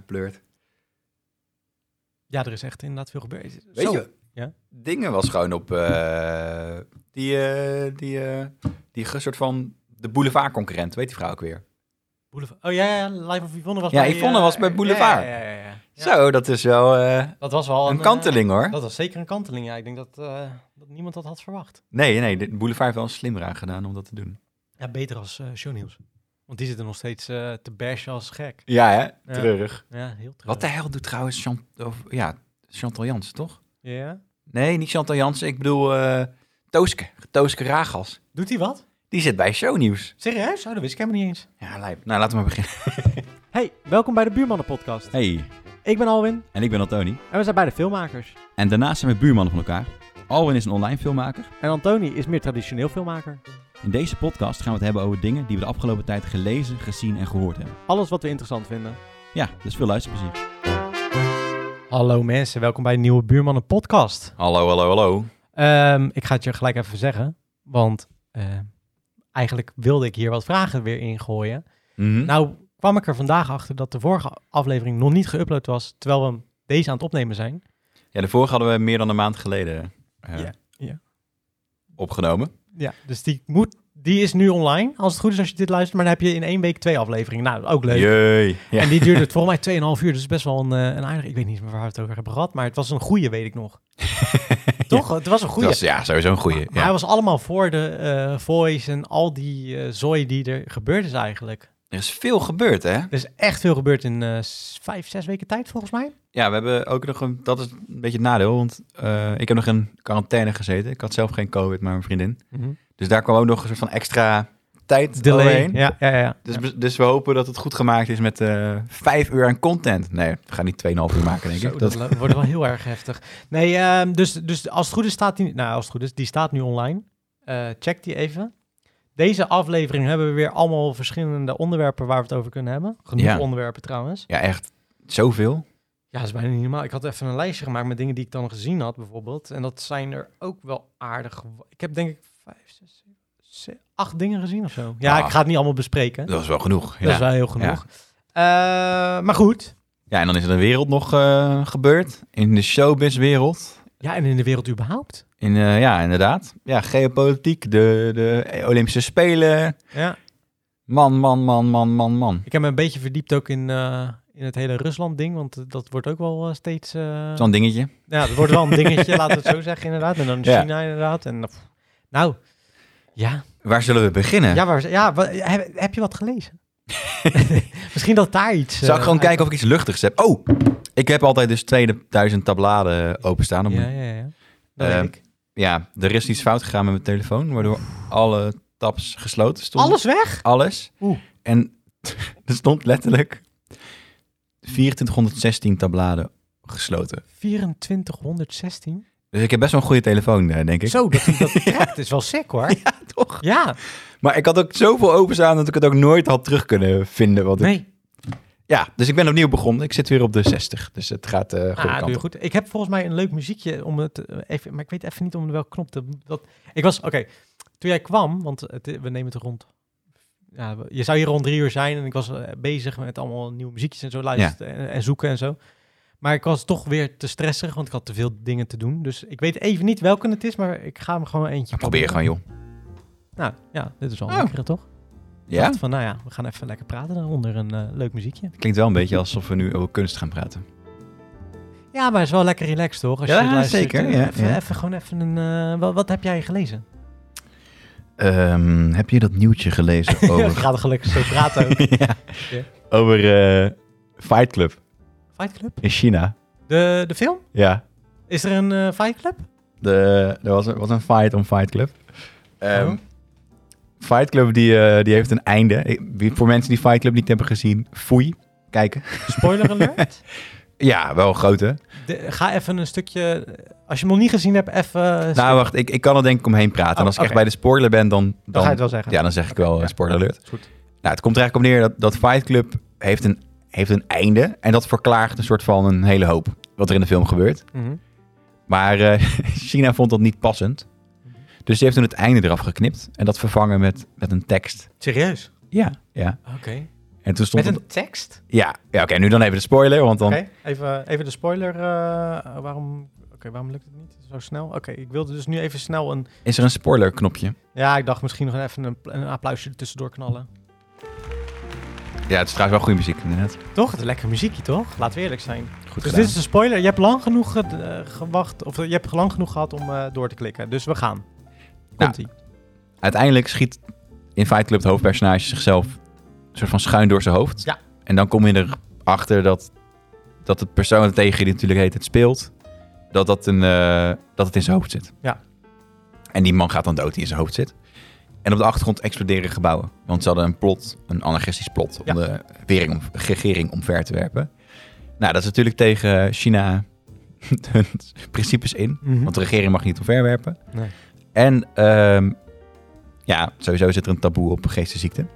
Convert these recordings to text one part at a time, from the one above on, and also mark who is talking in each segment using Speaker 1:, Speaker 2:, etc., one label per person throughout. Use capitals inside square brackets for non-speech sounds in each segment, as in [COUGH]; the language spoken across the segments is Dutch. Speaker 1: gepleurd.
Speaker 2: Ja, er is echt inderdaad veel gebeurd.
Speaker 1: Weet
Speaker 2: Zo.
Speaker 1: je,
Speaker 2: Ja?
Speaker 1: dingen was gewoon op eh, die, eh, die, eh, die ge- soort van de boulevardconcurrent, weet die vrouw ook weer.
Speaker 2: Boulevard. Oh ja, ja, Live of Yvonne was
Speaker 1: Ja,
Speaker 2: bij...
Speaker 1: Yvonne
Speaker 2: eh,
Speaker 1: was bij
Speaker 2: ja,
Speaker 1: Boulevard.
Speaker 2: Ja, ja, ja, ja. Ja.
Speaker 1: Zo, dat is wel eh,
Speaker 2: Dat was wel
Speaker 1: een
Speaker 2: eh,
Speaker 1: kanteling hoor.
Speaker 2: dat was zeker een kanteling, ja. Ik denk dat, eh, dat niemand dat had verwacht.
Speaker 1: Nee, nee, de Boulevard heeft wel een slimmer aan gedaan om dat te doen.
Speaker 2: Ja, beter als eh shownieuws. Want die zitten nog steeds eh, te bashen als gek.
Speaker 1: Ja, hè?
Speaker 2: Ja.
Speaker 1: Treurig.
Speaker 2: Ja, heel
Speaker 1: Wat
Speaker 2: treurig.
Speaker 1: de hel doet trouwens Chan- of, ja, Chantal Jansen, toch?
Speaker 2: Ja.
Speaker 1: Nee, niet Chantal Jansen, ik bedoel eh Tooske. Tooske Ragas.
Speaker 2: Doet hij wat?
Speaker 1: Die zit bij Shownieuws.
Speaker 2: Serieus? Oh, dat wist ik helemaal niet eens.
Speaker 1: Ja, lijp. Nou, laten we maar beginnen.
Speaker 3: Hey, welkom bij de Buurmannen Podcast.
Speaker 1: Hey,
Speaker 3: Ik ben Alwin
Speaker 4: En ik ben Antoni.
Speaker 3: en we zijn beide filmmakers.
Speaker 4: En daarnaast zijn we buurmannen van elkaar. Alwin is een online filmmaker.
Speaker 3: En Antoni is meer traditioneel filmmaker.
Speaker 4: In deze podcast gaan we het hebben over dingen die we de afgelopen tijd gelezen, gezien en gehoord hebben.
Speaker 3: Alles wat we interessant vinden.
Speaker 4: Ja, dus veel luisterplezier.
Speaker 2: Hallo mensen, welkom bij een nieuwe Buurmannen podcast.
Speaker 1: Hallo, hallo, hallo.
Speaker 2: Ehm, ik ga het je gelijk even zeggen, want eh, eigenlijk wilde ik hier wat vragen weer ingooien.
Speaker 1: Mhm.
Speaker 2: Nou kwam ik er vandaag achter dat de vorige aflevering nog niet geüpload was, terwijl we hem deze aan het opnemen zijn.
Speaker 1: Ja, de vorige hadden we meer dan een maand geleden eh,
Speaker 2: Ja, ja.
Speaker 1: opgenomen.
Speaker 2: Ja, dus die, moet, die is nu online, als het goed is als je dit luistert, maar dan heb je in één week twee afleveringen. Nou, ook leuk.
Speaker 1: Jee. Ja.
Speaker 2: En die duurde het volgens mij 2,5 uur, dus best wel een, eh, een aardig. Ik weet niet meer waar we het over hebben gehad, maar het was een goede, weet ik
Speaker 1: [LAUGHS]
Speaker 2: nog. Toch? Het was een
Speaker 1: Dat
Speaker 2: goede.
Speaker 1: was, ja, sowieso een goeie.
Speaker 2: Maar hij
Speaker 1: Ja.
Speaker 2: was allemaal voor de eh, voice en al die eh zooi die er gebeurd is eigenlijk.
Speaker 1: Er is veel gebeurd, hè?
Speaker 2: Er is echt veel gebeurd in eh, s- vijf, zes weken tijd volgens mij.
Speaker 1: Ja, we hebben ook nog een... Dat is een beetje het nadeel, want eh, ik heb nog in quarantaine gezeten. Ik had zelf geen covid, maar mijn vriendin. Dus daar kwam ook nog een soort van extra tijd
Speaker 2: Delay.
Speaker 1: overheen.
Speaker 2: Ja, ja, ja.
Speaker 1: Dus,
Speaker 2: Ja.
Speaker 1: we- dus we hopen dat het goed gemaakt is met eh vijf uur aan content. Nee, we gaan niet 2,5 uur maken, denk
Speaker 2: Zo,
Speaker 1: ik.
Speaker 2: dat,
Speaker 1: Dat-
Speaker 2: lo- wordt wel heel erg heftig. Nee, ehm, dus, dus als het goed is staat die... Nou, als het goed is, die staat nu online. Eh, check die even. Deze aflevering hebben we weer allemaal verschillende onderwerpen waar we het over kunnen hebben. Genoeg
Speaker 1: Ja.
Speaker 2: onderwerpen trouwens.
Speaker 1: Ja, echt zoveel.
Speaker 2: Ja, dat is bijna niet normaal. Ik had even een lijstje gemaakt met dingen die ik dan gezien had bijvoorbeeld. En dat zijn er ook wel aardig. wa- Ik heb denk ik vijf, zes, zeven, ze- acht dingen gezien of zo. Ja,
Speaker 1: Ah.
Speaker 2: ik ga het niet allemaal bespreken.
Speaker 1: Dat is wel genoeg.
Speaker 2: Dat is
Speaker 1: Ja,
Speaker 2: wel heel genoeg. Eh, maar goed.
Speaker 1: ja en dan is er een wereld nog eh, gebeurd. In de showbiz-wereld.
Speaker 2: Ja, en in de wereld überhaupt.
Speaker 1: In, eh, ja, inderdaad. Ja, geopolitiek, de, de Olympische Spelen.
Speaker 2: Ja.
Speaker 1: Man, man, man, man, man, man.
Speaker 2: Ik heb me een beetje verdiept ook in, eh, in het hele Rusland-ding, want eh, dat wordt ook wel eh, steeds... eh,
Speaker 1: Zo'n dingetje.
Speaker 2: ja, dat
Speaker 1: [LAUGHS]
Speaker 2: wordt wel een dingetje, laten we het zo zeggen, inderdaad. En dan
Speaker 1: Ja.
Speaker 2: China, inderdaad. En, pff, nou, ja.
Speaker 1: Waar zullen we beginnen?
Speaker 2: Ja, waar, ja wa- heb, heb je wat
Speaker 1: [LAUGHS]
Speaker 2: gelezen? Misschien dat daar iets...
Speaker 1: Zal ik
Speaker 2: eh,
Speaker 1: gewoon
Speaker 2: uit-
Speaker 1: kijken of ik iets luchtigs heb? Oh, ik heb altijd dus 2000 tabbladen openstaan. Om,
Speaker 2: Ja,
Speaker 1: ja.
Speaker 2: ja, ja. Dat
Speaker 1: Eh,
Speaker 2: weet ik.
Speaker 1: er is iets fout gegaan met mijn telefoon, waardoor alle tabs gesloten stonden.
Speaker 2: Alles weg?
Speaker 1: alles.
Speaker 2: Oeh.
Speaker 1: En [LAUGHS] er stond letterlijk 2416 tabbladen gesloten.
Speaker 2: 2416?
Speaker 1: Dus ik heb best wel een goede telefoon, eh, denk ik.
Speaker 2: Zo,
Speaker 1: [LAUGHS]
Speaker 2: dat hij dat trekt is wel sick, hoor. Ja,
Speaker 1: toch?
Speaker 2: Ja,
Speaker 1: Maar ik had ook zoveel openstaan dat ik het ook nooit had terug kunnen vinden. Wat ik...
Speaker 2: nee.
Speaker 1: Ja, dus ik ben opnieuw begonnen. Ik zit weer op de 60, dus het gaat eh goed.
Speaker 2: Ah, doe je goed. Ik heb volgens mij een leuk muziekje om het eh, even, maar ik weet even niet om welke knop te. Dat, ik was, oké, toen jij kwam, want het- we nemen het rond. Ja, we- je zou hier rond drie uur zijn en ik was eh, bezig met allemaal nieuwe muziekjes en zo luisteren en, en zoeken en zo. Maar ik was toch weer te stressig, want ik had te veel dingen te doen. Dus ik weet even niet welke het is, maar ik ga hem gewoon eentje
Speaker 1: Probeer gewoon, joh.
Speaker 2: Nou ja, dit is wel
Speaker 1: Oh.
Speaker 2: lekker, toch? Ik
Speaker 1: Ja?
Speaker 2: dacht Van, nou ja, we gaan even lekker praten dan onder een eh, leuk muziekje.
Speaker 1: Klinkt wel een beetje alsof we nu over kunst gaan praten.
Speaker 2: Ja, maar het is wel lekker relaxed, toch? Als
Speaker 1: Ja,
Speaker 2: je het luistert,
Speaker 1: zeker,
Speaker 2: eh,
Speaker 1: ja,
Speaker 2: even,
Speaker 1: ja.
Speaker 2: even gewoon even een... eh, wat, wat heb jij gelezen?
Speaker 1: Ehm, heb je dat nieuwtje [LAUGHS] gelezen
Speaker 2: [LAUGHS] Ja, ik
Speaker 1: over,
Speaker 2: ga er gelukkig zo praten over.
Speaker 1: Ja.
Speaker 2: Ja.
Speaker 1: over eh, Fight Club
Speaker 2: [LAUGHS] Fight Club?
Speaker 1: in China?
Speaker 2: De, de film?
Speaker 1: Ja.
Speaker 2: Is er een eh, Fight Club?
Speaker 1: De, er was, een- was een fight om Fight Club. Ehm,
Speaker 2: Oh.
Speaker 1: Fight Club die, eh, die heeft een einde. Ik- wie- Voor mensen die Fight Club niet hebben gezien, foei. Kijken.
Speaker 2: Spoiler alert.
Speaker 1: Ja, wel grote.
Speaker 2: De- ga even een stukje... eh, Als je hem nog niet gezien hebt, even... eh,
Speaker 1: Nou, wacht, ik, ik kan er denk ik omheen praten. en
Speaker 2: Oh,
Speaker 1: als ik
Speaker 2: oké.
Speaker 1: echt bij de spoiler ben, dan, dan,
Speaker 2: dan ga je het wel zeggen.
Speaker 1: ja, dan zeg ik wel eh, spoiler alert.
Speaker 2: Is goed.
Speaker 1: Nou, het komt er eigenlijk op neer dat, dat Fight Club heeft een, heeft een einde. En dat verklaart een soort van een hele hoop wat er in de film gebeurt.
Speaker 2: Mhm.
Speaker 1: Maar eh, [LAUGHS] China vond dat niet passend. Dus die heeft toen het einde eraf geknipt. En dat vervangen met, met een tekst.
Speaker 2: Serieus?
Speaker 1: Ja. ja.
Speaker 2: Oké.
Speaker 1: En En toen stond
Speaker 2: Met
Speaker 1: het...
Speaker 2: een tekst?
Speaker 1: Ja, ja oké, nu dan even de spoiler, want dan...
Speaker 2: Oké, even, even de spoiler. eh, waarom, Oké, waarom lukt het niet zo snel? Oké, ik wilde dus nu even snel een...
Speaker 1: Is er een spoilerknopje?
Speaker 2: Ja, ik dacht misschien nog even een, een applausje er tussendoor knallen.
Speaker 1: Ja, het is trouwens wel goede muziek, inderdaad.
Speaker 2: Toch? Het is lekker muziekje, toch? Laten we eerlijk zijn.
Speaker 1: Goed
Speaker 2: Dus
Speaker 1: gedaan.
Speaker 2: dit is een spoiler. Je hebt lang genoeg het, eh, gewacht, of je hebt lang genoeg gehad om eh, door te klikken. Dus we gaan.
Speaker 1: Nou,
Speaker 2: Komt-ie.
Speaker 1: Uiteindelijk schiet in Fight Club het hoofdpersonage zichzelf een soort van schuin door zijn hoofd.
Speaker 2: Ja.
Speaker 1: En dan kom je erachter dat, dat het persoon tegen je die natuurlijk heet het speelt, dat, dat, een, eh, dat het in zijn hoofd zit.
Speaker 2: Ja.
Speaker 1: En die man gaat dan dood die in zijn hoofd zit. En op de achtergrond exploderen gebouwen. Want ze hadden een plot, een anarchistisch plot, om
Speaker 2: Ja.
Speaker 1: de regering, om, regering omver te werpen. Nou, dat is natuurlijk tegen China [LAUGHS] hun principes in.
Speaker 2: Mhm.
Speaker 1: Want de regering mag niet omverwerpen.
Speaker 2: Nee.
Speaker 1: En ehm, ja, sowieso zit er een taboe op geestesziekten.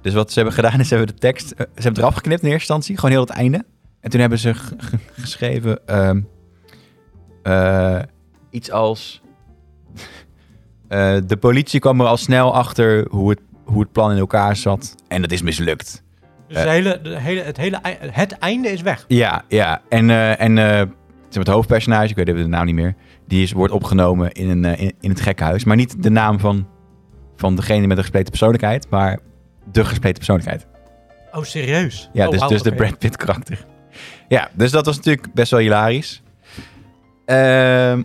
Speaker 1: Dus wat ze hebben gedaan is, ze hebben de tekst... eh, ze hebben eraf geknipt in eerste instantie, gewoon heel het einde. En toen hebben ze g- g- geschreven ehm, eh, iets als... [LAUGHS] eh, de politie kwam er al snel achter hoe het, hoe het plan in elkaar zat. En dat is mislukt.
Speaker 2: Dus
Speaker 1: Eh.
Speaker 2: de hele, de hele, het, hele, ei- het einde is weg.
Speaker 1: Ja, ja. En, eh, en eh, zeg maar, het hoofdpersonage, ik weet even de naam niet meer, die is, wordt opgenomen in, een, eh, in, in het gekkenhuis. Maar niet de naam van, van degene met de gespleten persoonlijkheid, maar de gespleten persoonlijkheid.
Speaker 2: Oh, serieus?
Speaker 1: Ja,
Speaker 2: Oh,
Speaker 1: dus,
Speaker 2: wauw,
Speaker 1: dus de
Speaker 2: oké.
Speaker 1: Brad Pitt karakter. Ja, dus dat was natuurlijk best wel hilarisch. Ehm,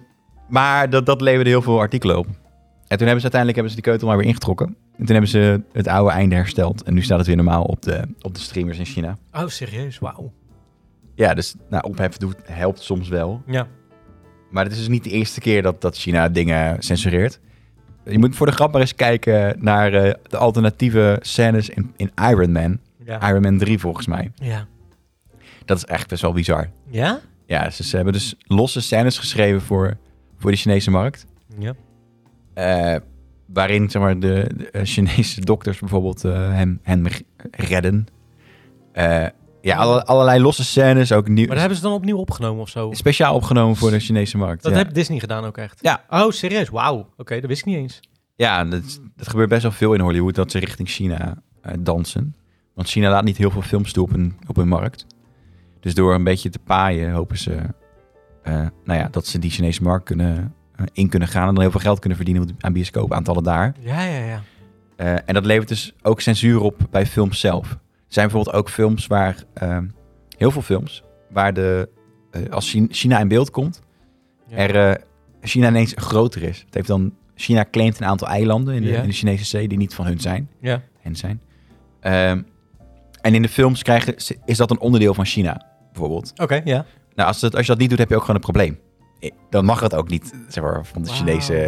Speaker 1: maar dat, dat leverde heel veel artikelen op. En toen hebben ze uiteindelijk hebben ze die keutel maar weer ingetrokken. En toen hebben ze het oude einde hersteld. En nu staat het weer normaal op de, op de streamers in China.
Speaker 2: Oh, serieus? Wauw.
Speaker 1: Ja, dus nou, ophef doet, helpt soms wel.
Speaker 2: Ja.
Speaker 1: Maar het is dus niet de eerste keer dat, dat China dingen censureert. Je moet voor de grap maar eens kijken naar eh, de alternatieve scènes in, in Iron Man.
Speaker 2: Ja.
Speaker 1: Iron Man 3 volgens mij.
Speaker 2: Ja?
Speaker 1: Dat is echt best wel bizar.
Speaker 2: Ja.
Speaker 1: Ja, ze, ze hebben dus losse scènes geschreven voor, voor de Chinese markt.
Speaker 2: ja.
Speaker 1: Eh, waarin zeg maar, de, de, eh, Chinese dokters bijvoorbeeld eh, hem, hen g- redden. Eh, ja, alle- allerlei losse scènes. Ook nieuw,
Speaker 2: Maar dat hebben ze dan opnieuw opgenomen of zo?
Speaker 1: speciaal opgenomen voor de Chinese markt.
Speaker 2: Dat
Speaker 1: ja.
Speaker 2: heeft Disney gedaan ook echt?
Speaker 1: Ja.
Speaker 2: Oh, serieus? Wauw. Oké, dat wist ik niet eens.
Speaker 1: Ja, dat, dat gebeurt best wel veel in Hollywood dat ze richting China eh, dansen. Want China laat niet heel veel films toe op hun, op hun markt. Dus door een beetje te paaien hopen ze eh, nou ja, dat ze die Chinese markt kunnen, eh, in kunnen gaan. En dan heel veel geld kunnen verdienen met- aan bioscoopaantallen daar.
Speaker 2: Ja, ja, ja.
Speaker 1: Eh, en dat levert dus ook censuur op bij films zelf. Er zijn bijvoorbeeld ook films waar, ehm, heel veel films, waar de, eh, als Chi- China in beeld komt,
Speaker 2: Ja.
Speaker 1: er eh, China ineens groter is. Het heeft dan, China claimt een aantal eilanden in de,
Speaker 2: Ja.
Speaker 1: in de Chinese zee die niet van hun zijn.
Speaker 2: Ja.
Speaker 1: Hen zijn. Ehm, en in de films krijgen, ze- is dat een onderdeel van China, bijvoorbeeld.
Speaker 2: Oké, ja.
Speaker 1: Nou, als, dat, als je dat niet doet, heb je ook gewoon een probleem. Eh, Dan mag dat ook niet, zeg maar, van de
Speaker 2: Wauw.
Speaker 1: Chinese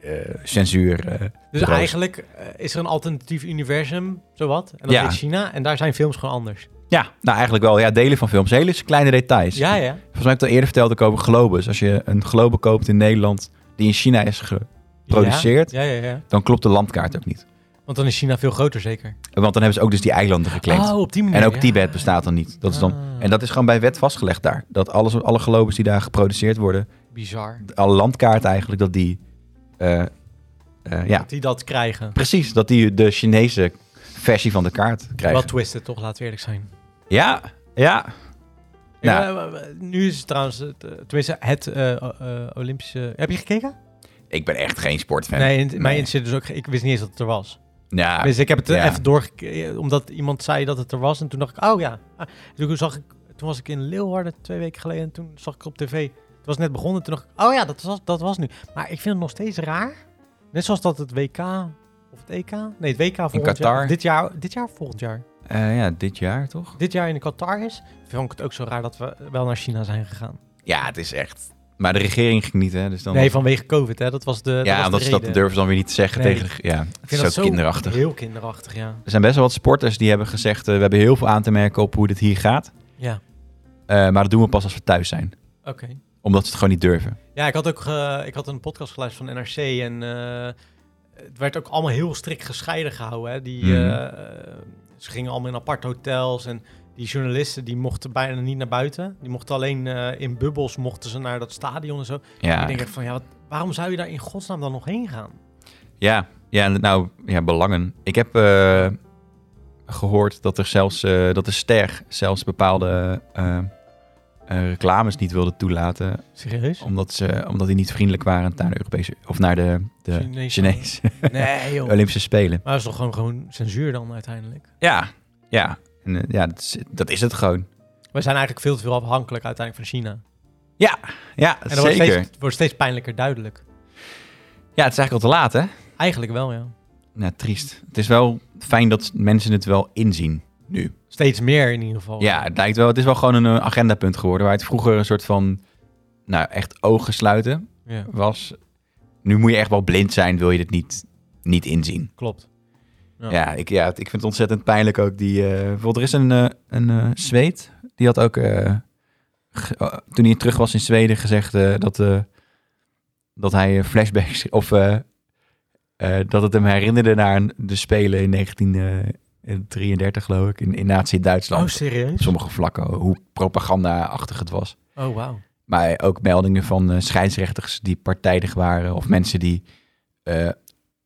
Speaker 1: eh, censuur. eh.
Speaker 2: Dus
Speaker 1: Roos.
Speaker 2: eigenlijk eh, is er een alternatief universum, zowat. En dat
Speaker 1: Ja.
Speaker 2: heet China. En daar zijn films gewoon anders.
Speaker 1: Ja, nou eigenlijk wel. Ja, delen van films. Hele kleine details.
Speaker 2: Ja, ja.
Speaker 1: Volgens mij heb ik het al eerder verteld ook over globes. Als je een globe koopt in Nederland die in China is geproduceerd,
Speaker 2: Ja, ja, ja.
Speaker 1: dan klopt de landkaart ook niet.
Speaker 2: Want dan is China veel groter zeker.
Speaker 1: Want dan hebben ze ook dus die eilanden geclaimd.
Speaker 2: Oh, op die manier.
Speaker 1: en ook
Speaker 2: ja.
Speaker 1: Tibet bestaat dan niet. Dat is dan,
Speaker 2: Ah,
Speaker 1: en dat is gewoon bij wet vastgelegd daar. Dat alles, alle globes die daar geproduceerd worden,
Speaker 2: Bizar.
Speaker 1: alle landkaarten eigenlijk, dat die... eh, eh, ja,
Speaker 2: Dat die dat krijgen.
Speaker 1: precies. Dat die de Chinese versie van de kaart krijgen.
Speaker 2: Wat twisted toch, laten we eerlijk zijn.
Speaker 1: Ja, ja.
Speaker 2: Ik,
Speaker 1: Nou.
Speaker 2: eh, w- w- nu is het trouwens, het, eh, tenminste, het eh, eh, Olympische... Heb je gekeken?
Speaker 1: Ik ben echt geen sportfan.
Speaker 2: Nee, in, mij
Speaker 1: nee. Nou,
Speaker 2: interesseert dus ook... ge- Ik wist niet eens dat het er was.
Speaker 1: Ja.
Speaker 2: Dus ik heb het eh,
Speaker 1: Ah, ja.
Speaker 2: even doorgekeken, omdat iemand zei dat het er was. En toen dacht ik, oh ja. Ah, toen, zag ik, toen was ik in Leeuwarden twee weken geleden en toen zag ik op tv... Het was net begonnen toen dacht ik, oh ja, dat was, dat was nu. Maar ik vind het nog steeds raar. Net zoals dat het WK of het EK... Nee, het WK volgend
Speaker 1: Qatar.
Speaker 2: jaar. Dit jaar, dit jaar of volgend jaar.
Speaker 1: Eh, ja, dit jaar toch?
Speaker 2: Dit jaar in Qatar is. Vond ik het ook zo raar dat we wel naar China zijn gegaan.
Speaker 1: Ja, het is echt. Maar de regering ging niet, hè? Dus dan
Speaker 2: Nee, vanwege COVID, hè? Dat was de.
Speaker 1: ja,
Speaker 2: dat
Speaker 1: omdat
Speaker 2: was
Speaker 1: ze
Speaker 2: de
Speaker 1: dat
Speaker 2: reden.
Speaker 1: durven ze dan weer niet te zeggen
Speaker 2: Nee.
Speaker 1: tegen. de- Ja,
Speaker 2: Ik
Speaker 1: het is ook kinderachtig.
Speaker 2: Heel kinderachtig, ja.
Speaker 1: Er zijn best wel wat sporters die hebben gezegd: eh, we hebben heel veel aan te merken op hoe dit hier gaat.
Speaker 2: Ja,
Speaker 1: Eh, maar dat doen we pas als we thuis zijn,
Speaker 2: oké.
Speaker 1: omdat ze het gewoon niet durven.
Speaker 2: Ja, ik had ook eh, ik had een podcast geluisterd van NRC en eh, het werd ook allemaal heel strikt gescheiden gehouden. Hè? Die,
Speaker 1: Mhm.
Speaker 2: eh, ze gingen allemaal in aparte hotels en die journalisten die mochten bijna niet naar buiten. Die mochten alleen eh, in bubbels mochten ze naar dat stadion en zo.
Speaker 1: Ja,
Speaker 2: Ik denk echt van ja, wat- waarom zou je daar in godsnaam dan nog heen gaan?
Speaker 1: ja, ja. en Nou, ja, belangen. Ik heb eh, gehoord dat, er zelfs, eh, dat de ster zelfs bepaalde eh, eh, reclames niet wilde toelaten.
Speaker 2: Serieus?
Speaker 1: Omdat, ze, omdat die niet vriendelijk waren naar de Europese. of naar de, de
Speaker 2: Chinese.
Speaker 1: Chinese
Speaker 2: [LAUGHS] Nee, joh.
Speaker 1: Olympische Spelen.
Speaker 2: Maar dat is toch gewoon, gewoon censuur dan uiteindelijk?
Speaker 1: Ja, ja. En, eh, ja, dat is, dat is het gewoon.
Speaker 2: We zijn eigenlijk veel te veel afhankelijk uiteindelijk van China. En
Speaker 1: Ja,
Speaker 2: dat
Speaker 1: zeker.
Speaker 2: Wordt, steeds, het wordt steeds pijnlijker duidelijk.
Speaker 1: Ja, het is eigenlijk al te laat, hè?
Speaker 2: Eigenlijk wel, ja.
Speaker 1: Nou, triest. Het is wel fijn dat mensen het wel inzien nu.
Speaker 2: Steeds meer in ieder geval.
Speaker 1: Ja, het lijkt wel. Het is wel gewoon een eh, agendapunt geworden. Waar het vroeger een soort van, nou, echt ogen sluiten
Speaker 2: Ja,
Speaker 1: was. Nu moet je echt wel blind zijn, wil je dit niet, niet inzien.
Speaker 2: klopt. Ja.
Speaker 1: Ja, ik, ja, ik vind het ontzettend pijnlijk ook. Die, eh, bijvoorbeeld, er is een, eh, een eh, Zweed, die had ook, eh, ge- eh, toen hij terug was in Zweden, gezegd eh, dat, eh, dat hij eh, flashbacks, of eh, eh, dat het hem herinnerde naar een- de Spelen in 1933, geloof ik, in, in Nazi-Duitsland.
Speaker 2: Oh, serieus?
Speaker 1: Op sommige vlakken, hoe propaganda-achtig het was.
Speaker 2: Oh, wauw.
Speaker 1: Maar ook meldingen van eh, scheidsrechters die partijdig waren, of mensen die eh,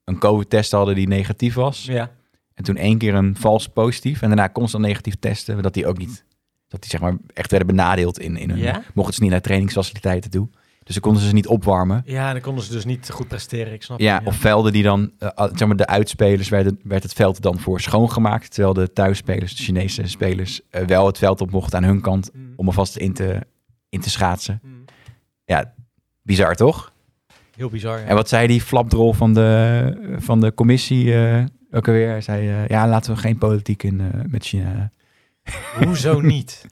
Speaker 1: een COVID-test hadden die negatief was.
Speaker 2: Ja.
Speaker 1: En toen één keer een vals positief. En daarna constant negatief testen. Dat die ook niet. Dat die zeg maar echt werden benadeeld in, in hun.
Speaker 2: Ja?
Speaker 1: Mochten ze niet naar trainingsfaciliteiten toe. Dus dan konden ze ze niet opwarmen.
Speaker 2: Ja, en dan konden ze dus niet goed presteren, ik snap
Speaker 1: Ja,
Speaker 2: het,
Speaker 1: of velden die dan, eh, ah, zeg maar, de uitspelers werden, werd het veld dan voor schoongemaakt. Terwijl de thuisspelers, de Chinese spelers, eh, wel het veld op mochten aan hun kant.
Speaker 2: Mm,
Speaker 1: Om alvast in te, in te schaatsen.
Speaker 2: mm.
Speaker 1: Bizar toch?
Speaker 2: Heel bizar, ja.
Speaker 1: En wat zei die flapdrol van de, van de commissie eh, ook alweer? Hij zei: eh, Ja, laten we geen politiek in eh, met China. [LAUGHS]
Speaker 2: Hoezo niet?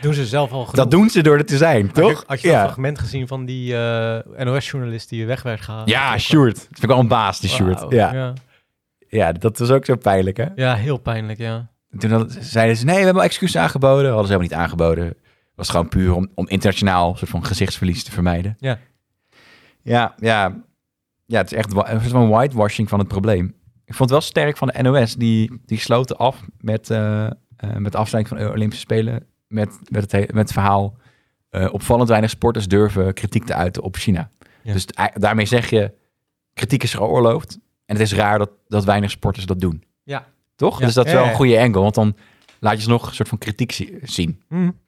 Speaker 2: Doen ze zelf al genoeg.
Speaker 1: Dat doen ze door er te zijn,
Speaker 2: Had je-
Speaker 1: toch?
Speaker 2: Had je dat fragment gezien van die eh, NOS-journalist die weg werd gehaald?
Speaker 1: Ja, Sjoerd. Dat vind ik wel een baas, die Sjoerd.
Speaker 2: Wauw,
Speaker 1: Ja.
Speaker 2: ja.
Speaker 1: ja, dat was ook zo pijnlijk, hè?
Speaker 2: Ja, heel pijnlijk, ja.
Speaker 1: Toen hadden- zeiden ze, nee, we hebben al excuses aangeboden. Hadden ze helemaal niet aangeboden. was gewoon puur om, om internationaal een soort van gezichtsverlies te vermijden.
Speaker 2: Ja.
Speaker 1: Ja, ja. Ja, het is echt wa- een soort van whitewashing van het probleem. Ik vond het wel sterk van de NOS. Die, die sloten af met, eh eh, met de afsluiting van de Olympische Spelen. Met, met, het, he- met het verhaal, eh, opvallend weinig sporters durven kritiek te uiten op China.
Speaker 2: Ja.
Speaker 1: Dus da- daarmee zeg je, kritiek is geoorloofd. En het is raar dat, dat weinig sporters dat doen.
Speaker 2: Ja.
Speaker 1: Toch?
Speaker 2: Ja.
Speaker 1: Dus dat is
Speaker 2: Ja,
Speaker 1: wel
Speaker 2: ja.
Speaker 1: een goede angle. Want dan laat je ze nog een soort van kritiek zi- zien.
Speaker 2: Mm.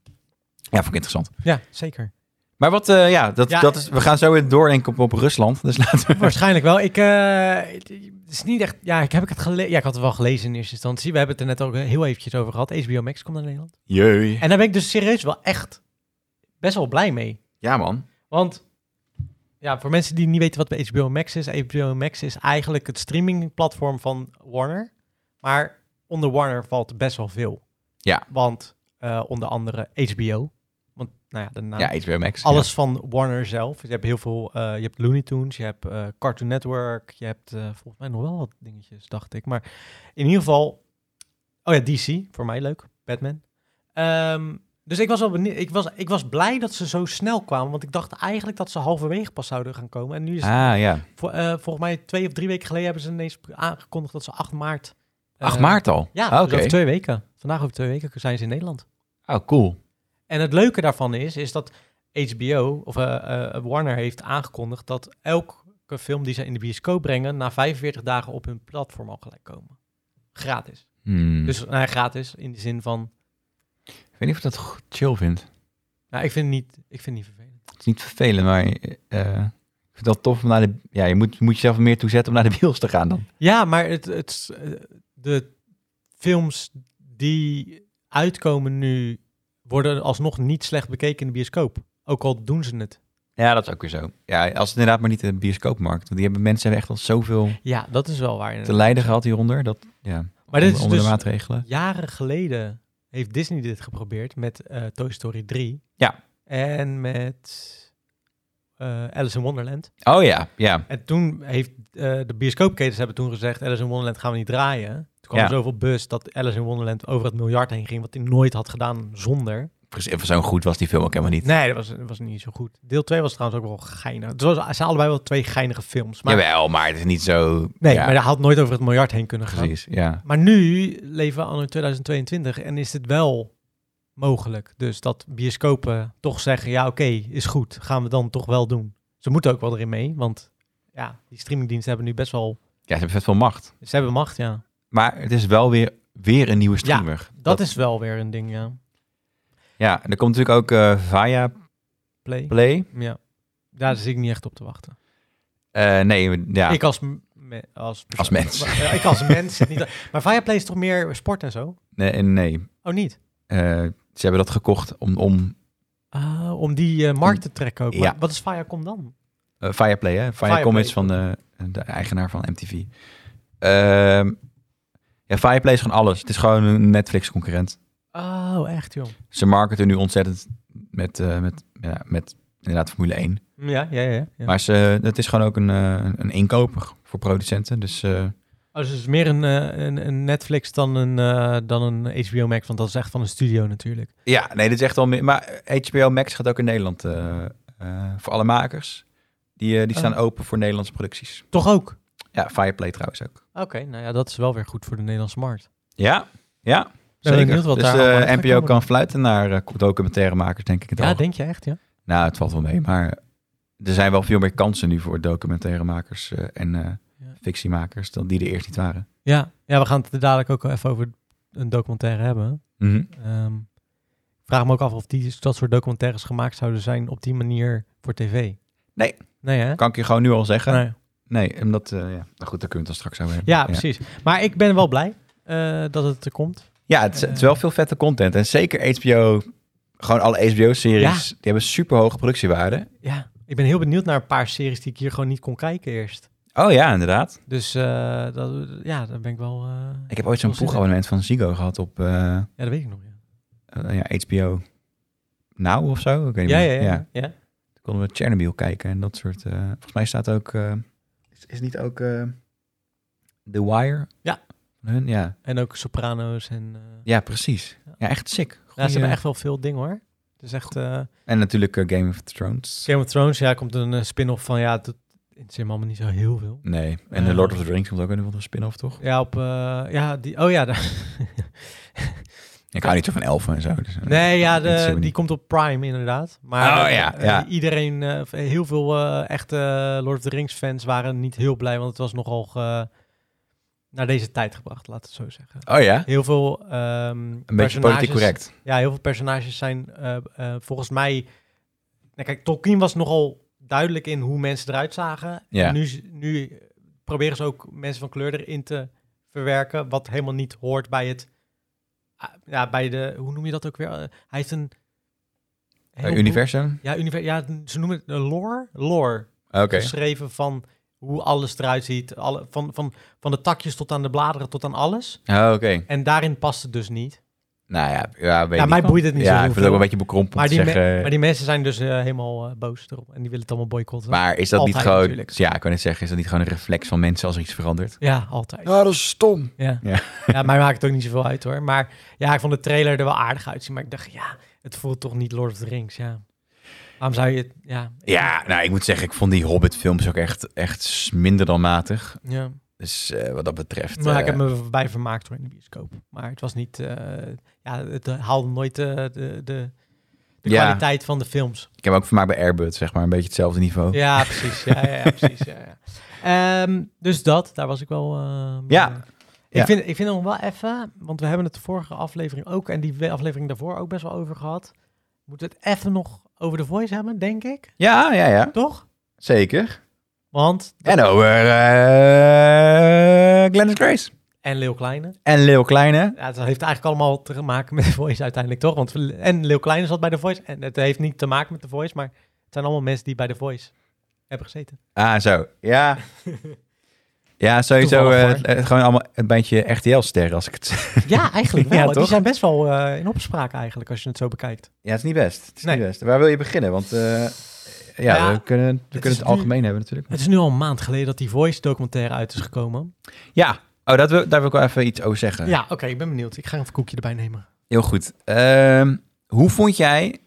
Speaker 1: Ja, vond ik interessant.
Speaker 2: Ja, zeker. [LAUGHS]
Speaker 1: Maar wat, eh, ja, dat,
Speaker 2: Ja,
Speaker 1: dat is, we gaan zo weer door denk ik op, op Rusland. Dus laten
Speaker 2: [LAUGHS]
Speaker 1: we...
Speaker 2: Waarschijnlijk wel. Ik, eh, het het is niet echt... Ja, ik, heb ik het gelezen? Ja, ik had het wel gelezen in eerste instantie. We hebben het er net ook heel eventjes over gehad. HBO Max komt naar Nederland.
Speaker 1: Jee.
Speaker 2: En daar ben ik dus serieus wel echt best wel blij mee.
Speaker 1: Ja, man.
Speaker 2: Want ja, voor mensen die niet weten wat HBO Max is, HBO Max is eigenlijk het streamingplatform van Warner. Maar onder Warner valt best wel veel.
Speaker 1: Ja.
Speaker 2: Want eh, onder andere HBO. Want nou ja, de naam.
Speaker 1: Ja, HBO Max.
Speaker 2: alles van Warner zelf. Je hebt heel veel. eh, je hebt Looney Tunes, je hebt eh, Cartoon Network, je hebt eh, volgens mij nog wel wat dingetjes, dacht ik. Maar in ieder geval. Oh ja, DC voor mij leuk. Batman. Ehm, dus ik was wel benieuwd. Ik was, ik was blij dat ze zo snel kwamen, want ik dacht eigenlijk dat ze halverwege pas zouden gaan komen. En nu is het
Speaker 1: Ja. Ah, ja.
Speaker 2: vo- eh, volgens mij twee of drie weken geleden hebben ze ineens aangekondigd dat ze 8 maart.
Speaker 1: 8
Speaker 2: eh,
Speaker 1: maart al?
Speaker 2: Ja,
Speaker 1: Ah,
Speaker 2: dus
Speaker 1: Oké.
Speaker 2: over twee weken. Vandaag over twee weken zijn ze in Nederland.
Speaker 1: Oh, cool.
Speaker 2: En het leuke daarvan is, is dat HBO of eh, eh, Warner heeft aangekondigd dat elke film die ze in de bioscoop brengen, na 45 dagen op hun platform al gelijk komen. Gratis.
Speaker 1: Hmm.
Speaker 2: Dus nou ja, gratis in de zin van,
Speaker 1: Ik weet niet of ik dat go- chill vind.
Speaker 2: nou, ik vind het niet, ik vind het niet vervelend.
Speaker 1: Het is niet vervelend, maar eh, ik vind dat tof om naar de... Ja, je moet, je moet jezelf er meer toe zetten om naar de bios te gaan dan.
Speaker 2: Ja, maar het, het, eh, de films die uitkomen nu worden alsnog niet slecht bekeken in de bioscoop. Ook al doen ze het.
Speaker 1: Ja, dat is ook weer zo. Ja, als het inderdaad maar niet de bioscoopmarkt. Want die hebben, mensen hebben echt al zoveel
Speaker 2: Ja, dat is wel waar.
Speaker 1: te lijden gehad hieronder. Dat, ja,
Speaker 2: Maar
Speaker 1: onder,
Speaker 2: dit is
Speaker 1: onder de
Speaker 2: dus
Speaker 1: maatregelen.
Speaker 2: Jaren geleden heeft Disney dit geprobeerd met eh, Toy Story 3.
Speaker 1: Ja.
Speaker 2: En met eh, Alice in Wonderland.
Speaker 1: Oh ja, ja.
Speaker 2: En toen heeft eh, de bioscoopketens hebben toen gezegd... Alice in Wonderland gaan we niet draaien. Toen kwam
Speaker 1: Ja.
Speaker 2: er zoveel bus dat Alice in Wonderland over het miljard heen ging... wat hij nooit had gedaan zonder.
Speaker 1: Precies, Zo'n goed was die film ook helemaal niet.
Speaker 2: Nee, dat was, dat was niet zo goed. Deel 2 was trouwens ook wel geinig. Het was, het zijn allebei wel twee geinige films. Maar,
Speaker 1: Jawel, maar het is niet zo...
Speaker 2: nee,
Speaker 1: ja,
Speaker 2: maar hij had nooit over het miljard heen kunnen gaan.
Speaker 1: Precies, ja.
Speaker 2: Maar nu leven we anno 2022 en is het wel mogelijk. Dus dat bioscopen toch zeggen, ja oké, is goed, gaan we dan toch wel doen. Ze moeten ook wel erin mee, want ja, die streamingdiensten hebben nu best wel...
Speaker 1: Ja, ze hebben vet veel macht.
Speaker 2: Ze hebben macht, ja.
Speaker 1: Maar het is wel weer weer een nieuwe streamer.
Speaker 2: Dat, is wel weer een ding, ja.
Speaker 1: Ja, en er komt natuurlijk ook eh Via
Speaker 2: Play.
Speaker 1: Play.
Speaker 2: Ja. Daar zit ik niet echt op te wachten.
Speaker 1: Eh, nee, ja.
Speaker 2: Ik als, m- me- als, persoon-
Speaker 1: Als mens.
Speaker 2: Ja, ik als mens. zit [LAUGHS] niet, maar Viaplay is toch meer sport en zo?
Speaker 1: nee, nee.
Speaker 2: Oh, niet?
Speaker 1: Eh, ze hebben dat gekocht om, om
Speaker 2: Ah, om die eh, markt te trekken ook. Maar
Speaker 1: Ja.
Speaker 2: Wat is Viacom dan?
Speaker 1: eh, Via Play, hè? Via
Speaker 2: Viaplay.
Speaker 1: Comets van de, de eigenaar van MTV. Ehm ja, Via Play is gewoon alles. Het is gewoon een Netflix-concurrent.
Speaker 2: Oh, echt joh.
Speaker 1: Ze marketen nu ontzettend met, eh, met, ja, met inderdaad Formule 1.
Speaker 2: Ja, ja, ja. ja.
Speaker 1: Maar ze, het is gewoon ook een, eh, een inkoper voor producenten. Dus eh,
Speaker 2: Oh, dus het is meer een, eh, een, een Netflix dan een, eh, dan een HBO Max, want dat is echt van een studio natuurlijk.
Speaker 1: ja, nee, dit is echt wel meer. Maar HBO Max gaat ook in Nederland eh, eh, voor alle makers. Die, eh, die staan
Speaker 2: Oh.
Speaker 1: open voor Nederlandse producties.
Speaker 2: Toch ook?
Speaker 1: Ja, Fireplay trouwens ook.
Speaker 2: Oké, nou ja, dat is wel weer goed voor de Nederlandse markt.
Speaker 1: Ja, ja.
Speaker 2: ben
Speaker 1: Zeker.
Speaker 2: benieuwd wat
Speaker 1: dus
Speaker 2: daar
Speaker 1: de
Speaker 2: allemaal uit gaat
Speaker 1: NPO
Speaker 2: komen.
Speaker 1: kan fluiten naar eh, documentairemakers, denk ik het
Speaker 2: Ja,
Speaker 1: al.
Speaker 2: denk je echt, ja?
Speaker 1: Nou, het valt wel mee, maar er zijn wel veel meer kansen nu voor documentairemakers eh, en eh,
Speaker 2: Ja.
Speaker 1: fictiemakers dan die er eerst niet waren.
Speaker 2: Ja, ja we gaan het er dadelijk ook even over een documentaire hebben.
Speaker 1: Mhm.
Speaker 2: Ehm, ik vraag me ook af of die, dat soort documentaires gemaakt zouden zijn op die manier voor tv.
Speaker 1: Nee.
Speaker 2: Nee, hè?
Speaker 1: Kan ik je gewoon nu al zeggen? Nee,
Speaker 2: Nee.
Speaker 1: omdat, eh, ja. Nou goed, daar kunnen we het dan straks over hebben.
Speaker 2: Ja, precies. Maar ik ben wel blij eh, dat het er komt.
Speaker 1: Ja, het is, het is wel veel vette content. En zeker HBO, gewoon alle HBO-series, die hebben super hoge productiewaarde.
Speaker 2: Ja, ik ben heel benieuwd naar een paar series die ik hier gewoon niet kon kijken eerst.
Speaker 1: Oh ja, inderdaad.
Speaker 2: Dus eh, dat, ja, daar ben ik wel... eh,
Speaker 1: Ik heb ooit zo'n
Speaker 2: Veel zin in.
Speaker 1: proefabonnement van Ziggo gehad op eh,
Speaker 2: ja, dat weet ik nog. Ja,
Speaker 1: eh, ja, HBO Now of zo. Ik weet niet
Speaker 2: ja, ja.
Speaker 1: meer.
Speaker 2: ja, ja. ja.
Speaker 1: Toen konden we Chernobyl kijken en dat soort... eh, volgens mij staat ook... eh, is, is niet ook eh, The Wire?
Speaker 2: Ja.
Speaker 1: Van Hun? Ja.
Speaker 2: En ook Soprano's en... eh,
Speaker 1: ja, precies. Ja, echt sick.
Speaker 2: ja,
Speaker 1: Goeie-
Speaker 2: ze hebben echt wel veel dingen hoor. Het is echt... eh,
Speaker 1: En natuurlijk eh, Game of Thrones.
Speaker 2: Game of Thrones, ja, komt een eh, spin-off van, ja, dat is helemaal niet zo heel veel.
Speaker 1: Nee, en The
Speaker 2: Eh.
Speaker 1: Lord of the Rings komt ook in een of andere spin-off, toch?
Speaker 2: Ja, op, eh, ja, die, oh ja, daar-
Speaker 1: Ik hou niet zo van elfen en zo. dus, eh,
Speaker 2: [LAUGHS] nee, ja,
Speaker 1: dat is
Speaker 2: de,
Speaker 1: helemaal
Speaker 2: die
Speaker 1: niet.
Speaker 2: komt op Prime inderdaad. Maar
Speaker 1: Oh
Speaker 2: eh,
Speaker 1: ja,
Speaker 2: eh,
Speaker 1: ja.
Speaker 2: iedereen, eh, of heel veel eh, echte Lord of the Rings fans waren niet heel blij, want het was nogal ge- naar deze tijd gebracht, laten we het zo zeggen.
Speaker 1: Oh ja?
Speaker 2: Heel veel ehm
Speaker 1: Een beetje
Speaker 2: personages-
Speaker 1: politiek correct. Eh,
Speaker 2: Ja, heel veel personages zijn eh, eh, volgens mij... Nou, kijk, Tolkien was nogal duidelijk in hoe mensen eruit zagen.
Speaker 1: Ja.
Speaker 2: En nu, z- nu proberen ze ook mensen van kleur erin te verwerken... wat helemaal niet hoort bij het... ah, ja, bij de... Hoe noem je dat ook weer? Eh, hij heeft een...
Speaker 1: Eh,
Speaker 2: heel-
Speaker 1: universum?
Speaker 2: Ja, univer, ja, ze noemen het eh, lore. Lore.
Speaker 1: Oké.
Speaker 2: Geschreven van hoe alles eruit ziet. Alle, van, van, van de takjes tot aan de bladeren tot aan alles.
Speaker 1: Oh, Oké.
Speaker 2: En daarin past het dus niet.
Speaker 1: Nou ja, ja, weet
Speaker 2: Ja,
Speaker 1: ik
Speaker 2: mij
Speaker 1: niet.
Speaker 2: boeit het niet zo
Speaker 1: Ja, ik
Speaker 2: heel
Speaker 1: vind het ook
Speaker 2: veel.
Speaker 1: een beetje bekrompeld
Speaker 2: Maar
Speaker 1: te
Speaker 2: die, me-
Speaker 1: zeggen.
Speaker 2: maar die mensen zijn dus eh, helemaal eh, boos erop. En die willen het allemaal boycotten.
Speaker 1: Maar is dat niet
Speaker 2: Altijd
Speaker 1: gewoon...
Speaker 2: natuurlijk.
Speaker 1: Ja, ik kan het zeggen. Is dat niet gewoon een reflex van mensen als er iets verandert?
Speaker 2: Ja, altijd.
Speaker 1: Ja, Nou, dat is stom.
Speaker 2: Ja.
Speaker 1: Ja.
Speaker 2: Ja. mij maakt het ook niet zoveel uit hoor. Maar ja, ik vond de trailer er wel aardig uitzien. Maar ik dacht, ja, het voelt toch niet Lord of the Rings, ja. Waarom zou je het... Ja.
Speaker 1: Ja, nou, ik moet zeggen, ik vond die Hobbit-films ook echt, echt minder dan matig.
Speaker 2: ja.
Speaker 1: Dus eh, wat dat betreft...
Speaker 2: Maar ik
Speaker 1: eh,
Speaker 2: heb me voorbij vermaakt hoor in de bioscoop. Maar het was niet... eh, ja, het eh, haalde nooit eh, de, de, de
Speaker 1: Ja.
Speaker 2: kwaliteit van de films.
Speaker 1: ik heb me ook vermaakt bij Airbud, zeg maar. Een beetje hetzelfde niveau. Ja,
Speaker 2: Ja, precies. Ja, ja, ja, precies. Ja, ja. Ehm, dus dat, daar was ik wel. eh,
Speaker 1: Ja,
Speaker 2: mee.
Speaker 1: ja.
Speaker 2: Ik vind, ik vind nog wel even, want we hebben het de vorige aflevering ook en die we- aflevering daarvoor ook best wel over gehad. Moeten we het even nog over de voice hebben, denk ik?
Speaker 1: ja, ja.
Speaker 2: Toch?
Speaker 1: Zeker.
Speaker 2: Want.
Speaker 1: En over eh Glennis Grace.
Speaker 2: En Leeuw Kleine.
Speaker 1: En Leeuw Kleine.
Speaker 2: Ja, het heeft eigenlijk allemaal te maken met de voice uiteindelijk, toch? Want we- en Leeuw Kleine zat bij de voice. En het heeft niet te maken met de voice, maar het zijn allemaal mensen die bij de voice hebben gezeten.
Speaker 1: Ah, zo. [LAUGHS] Ja. Ja, sowieso
Speaker 2: Toevallig
Speaker 1: eh,
Speaker 2: hoor.
Speaker 1: het- het- gewoon allemaal een beetje RTL-sterren als ik het
Speaker 2: [LAUGHS] Ja, eigenlijk
Speaker 1: Ja,
Speaker 2: wel. die
Speaker 1: toch?
Speaker 2: zijn best wel eh, in opspraak eigenlijk, als je het zo bekijkt.
Speaker 1: Ja, het is niet best. Het is
Speaker 2: Nee.
Speaker 1: niet best. Waar wil je beginnen? Want eh, ja,
Speaker 2: Ja,
Speaker 1: we kunnen, we
Speaker 2: is
Speaker 1: kunnen het
Speaker 2: nu-
Speaker 1: algemeen hebben natuurlijk.
Speaker 2: Het is nu al een maand geleden dat die Voice documentaire uit is gekomen.
Speaker 1: Ja, oh, dat wil, daar wil ik wel even iets over zeggen.
Speaker 2: Ja, oké, ik ben benieuwd. Ik ga even een koekje erbij nemen.
Speaker 1: Heel goed. Ehm, hoe vond jij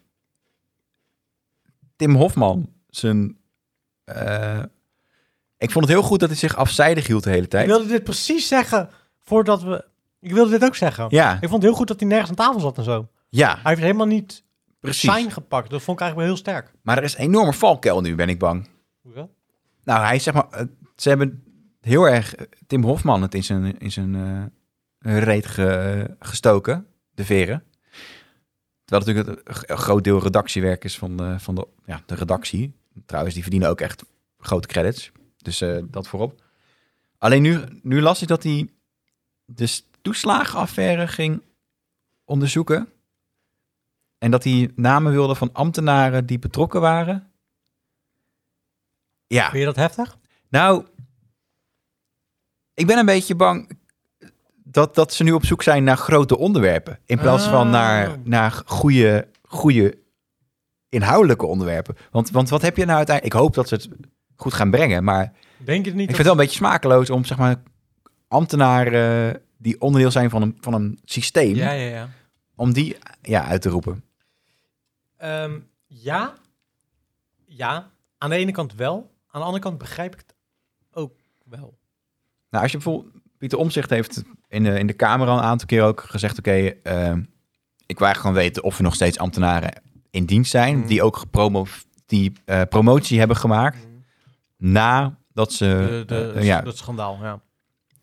Speaker 1: Tim Hofman zijn... eh, ik vond het heel goed dat hij zich afzijdig hield de hele
Speaker 2: Ik
Speaker 1: tijd.
Speaker 2: wilde dit precies zeggen voordat we... Ik wilde dit ook zeggen.
Speaker 1: Ja,
Speaker 2: Ik vond het heel goed dat hij nergens aan tafel zat en zo.
Speaker 1: ja,
Speaker 2: Hij heeft helemaal niet
Speaker 1: precies.
Speaker 2: zijn gepakt. Dat vond ik eigenlijk wel heel sterk.
Speaker 1: Maar er is een enorme valkuil nu, ben ik bang. Nou, hij is zeg maar... eh, Ze hebben heel erg eh, Tim Hofman het in zijn, in zijn eh, hun reet ge- eh, gestoken, de veren. Terwijl natuurlijk het- eh, een groot deel redactiewerk is van de, van de, ja, de redactie. Trouwens, die verdienen ook echt grote credits. Dus eh, dat voorop. Alleen nu, nu las ik dat hij de s- toeslagenaffaire ging onderzoeken. En dat hij namen wilde van ambtenaren die betrokken waren. Ja.
Speaker 2: Vind je dat heftig?
Speaker 1: Nou, ik ben een beetje bang dat, dat ze nu op zoek zijn naar grote onderwerpen. In plaats van
Speaker 2: Ah.
Speaker 1: naar, naar goede, goede inhoudelijke onderwerpen. Want, want wat heb je nou uiteindelijk? Ik hoop dat ze het goed gaan brengen. Maar
Speaker 2: Denk je het niet?
Speaker 1: ik vind het wel een beetje smakeloos om zeg maar, ambtenaren eh, die onderdeel zijn van een, van een systeem,
Speaker 2: Ja, ja, ja.
Speaker 1: om die ja, uit te roepen.
Speaker 2: Ehm, ja. Ja. Aan de ene kant wel. Aan de andere kant begrijp ik het ook wel.
Speaker 1: Nou, als je bijvoorbeeld Pieter Omzicht heeft in de, in de Kamer al een aantal keer ook gezegd: Oké, ehm, ik wil eigenlijk gewoon weten of er nog steeds ambtenaren in dienst zijn
Speaker 2: Mm.
Speaker 1: die ook gepromo die eh, promotie hebben gemaakt nadat ze.
Speaker 2: De, de,
Speaker 1: eh, ja,
Speaker 2: Dat schandaal, ja.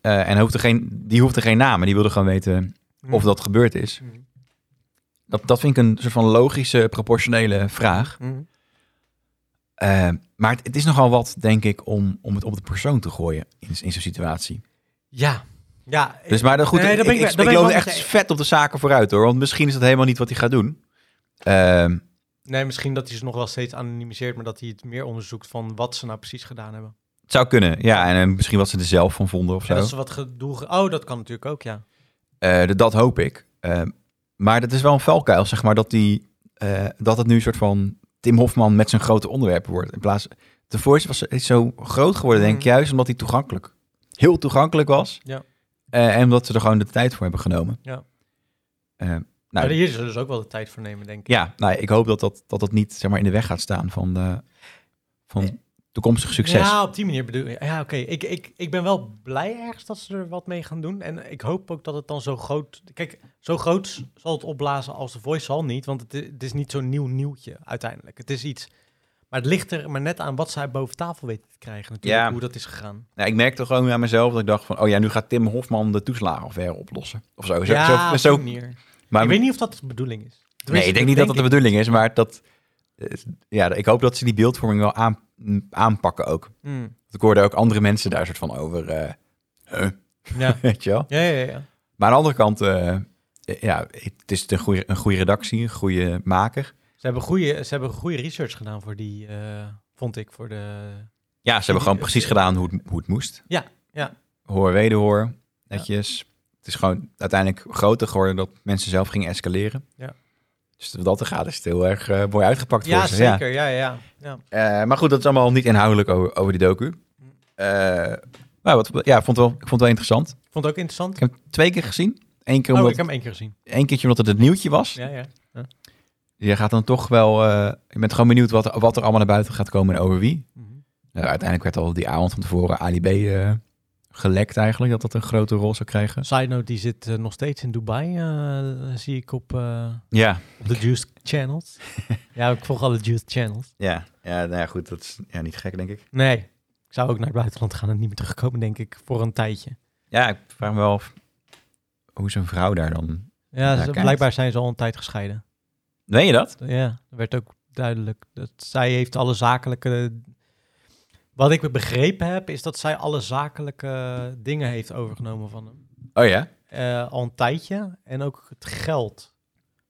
Speaker 1: eh, en hoefde geen, die hoefde geen naam, maar die wilde gewoon weten
Speaker 2: Hmm.
Speaker 1: of dat gebeurd is.
Speaker 2: Mm-hmm.
Speaker 1: Dat, dat vind ik een soort van logische, proportionele vraag. Eh, maar het, het is nogal wat, denk ik, om, om het op de persoon te gooien in, in zo'n situatie.
Speaker 2: Ja. Ja.
Speaker 1: Dus maar dan goed,
Speaker 2: Nee,
Speaker 1: ik,
Speaker 2: dat ben ik-
Speaker 1: ik,
Speaker 2: dat
Speaker 1: ik,
Speaker 2: ben ik
Speaker 1: loop
Speaker 2: wel
Speaker 1: echt
Speaker 2: met je-
Speaker 1: vet op de zaken vooruit hoor. Want misschien is dat helemaal niet wat hij gaat doen. Ehm,
Speaker 2: Nee, misschien dat hij ze nog wel steeds anonimiseert, maar dat hij het meer onderzoekt van wat ze nou precies gedaan hebben.
Speaker 1: het zou kunnen, ja. En eh, misschien wat ze er zelf van vonden of zo.
Speaker 2: En dat ze wat gedoe... ge- Oh, dat kan natuurlijk ook, ja.
Speaker 1: Eh, d- dat hoop ik. Ehm, maar dat is wel een valkuil, zeg maar, dat, die, eh, dat het nu een soort van Tim Hofman met zijn grote onderwerpen wordt. In plaats, de Voice was is zo groot geworden, denk ik,
Speaker 2: Mhm.
Speaker 1: juist omdat hij toegankelijk, heel toegankelijk was.
Speaker 2: Ja.
Speaker 1: Eh, en omdat ze er gewoon de tijd voor hebben genomen.
Speaker 2: Ja.
Speaker 1: Eh,
Speaker 2: Nou,
Speaker 1: nou,
Speaker 2: hier zullen ze dus ook wel de tijd voor nemen, denk ik.
Speaker 1: ja, nou, ik hoop dat dat, dat dat niet zeg maar, in de weg gaat staan van, de, van toekomstig succes.
Speaker 2: Ja, op die manier bedoel ik. Ja, oké. Ik, ik, ik ben wel blij ergens dat ze er wat mee gaan doen. En ik hoop ook dat het dan zo groot... Kijk, zo groot zal het opblazen als de Voice zal niet. Want het, i- het is niet zo'n nieuw nieuwtje uiteindelijk. Het is iets... Maar het ligt er maar net aan wat zij boven tafel weten te krijgen natuurlijk.
Speaker 1: Ja.
Speaker 2: Hoe dat is gegaan.
Speaker 1: Nou, ik merkte gewoon aan mezelf dat ik dacht van, oh ja, nu gaat Tim Hofman de toeslagenaffaire oplossen. Of zo. zo,
Speaker 2: ja,
Speaker 1: zo,
Speaker 2: op
Speaker 1: zo-
Speaker 2: die manier.
Speaker 1: maar
Speaker 2: ik weet niet of dat de bedoeling is.
Speaker 1: nee,
Speaker 2: Tenminste,
Speaker 1: ik denk niet dat dat de
Speaker 2: ik.
Speaker 1: bedoeling is, maar dat, eh, ja, ik hoop dat ze die beeldvorming wel aan, aanpakken ook.
Speaker 2: Hmm.
Speaker 1: Want ik hoorde ook andere mensen daar soort van over, eh, huh,
Speaker 2: [LAUGHS] Ja.
Speaker 1: [LAUGHS] weet je wel.
Speaker 2: Ja, ja, ja.
Speaker 1: Maar aan de andere kant, eh, eh, ja, het is een goede, een goede redactie, een goede maker.
Speaker 2: Ze hebben goede, ze hebben goede research gedaan voor die, eh, vond ik, voor de...
Speaker 1: Ja, ze hebben gewoon precies gedaan hoe het, hoe het moest.
Speaker 2: Ja, ja.
Speaker 1: Hoor wederhoor, netjes. Het is gewoon uiteindelijk groter geworden dat mensen zelf gingen escaleren.
Speaker 2: Ja.
Speaker 1: Dus wat dat er gaat, is het heel erg eh, mooi uitgepakt
Speaker 2: Ja,
Speaker 1: voor ze. Ja.
Speaker 2: zeker. Ja, ja, ja. ja.
Speaker 1: Eh, maar goed, dat is allemaal niet inhoudelijk over, over die docu.
Speaker 2: Hm.
Speaker 1: Eh, maar wat, ja, ik vond het wel, ik vond het wel interessant.
Speaker 2: Ik vond het ook interessant.
Speaker 1: Ik heb het twee keer gezien. Eén keer
Speaker 2: oh,
Speaker 1: omdat,
Speaker 2: ik heb hem één keer gezien.
Speaker 1: één keertje omdat het het nieuwtje was.
Speaker 2: Ja, ja.
Speaker 1: Je gaat dan toch wel... eh, je bent gewoon benieuwd wat, er- wat er allemaal naar buiten gaat komen en over wie.
Speaker 2: Mhm.
Speaker 1: Nou, uiteindelijk werd al die avond van tevoren Ali B eh, gelekt eigenlijk. Dat dat een grote rol zou krijgen.
Speaker 2: Side note, die zit eh, nog steeds in Dubai, eh, zie ik op, eh,
Speaker 1: Ja,
Speaker 2: op de Juiced Channels. [LAUGHS] ja, ik volg alle Juiced Channels.
Speaker 1: ja, ja, nou ja goed. Dat is ja, niet gek, denk ik.
Speaker 2: Nee, ik zou ook naar het buitenland gaan en niet meer terugkomen, denk ik, voor een tijdje.
Speaker 1: Ja, ik vraag me wel af hoe zo'n vrouw daar dan...
Speaker 2: Ja,
Speaker 1: Ja,
Speaker 2: ze-
Speaker 1: kijk.
Speaker 2: blijkbaar zijn ze al een tijd gescheiden.
Speaker 1: Weet je dat?
Speaker 2: Ja, dat werd ook duidelijk. Dat zij heeft alle zakelijke... Wat ik begrepen heb, is dat zij alle zakelijke dingen heeft overgenomen van hem.
Speaker 1: Oh ja?
Speaker 2: eh, al een tijdje. En ook het geld.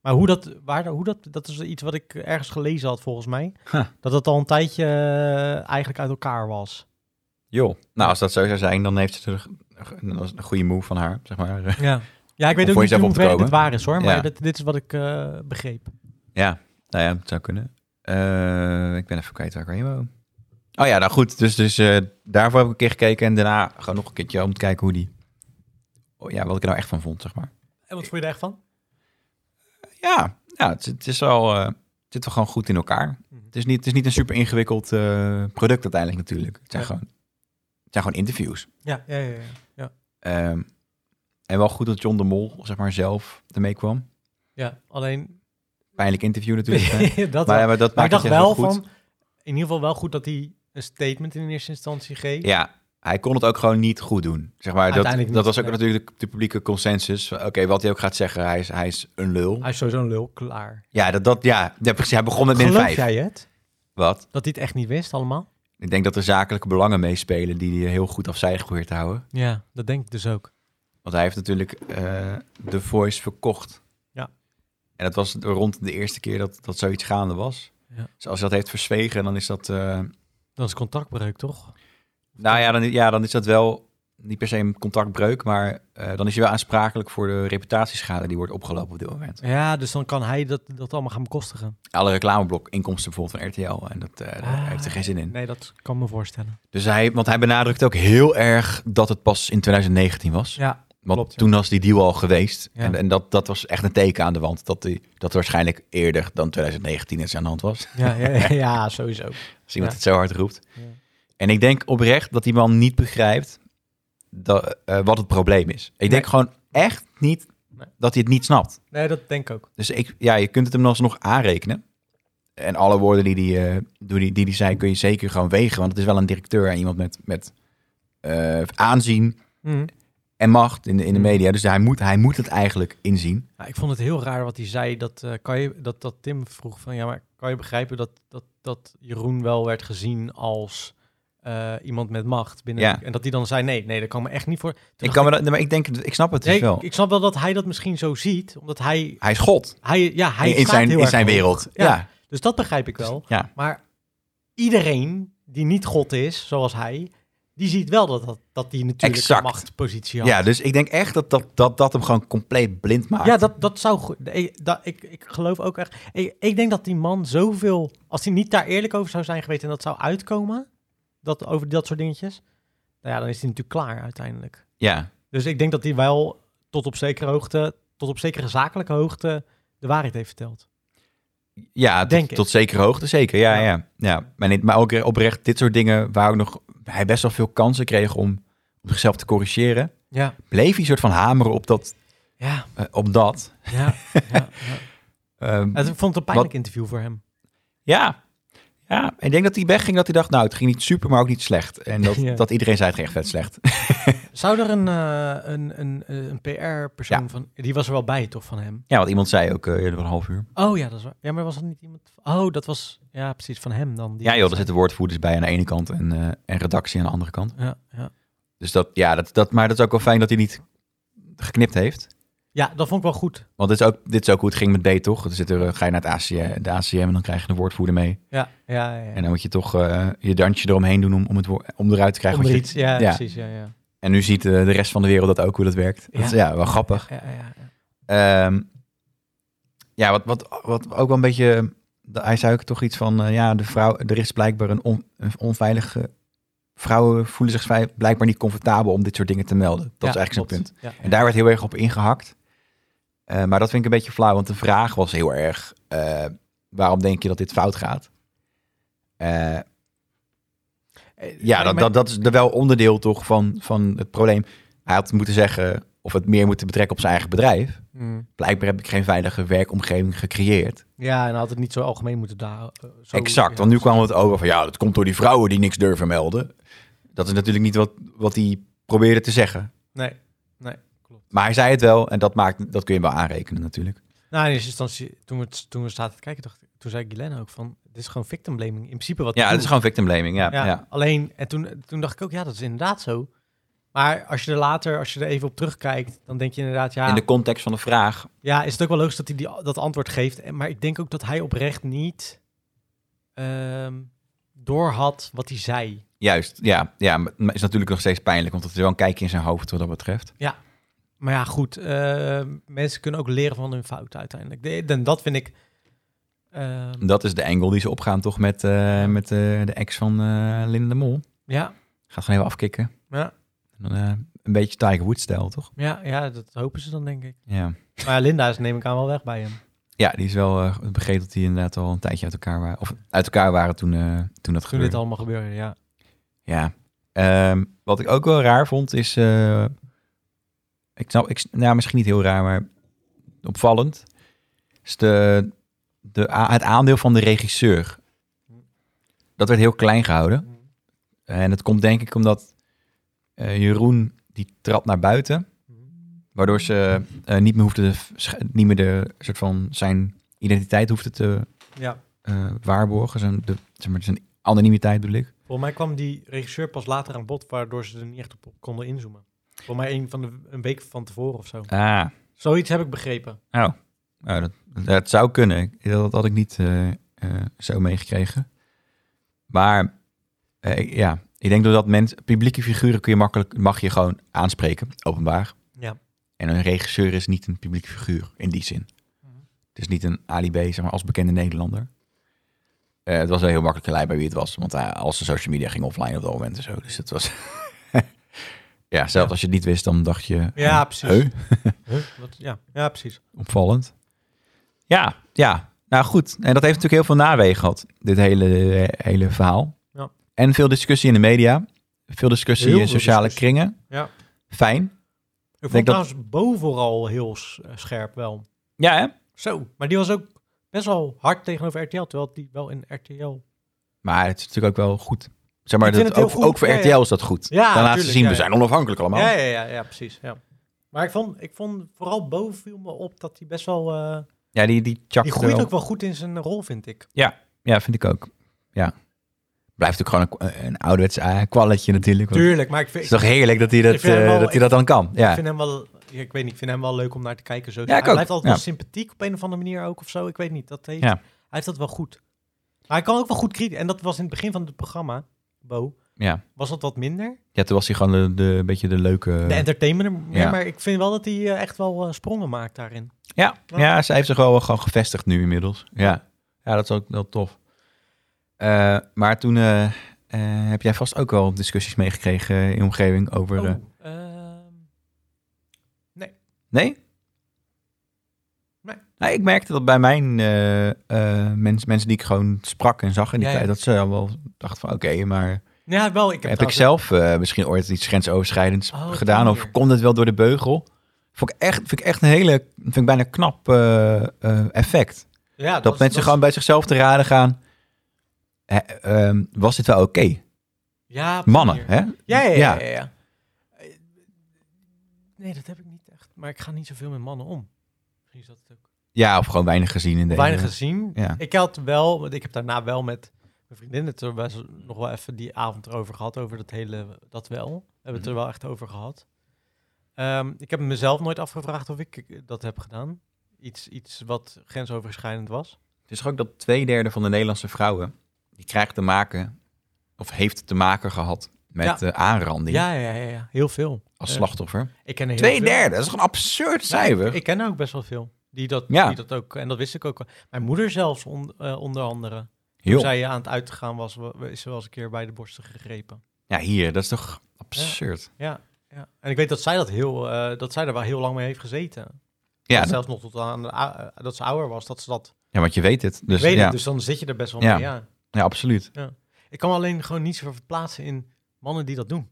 Speaker 2: Maar hoe dat, waar, hoe dat, dat is iets wat ik ergens gelezen had volgens mij.
Speaker 1: Huh.
Speaker 2: Dat dat al een tijdje eh, eigenlijk uit elkaar was.
Speaker 1: Joh. Nou, als dat zo zou zijn, dan heeft ze er... Dat is een goede move van haar, zeg maar. [LAUGHS]
Speaker 2: Ja, ja
Speaker 1: Om
Speaker 2: ik weet
Speaker 1: voor
Speaker 2: ook niet
Speaker 1: jezelf
Speaker 2: hoe
Speaker 1: op te
Speaker 2: ver
Speaker 1: komen.
Speaker 2: dit waar is hoor. Maar
Speaker 1: Ja.
Speaker 2: dit, dit is wat ik eh, begreep.
Speaker 1: Ja, nou ja, het zou kunnen. Eh, ik ben even kwijt waar ik heen wou. Oh ja, nou goed. Dus, dus eh, daarvoor heb ik een keer gekeken. En daarna gewoon nog een keertje om te kijken hoe die... Oh, ja, wat ik er nou echt van vond, zeg maar.
Speaker 2: En wat vond je er echt van?
Speaker 1: Ja, ja het, het is wel... eh, het zit wel gewoon goed in elkaar.
Speaker 2: Mhm.
Speaker 1: Het is niet, het is niet een super ingewikkeld eh, product uiteindelijk natuurlijk. Het zijn,
Speaker 2: Ja.
Speaker 1: gewoon, het zijn gewoon interviews.
Speaker 2: Ja, ja, ja. ja, ja.
Speaker 1: Ehm, en wel goed dat John de Mol, zeg maar, zelf ermee kwam.
Speaker 2: ja alleen...
Speaker 1: Pijnlijk interview
Speaker 2: [LAUGHS]
Speaker 1: natuurlijk. hè.
Speaker 2: dat
Speaker 1: maar,
Speaker 2: maar,
Speaker 1: ja, maar dat
Speaker 2: maar ik
Speaker 1: maakt het
Speaker 2: dacht
Speaker 1: juist
Speaker 2: wel
Speaker 1: goed.
Speaker 2: van... In ieder geval wel goed dat hij een statement in eerste instantie geeft.
Speaker 1: Ja, hij kon het ook gewoon niet goed doen. Zeg maar, dat,
Speaker 2: Uiteindelijk
Speaker 1: dat
Speaker 2: niet,
Speaker 1: was ook
Speaker 2: nee.
Speaker 1: natuurlijk de, de publieke consensus. Oké, wat hij ook gaat zeggen, hij is, hij is een lul.
Speaker 2: Hij is sowieso een lul, klaar.
Speaker 1: Ja, dat, dat, ja, ja, precies. Hij begon met min
Speaker 2: Geloof
Speaker 1: 5.
Speaker 2: jij het?
Speaker 1: Wat?
Speaker 2: Dat hij het echt niet wist allemaal?
Speaker 1: Ik denk dat er zakelijke belangen meespelen die hij heel goed afzijdig probeert te houden.
Speaker 2: Ja, dat denk ik dus ook.
Speaker 1: Want hij heeft natuurlijk eh The Voice verkocht.
Speaker 2: Ja.
Speaker 1: En dat was rond de eerste keer dat, dat zoiets gaande was.
Speaker 2: Ja.
Speaker 1: Dus als hij dat heeft verzwegen, dan is dat... eh,
Speaker 2: Dat is contractbreuk, toch?
Speaker 1: Nou ja dan, ja, dan is dat wel niet per se een contactbreuk, maar eh, dan is hij wel aansprakelijk voor de reputatieschade die wordt opgelopen op dit moment.
Speaker 2: Ja, dus dan kan hij dat, dat allemaal gaan bekostigen.
Speaker 1: Alle reclameblok inkomsten bijvoorbeeld van RTL en dat, eh,
Speaker 2: Ah.
Speaker 1: daar heeft hij geen zin in.
Speaker 2: Nee, dat kan me voorstellen.
Speaker 1: Dus hij, want hij benadrukt ook heel erg dat het pas in 2019 was.
Speaker 2: Ja,
Speaker 1: want
Speaker 2: klopt, ja.
Speaker 1: toen was die deal al geweest.
Speaker 2: Ja.
Speaker 1: En, en dat, dat was echt een teken aan de wand. Dat, die, dat waarschijnlijk eerder dan 2019 iets aan de hand was. [LAUGHS]
Speaker 2: ja, ja, [LAUGHS] ja sowieso.
Speaker 1: Als iemand
Speaker 2: Ja.
Speaker 1: het zo hard roept.
Speaker 2: Ja.
Speaker 1: En ik denk oprecht dat die man niet begrijpt dat, eh, wat het probleem is. Ik denk
Speaker 2: Nee.
Speaker 1: gewoon echt niet
Speaker 2: Nee.
Speaker 1: dat hij het niet snapt.
Speaker 2: Nee, dat denk ik ook.
Speaker 1: Dus ik, ja, je kunt het hem dan alsnog aanrekenen. En alle woorden die, die, eh, door die, die die zei, kun je zeker gewoon wegen. Want het is wel een directeur en iemand met, met eh, aanzien
Speaker 2: Mhm.
Speaker 1: en macht in de, in de
Speaker 2: Mm.
Speaker 1: media. Dus hij moet, hij moet het eigenlijk inzien.
Speaker 2: Ja, Nou, ik vond het heel raar wat hij zei. Dat, eh, kan je, dat, dat Tim vroeg van ja, maar kan je begrijpen dat, dat, dat Jeroen wel werd gezien als eh, iemand met macht binnen.
Speaker 1: Ja.
Speaker 2: En dat hij dan zei: nee, nee, dat kan me echt niet voor. Toen
Speaker 1: Ik
Speaker 2: dacht
Speaker 1: kan me dat, nee, maar ik denk, het- ik snap het dus
Speaker 2: Nee,
Speaker 1: wel.
Speaker 2: ik, ik snap wel dat hij dat misschien zo ziet, omdat hij,
Speaker 1: hij is God
Speaker 2: hij, ja, hij
Speaker 1: in
Speaker 2: staat
Speaker 1: zijn,
Speaker 2: heel
Speaker 1: in
Speaker 2: erg
Speaker 1: zijn
Speaker 2: hoog.
Speaker 1: wereld. Ja.
Speaker 2: Ja. Dus dat begrijp ik wel.
Speaker 1: Ja.
Speaker 2: Maar iedereen die niet God is, zoals hij, die ziet wel dat dat, dat die natuurlijk
Speaker 1: Exact.
Speaker 2: een machtpositie
Speaker 1: Ja.
Speaker 2: had.
Speaker 1: dus ik denk echt dat dat, dat, dat hem gewoon compleet blind maakt.
Speaker 2: Ja, dat, dat zou goed. Ik, dat, ik, ik geloof ook echt. Ik, ik denk dat die man zoveel. Als hij niet daar eerlijk over zou zijn geweest en dat zou uitkomen. Dat, over dat soort dingetjes. Nou ja, dan is hij natuurlijk klaar uiteindelijk.
Speaker 1: ja.
Speaker 2: Dus ik denk dat hij wel tot op zekere hoogte. Tot op zekere zakelijke hoogte. de waarheid heeft verteld.
Speaker 1: Ja, tot-
Speaker 2: Denk
Speaker 1: tot,
Speaker 2: ik.
Speaker 1: zekere hoogte zeker. Ja, ja.
Speaker 2: Ja.
Speaker 1: ja. Maar, niet, maar ook eh, oprecht, dit soort dingen waar ook nog hij best wel veel kansen kreeg om, om zichzelf te corrigeren.
Speaker 2: Ja,
Speaker 1: Bleef hij een soort van hameren op dat.
Speaker 2: ja,
Speaker 1: eh, op dat.
Speaker 2: ja. ja, ja.
Speaker 1: Ehm,
Speaker 2: Het- Ik vond het een pijnlijk interview voor hem.
Speaker 1: ja. Ja, ik denk dat hij wegging dat hij dacht, nou, het ging niet super, maar ook niet slecht. En dat,
Speaker 2: [LAUGHS] Ja.
Speaker 1: dat iedereen zei, het ging echt vet slecht.
Speaker 2: Zou er een, eh, een, een, eh, een PR-persoon
Speaker 1: Ja.
Speaker 2: van. Die was er wel bij, toch, van hem?
Speaker 1: Ja, want iemand zei ook eh, eerder een half uur.
Speaker 2: Oh ja, dat is waar. Ja, maar was dat niet iemand. Oh, dat was. Ja, precies, van hem dan. Die
Speaker 1: Ja joh, er zitten woordvoerders bij aan de ene kant en, eh, en redactie aan de andere kant.
Speaker 2: Ja, ja.
Speaker 1: Dus dat, ja, dat, dat, maar dat is ook wel fijn dat hij niet geknipt heeft.
Speaker 2: ja, dat vond ik wel goed.
Speaker 1: Want dit is ook, dit is ook hoe het ging met B, toch? Dan zit er, eh, ga je naar het ACM, de ACM en dan krijg je de woordvoerder mee.
Speaker 2: Ja, ja, ja.
Speaker 1: En dan moet je toch eh, je dansje eromheen doen om, om, het, woor- om eruit te krijgen.
Speaker 2: Om
Speaker 1: wat
Speaker 2: er
Speaker 1: je-
Speaker 2: iets, ja,
Speaker 1: ja.
Speaker 2: precies. Ja, ja.
Speaker 1: En nu ziet eh, de rest van de wereld dat ook, hoe dat werkt. Ja,
Speaker 2: Ja.
Speaker 1: dat is, ja wel grappig.
Speaker 2: Ja, ja, ja.
Speaker 1: Ehm, ja, wat, wat, wat ook wel een beetje... Hij zei ook toch iets van, eh, ja, de vrouw, er is blijkbaar een, on, een onveilige... Vrouwen voelen zich vrij- blijkbaar niet comfortabel om dit soort dingen te melden. Dat is eigenlijk zijn punt.
Speaker 2: Ja,
Speaker 1: En daar werd heel erg op ingehakt. Eh, maar dat vind ik een beetje flauw, want de vraag was heel erg: eh, waarom denk je dat dit fout gaat? Eh, ja, dat, dat, dat is er wel onderdeel toch van, van het probleem. Hij had moeten zeggen, of het meer moeten betrekken op zijn eigen bedrijf. Blijkbaar heb ik geen veilige werkomgeving gecreëerd.
Speaker 2: Mm. Ja, en dan had het niet zo algemeen moeten daar. eh, zo-
Speaker 1: exact,
Speaker 2: ja,
Speaker 1: want nu kwam het over van ja, dat komt door die vrouwen die niks durven melden. Dat is natuurlijk niet wat, wat hij probeerde te zeggen.
Speaker 2: Nee.
Speaker 1: Maar hij zei het wel en dat, maakt, dat kun je wel aanrekenen natuurlijk.
Speaker 2: Nou, in eerste instantie, toen we, het- toen we zaten te kijken, dacht, ik- toen zei Guylaine ook van, dit is gewoon victim blaming. In principe wat
Speaker 1: Ja,
Speaker 2: hij
Speaker 1: dat is
Speaker 2: doet.
Speaker 1: gewoon victim blaming, ja. ja.
Speaker 2: Alleen, en toen, toen dacht ik ook, ja, dat is inderdaad zo. Maar als je er later, als je er even op terugkijkt, dan denk je inderdaad, ja,
Speaker 1: In de context van de vraag.
Speaker 2: ja is het ook wel logisch dat hij die, dat antwoord geeft. En- Maar ik denk ook dat hij oprecht niet ehm doorhad wat hij zei.
Speaker 1: Juist, ja. ja maar het is natuurlijk nog steeds pijnlijk, want het is wel een kijkje in zijn hoofd wat dat betreft.
Speaker 2: Maar ja, goed. eh, mensen kunnen ook leren van hun fouten uiteindelijk. De- En dat vind ik. ehm,
Speaker 1: Dat is de angle die ze opgaan toch met, eh, met eh, de ex van eh Linda de Mol.
Speaker 2: ja,
Speaker 1: Gaat gewoon even afkicken.
Speaker 2: ja,
Speaker 1: En dan, eh, een beetje Tiger Woods-stijl, toch?
Speaker 2: ja, ja, dat hopen ze dan, denk [LAUGHS] ik.
Speaker 1: Ja.
Speaker 2: Maar ja, Linda is, neem ik aan, wel weg bij hem.
Speaker 1: Ja, die is wel eh begrepen dat die inderdaad al een tijdje uit elkaar waren. Of uit elkaar waren toen, eh, toen dat
Speaker 2: Toen
Speaker 1: gebeurde.
Speaker 2: dit allemaal gebeurde, ja.
Speaker 1: Ja. Ehm, wat ik ook wel raar vond is. eh, ik snap, ik, s- nou, misschien niet heel raar, maar opvallend. Is de, de, a- het aandeel van de regisseur. Dat werd heel klein gehouden. En dat komt denk ik omdat eh, Jeroen die trapt naar buiten, waardoor ze eh, niet meer hoefde, te sch- niet meer de soort van zijn identiteit hoefde te
Speaker 2: Ja.
Speaker 1: eh, waarborgen, zijn, de, zeg maar, zijn anonimiteit bedoel ik.
Speaker 2: Volgens mij kwam die regisseur pas later aan bod, waardoor ze er niet echt op konden inzoomen. Volgens mij een, van de, een week van tevoren of zo.
Speaker 1: Ah,
Speaker 2: Zoiets heb ik begrepen.
Speaker 1: oh. Nou, dat, dat zou kunnen. Dat had ik niet eh, eh, zo meegekregen. Maar eh, ik- ja, ik denk doordat mensen, publieke figuren kun je makkelijk, mag je gewoon aanspreken, openbaar.
Speaker 2: Ja.
Speaker 1: En een regisseur is niet een publieke figuur in die zin.
Speaker 2: Mhm.
Speaker 1: Het is niet een Ali B, zeg maar, als bekende Nederlander. Eh, het was wel heel makkelijk te leiden bij wie het was. Want eh, al zijn social media ging offline op dat moment en zo. Dus het was... [LAUGHS] ja, zelfs
Speaker 2: Ja.
Speaker 1: als je het niet wist, dan dacht je...
Speaker 2: Ja,
Speaker 1: eh,
Speaker 2: precies.
Speaker 1: huh?
Speaker 2: Huh? Wat, ja. ja, precies.
Speaker 1: Opvallend. Ja, ja. Nou goed. En dat heeft natuurlijk heel veel nawegen gehad. Dit hele, hele verhaal.
Speaker 2: Ja.
Speaker 1: En veel discussie in de media. Veel discussie
Speaker 2: Heel
Speaker 1: in
Speaker 2: veel
Speaker 1: sociale
Speaker 2: discussie.
Speaker 1: kringen.
Speaker 2: Ja.
Speaker 1: Fijn.
Speaker 2: Ik vond
Speaker 1: Denk dat-
Speaker 2: trouwens Bo vooral heel s- eh, scherp wel.
Speaker 1: Ja, hè?
Speaker 2: Zo. Maar die was ook best wel hard tegenover RTL, terwijl die wel in RTL...
Speaker 1: Maar het is natuurlijk ook wel goed. Zeg maar,
Speaker 2: Ik vind
Speaker 1: dat,
Speaker 2: het
Speaker 1: ook,
Speaker 2: heel goed.
Speaker 1: ook voor
Speaker 2: Ja,
Speaker 1: RTL
Speaker 2: ja.
Speaker 1: is dat goed.
Speaker 2: Ja,
Speaker 1: Dan laten ze
Speaker 2: tuurlijk,
Speaker 1: zien,
Speaker 2: ja,
Speaker 1: we
Speaker 2: ja.
Speaker 1: zijn onafhankelijk allemaal.
Speaker 2: Ja, ja, ja, ja, precies. Ja. Maar ik vond, ik vond vooral Bo viel me op dat hij best wel... eh,
Speaker 1: Ja, die, die chak
Speaker 2: die groeit ook wel goed in zijn rol, vind ik.
Speaker 1: Ja, vind ik ook. Ja. Blijft ook gewoon een, een ouderwets eh, kwalletje natuurlijk. want
Speaker 2: Tuurlijk, maar ik
Speaker 1: Het
Speaker 2: vind,
Speaker 1: is toch heerlijk dat hij dat,
Speaker 2: Ik vind hem
Speaker 1: eh,
Speaker 2: wel-
Speaker 1: dat, hij dat dan kan.
Speaker 2: ik
Speaker 1: Ja.
Speaker 2: vind hem wel... ja, Ik weet niet, ik vind hem wel leuk om naar te kijken. Zo.
Speaker 1: ik ook,
Speaker 2: hij blijft altijd
Speaker 1: ja.
Speaker 2: wel sympathiek op een of andere manier ook of zo. Ik weet niet, dat heeft,
Speaker 1: Ja.
Speaker 2: hij heeft dat wel goed. Maar hij kan ook wel goed kritisch. En dat was in het begin van het programma, Bo,
Speaker 1: Ja.
Speaker 2: was dat wat minder.
Speaker 1: ja, toen was hij gewoon de, de, een beetje de leuke...
Speaker 2: de entertainer meer,
Speaker 1: Eh. ja.
Speaker 2: maar ik vind wel dat hij eh, echt wel eh, sprongen maakt daarin.
Speaker 1: Ja, ja, ze heeft zich wel gewoon gevestigd nu inmiddels. Ja, ja dat is ook wel tof. Eh, maar toen eh, eh, heb jij vast ook wel discussies meegekregen in je omgeving over... eh,
Speaker 2: Oh, ehm,
Speaker 1: Nee?
Speaker 2: Nee.
Speaker 1: Nou, ik merkte dat bij mijn eh, eh, mens, mensen die ik gewoon sprak en zag in die
Speaker 2: Ja, ja.
Speaker 1: tijd, dat ze dan wel dachten van oké, maar
Speaker 2: ja, wel. Ik heb,
Speaker 1: heb, ik
Speaker 2: trouwens-
Speaker 1: zelf eh, misschien ooit iets grensoverschrijdends
Speaker 2: Oh, op die
Speaker 1: gedaan of
Speaker 2: manier.
Speaker 1: komt het wel door de beugel? Vond ik echt, vind ik echt een hele, vind ik bijna knap eh, eh, effect.
Speaker 2: Ja,
Speaker 1: Dat mensen gewoon bij zichzelf te raden gaan. hè, ehm, was dit wel oké?
Speaker 2: Ja, op die
Speaker 1: Mannen,
Speaker 2: manier.
Speaker 1: hè?
Speaker 2: Ja, ja,
Speaker 1: Ja.
Speaker 2: ja. ja, ja. Eh, Nee, dat heb ik niet echt. Maar ik ga niet zoveel met mannen om. Misschien is dat het ook.
Speaker 1: Ja, of gewoon weinig gezien in de
Speaker 2: Weinig gezien.
Speaker 1: Ja.
Speaker 2: Ik had wel, want ik heb daarna wel met mijn vriendin het er best nog wel even die avond erover gehad. Over dat hele, dat wel. We hebben
Speaker 1: Mhm.
Speaker 2: het er wel echt over gehad. Ehm, ik heb mezelf nooit afgevraagd of ik dat heb gedaan. Iets, iets wat grensoverschrijdend was.
Speaker 1: Het is ook dat twee derde van de Nederlandse vrouwen... die krijgt te maken, of heeft te maken gehad... met eh, aanranding
Speaker 2: Ja, ja, ja, ja. heel veel.
Speaker 1: als
Speaker 2: eh,
Speaker 1: slachtoffer.
Speaker 2: Ik ken er heel
Speaker 1: Twee
Speaker 2: veel.
Speaker 1: derde, dat is gewoon een absurd cijfer.
Speaker 2: Ik, ik ken er ook best wel veel. Die dat,
Speaker 1: Ja.
Speaker 2: die dat ook, en dat wist ik ook. wel. Mijn moeder zelfs on- eh, onder andere. Toen
Speaker 1: Joh.
Speaker 2: zij aan het uitgaan was, wa- is ze wel eens een keer bij de borsten gegrepen.
Speaker 1: Ja, hier, dat is toch absurd.
Speaker 2: Ja, ja. En ik weet dat zij dat heel, eh, dat zij daar wel heel lang mee heeft gezeten.
Speaker 1: Ja,
Speaker 2: Ja,
Speaker 1: dat-
Speaker 2: zelfs nog tot aan de ou- eh, dat ze ouder was, dat ze dat
Speaker 1: ja, want je weet het. Dus,
Speaker 2: dus, weet.
Speaker 1: ja,
Speaker 2: Dus dan zit je er best wel
Speaker 1: Ja.
Speaker 2: mee. Ja.
Speaker 1: ja, absoluut.
Speaker 2: Ik kan me alleen gewoon niet zo verplaatsen in mannen die dat doen.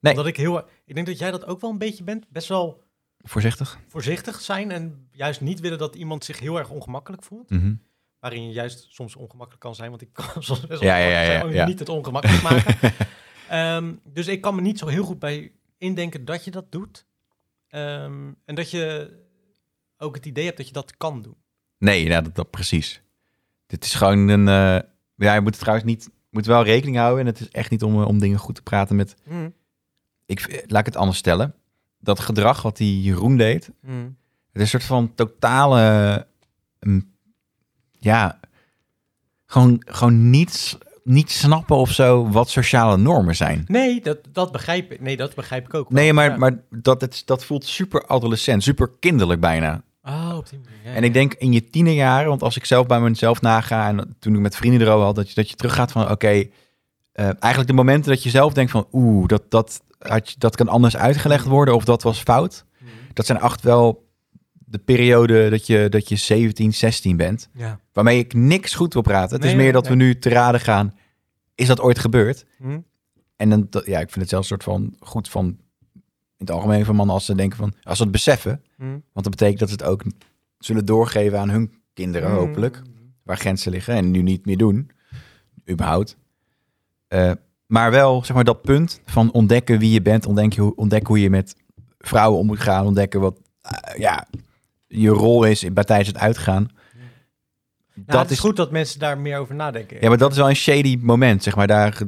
Speaker 1: Nee.
Speaker 2: Omdat ik heel, ik denk dat jij dat ook wel een beetje bent, best wel
Speaker 1: Voorzichtig.
Speaker 2: voorzichtig zijn en juist niet willen dat iemand zich heel erg ongemakkelijk voelt.
Speaker 1: Mhm.
Speaker 2: waarin je juist soms ongemakkelijk kan zijn, want ik kan [LAUGHS] soms best wel
Speaker 1: Ja, ja, ja,
Speaker 2: ongemakkelijk zijn,
Speaker 1: ja,
Speaker 2: maar
Speaker 1: ja.
Speaker 2: niet het ongemakkelijk maken.
Speaker 1: [LAUGHS]
Speaker 2: Ehm, dus ik kan me niet zo heel goed bij indenken dat je dat doet. Ehm, en dat je ook het idee hebt dat je dat kan doen.
Speaker 1: Nee, nou, dat, dat precies. Dit is gewoon een. eh, ja, je moet het trouwens niet. Moet wel rekening houden. En het is echt niet om, eh, om dingen goed te praten met. Ik, v- eh, laat ik het anders stellen. Dat gedrag wat die Jeroen deed. Het is een soort van totale. mm, ja. Gewoon, gewoon niet, niet snappen of zo wat sociale normen zijn.
Speaker 2: Nee, dat, dat begrijp ik. Nee, dat begrijp ik ook. wel,
Speaker 1: Nee, maar,
Speaker 2: ja.
Speaker 1: maar dat, het, dat voelt super adolescent, super kinderlijk bijna.
Speaker 2: Ah, op die manier. ja,
Speaker 1: En ik
Speaker 2: ja.
Speaker 1: denk in je tienerjaren, want als ik zelf bij mezelf naga en toen ik met vrienden erover had, dat je, dat je teruggaat van oké, eh, eigenlijk de momenten dat je zelf denkt van oeh, dat, dat, had je, dat kan anders uitgelegd worden of dat was fout.
Speaker 2: Mhm.
Speaker 1: Dat zijn echt wel de periode dat je, dat je 17, 16 bent,
Speaker 2: Ja.
Speaker 1: waarmee ik niks goed wil praten. Het is
Speaker 2: Nee,
Speaker 1: meer dat
Speaker 2: nee.
Speaker 1: we nu te raden gaan, is dat ooit gebeurd?
Speaker 2: Mhm.
Speaker 1: En dan, dat- ja, ik vind het zelfs een soort van goed van, in het algemeen van mannen als ze denken van, als ze het beseffen,
Speaker 2: Mhm.
Speaker 1: want dat betekent dat ze het ook zullen doorgeven aan hun kinderen,
Speaker 2: Mhm.
Speaker 1: hopelijk. Waar grenzen liggen en nu niet meer doen, überhaupt. Eh, Maar wel, zeg maar, dat punt van ontdekken wie je bent, ontdekken hoe, ontdekken hoe je met vrouwen om moet gaan, ontdekken wat eh, ja, je rol is in- bij tijdens het uitgaan.
Speaker 2: dat het is goed dat mensen daar meer over nadenken.
Speaker 1: Ja, maar dat is wel een shady moment, zeg maar. Daar,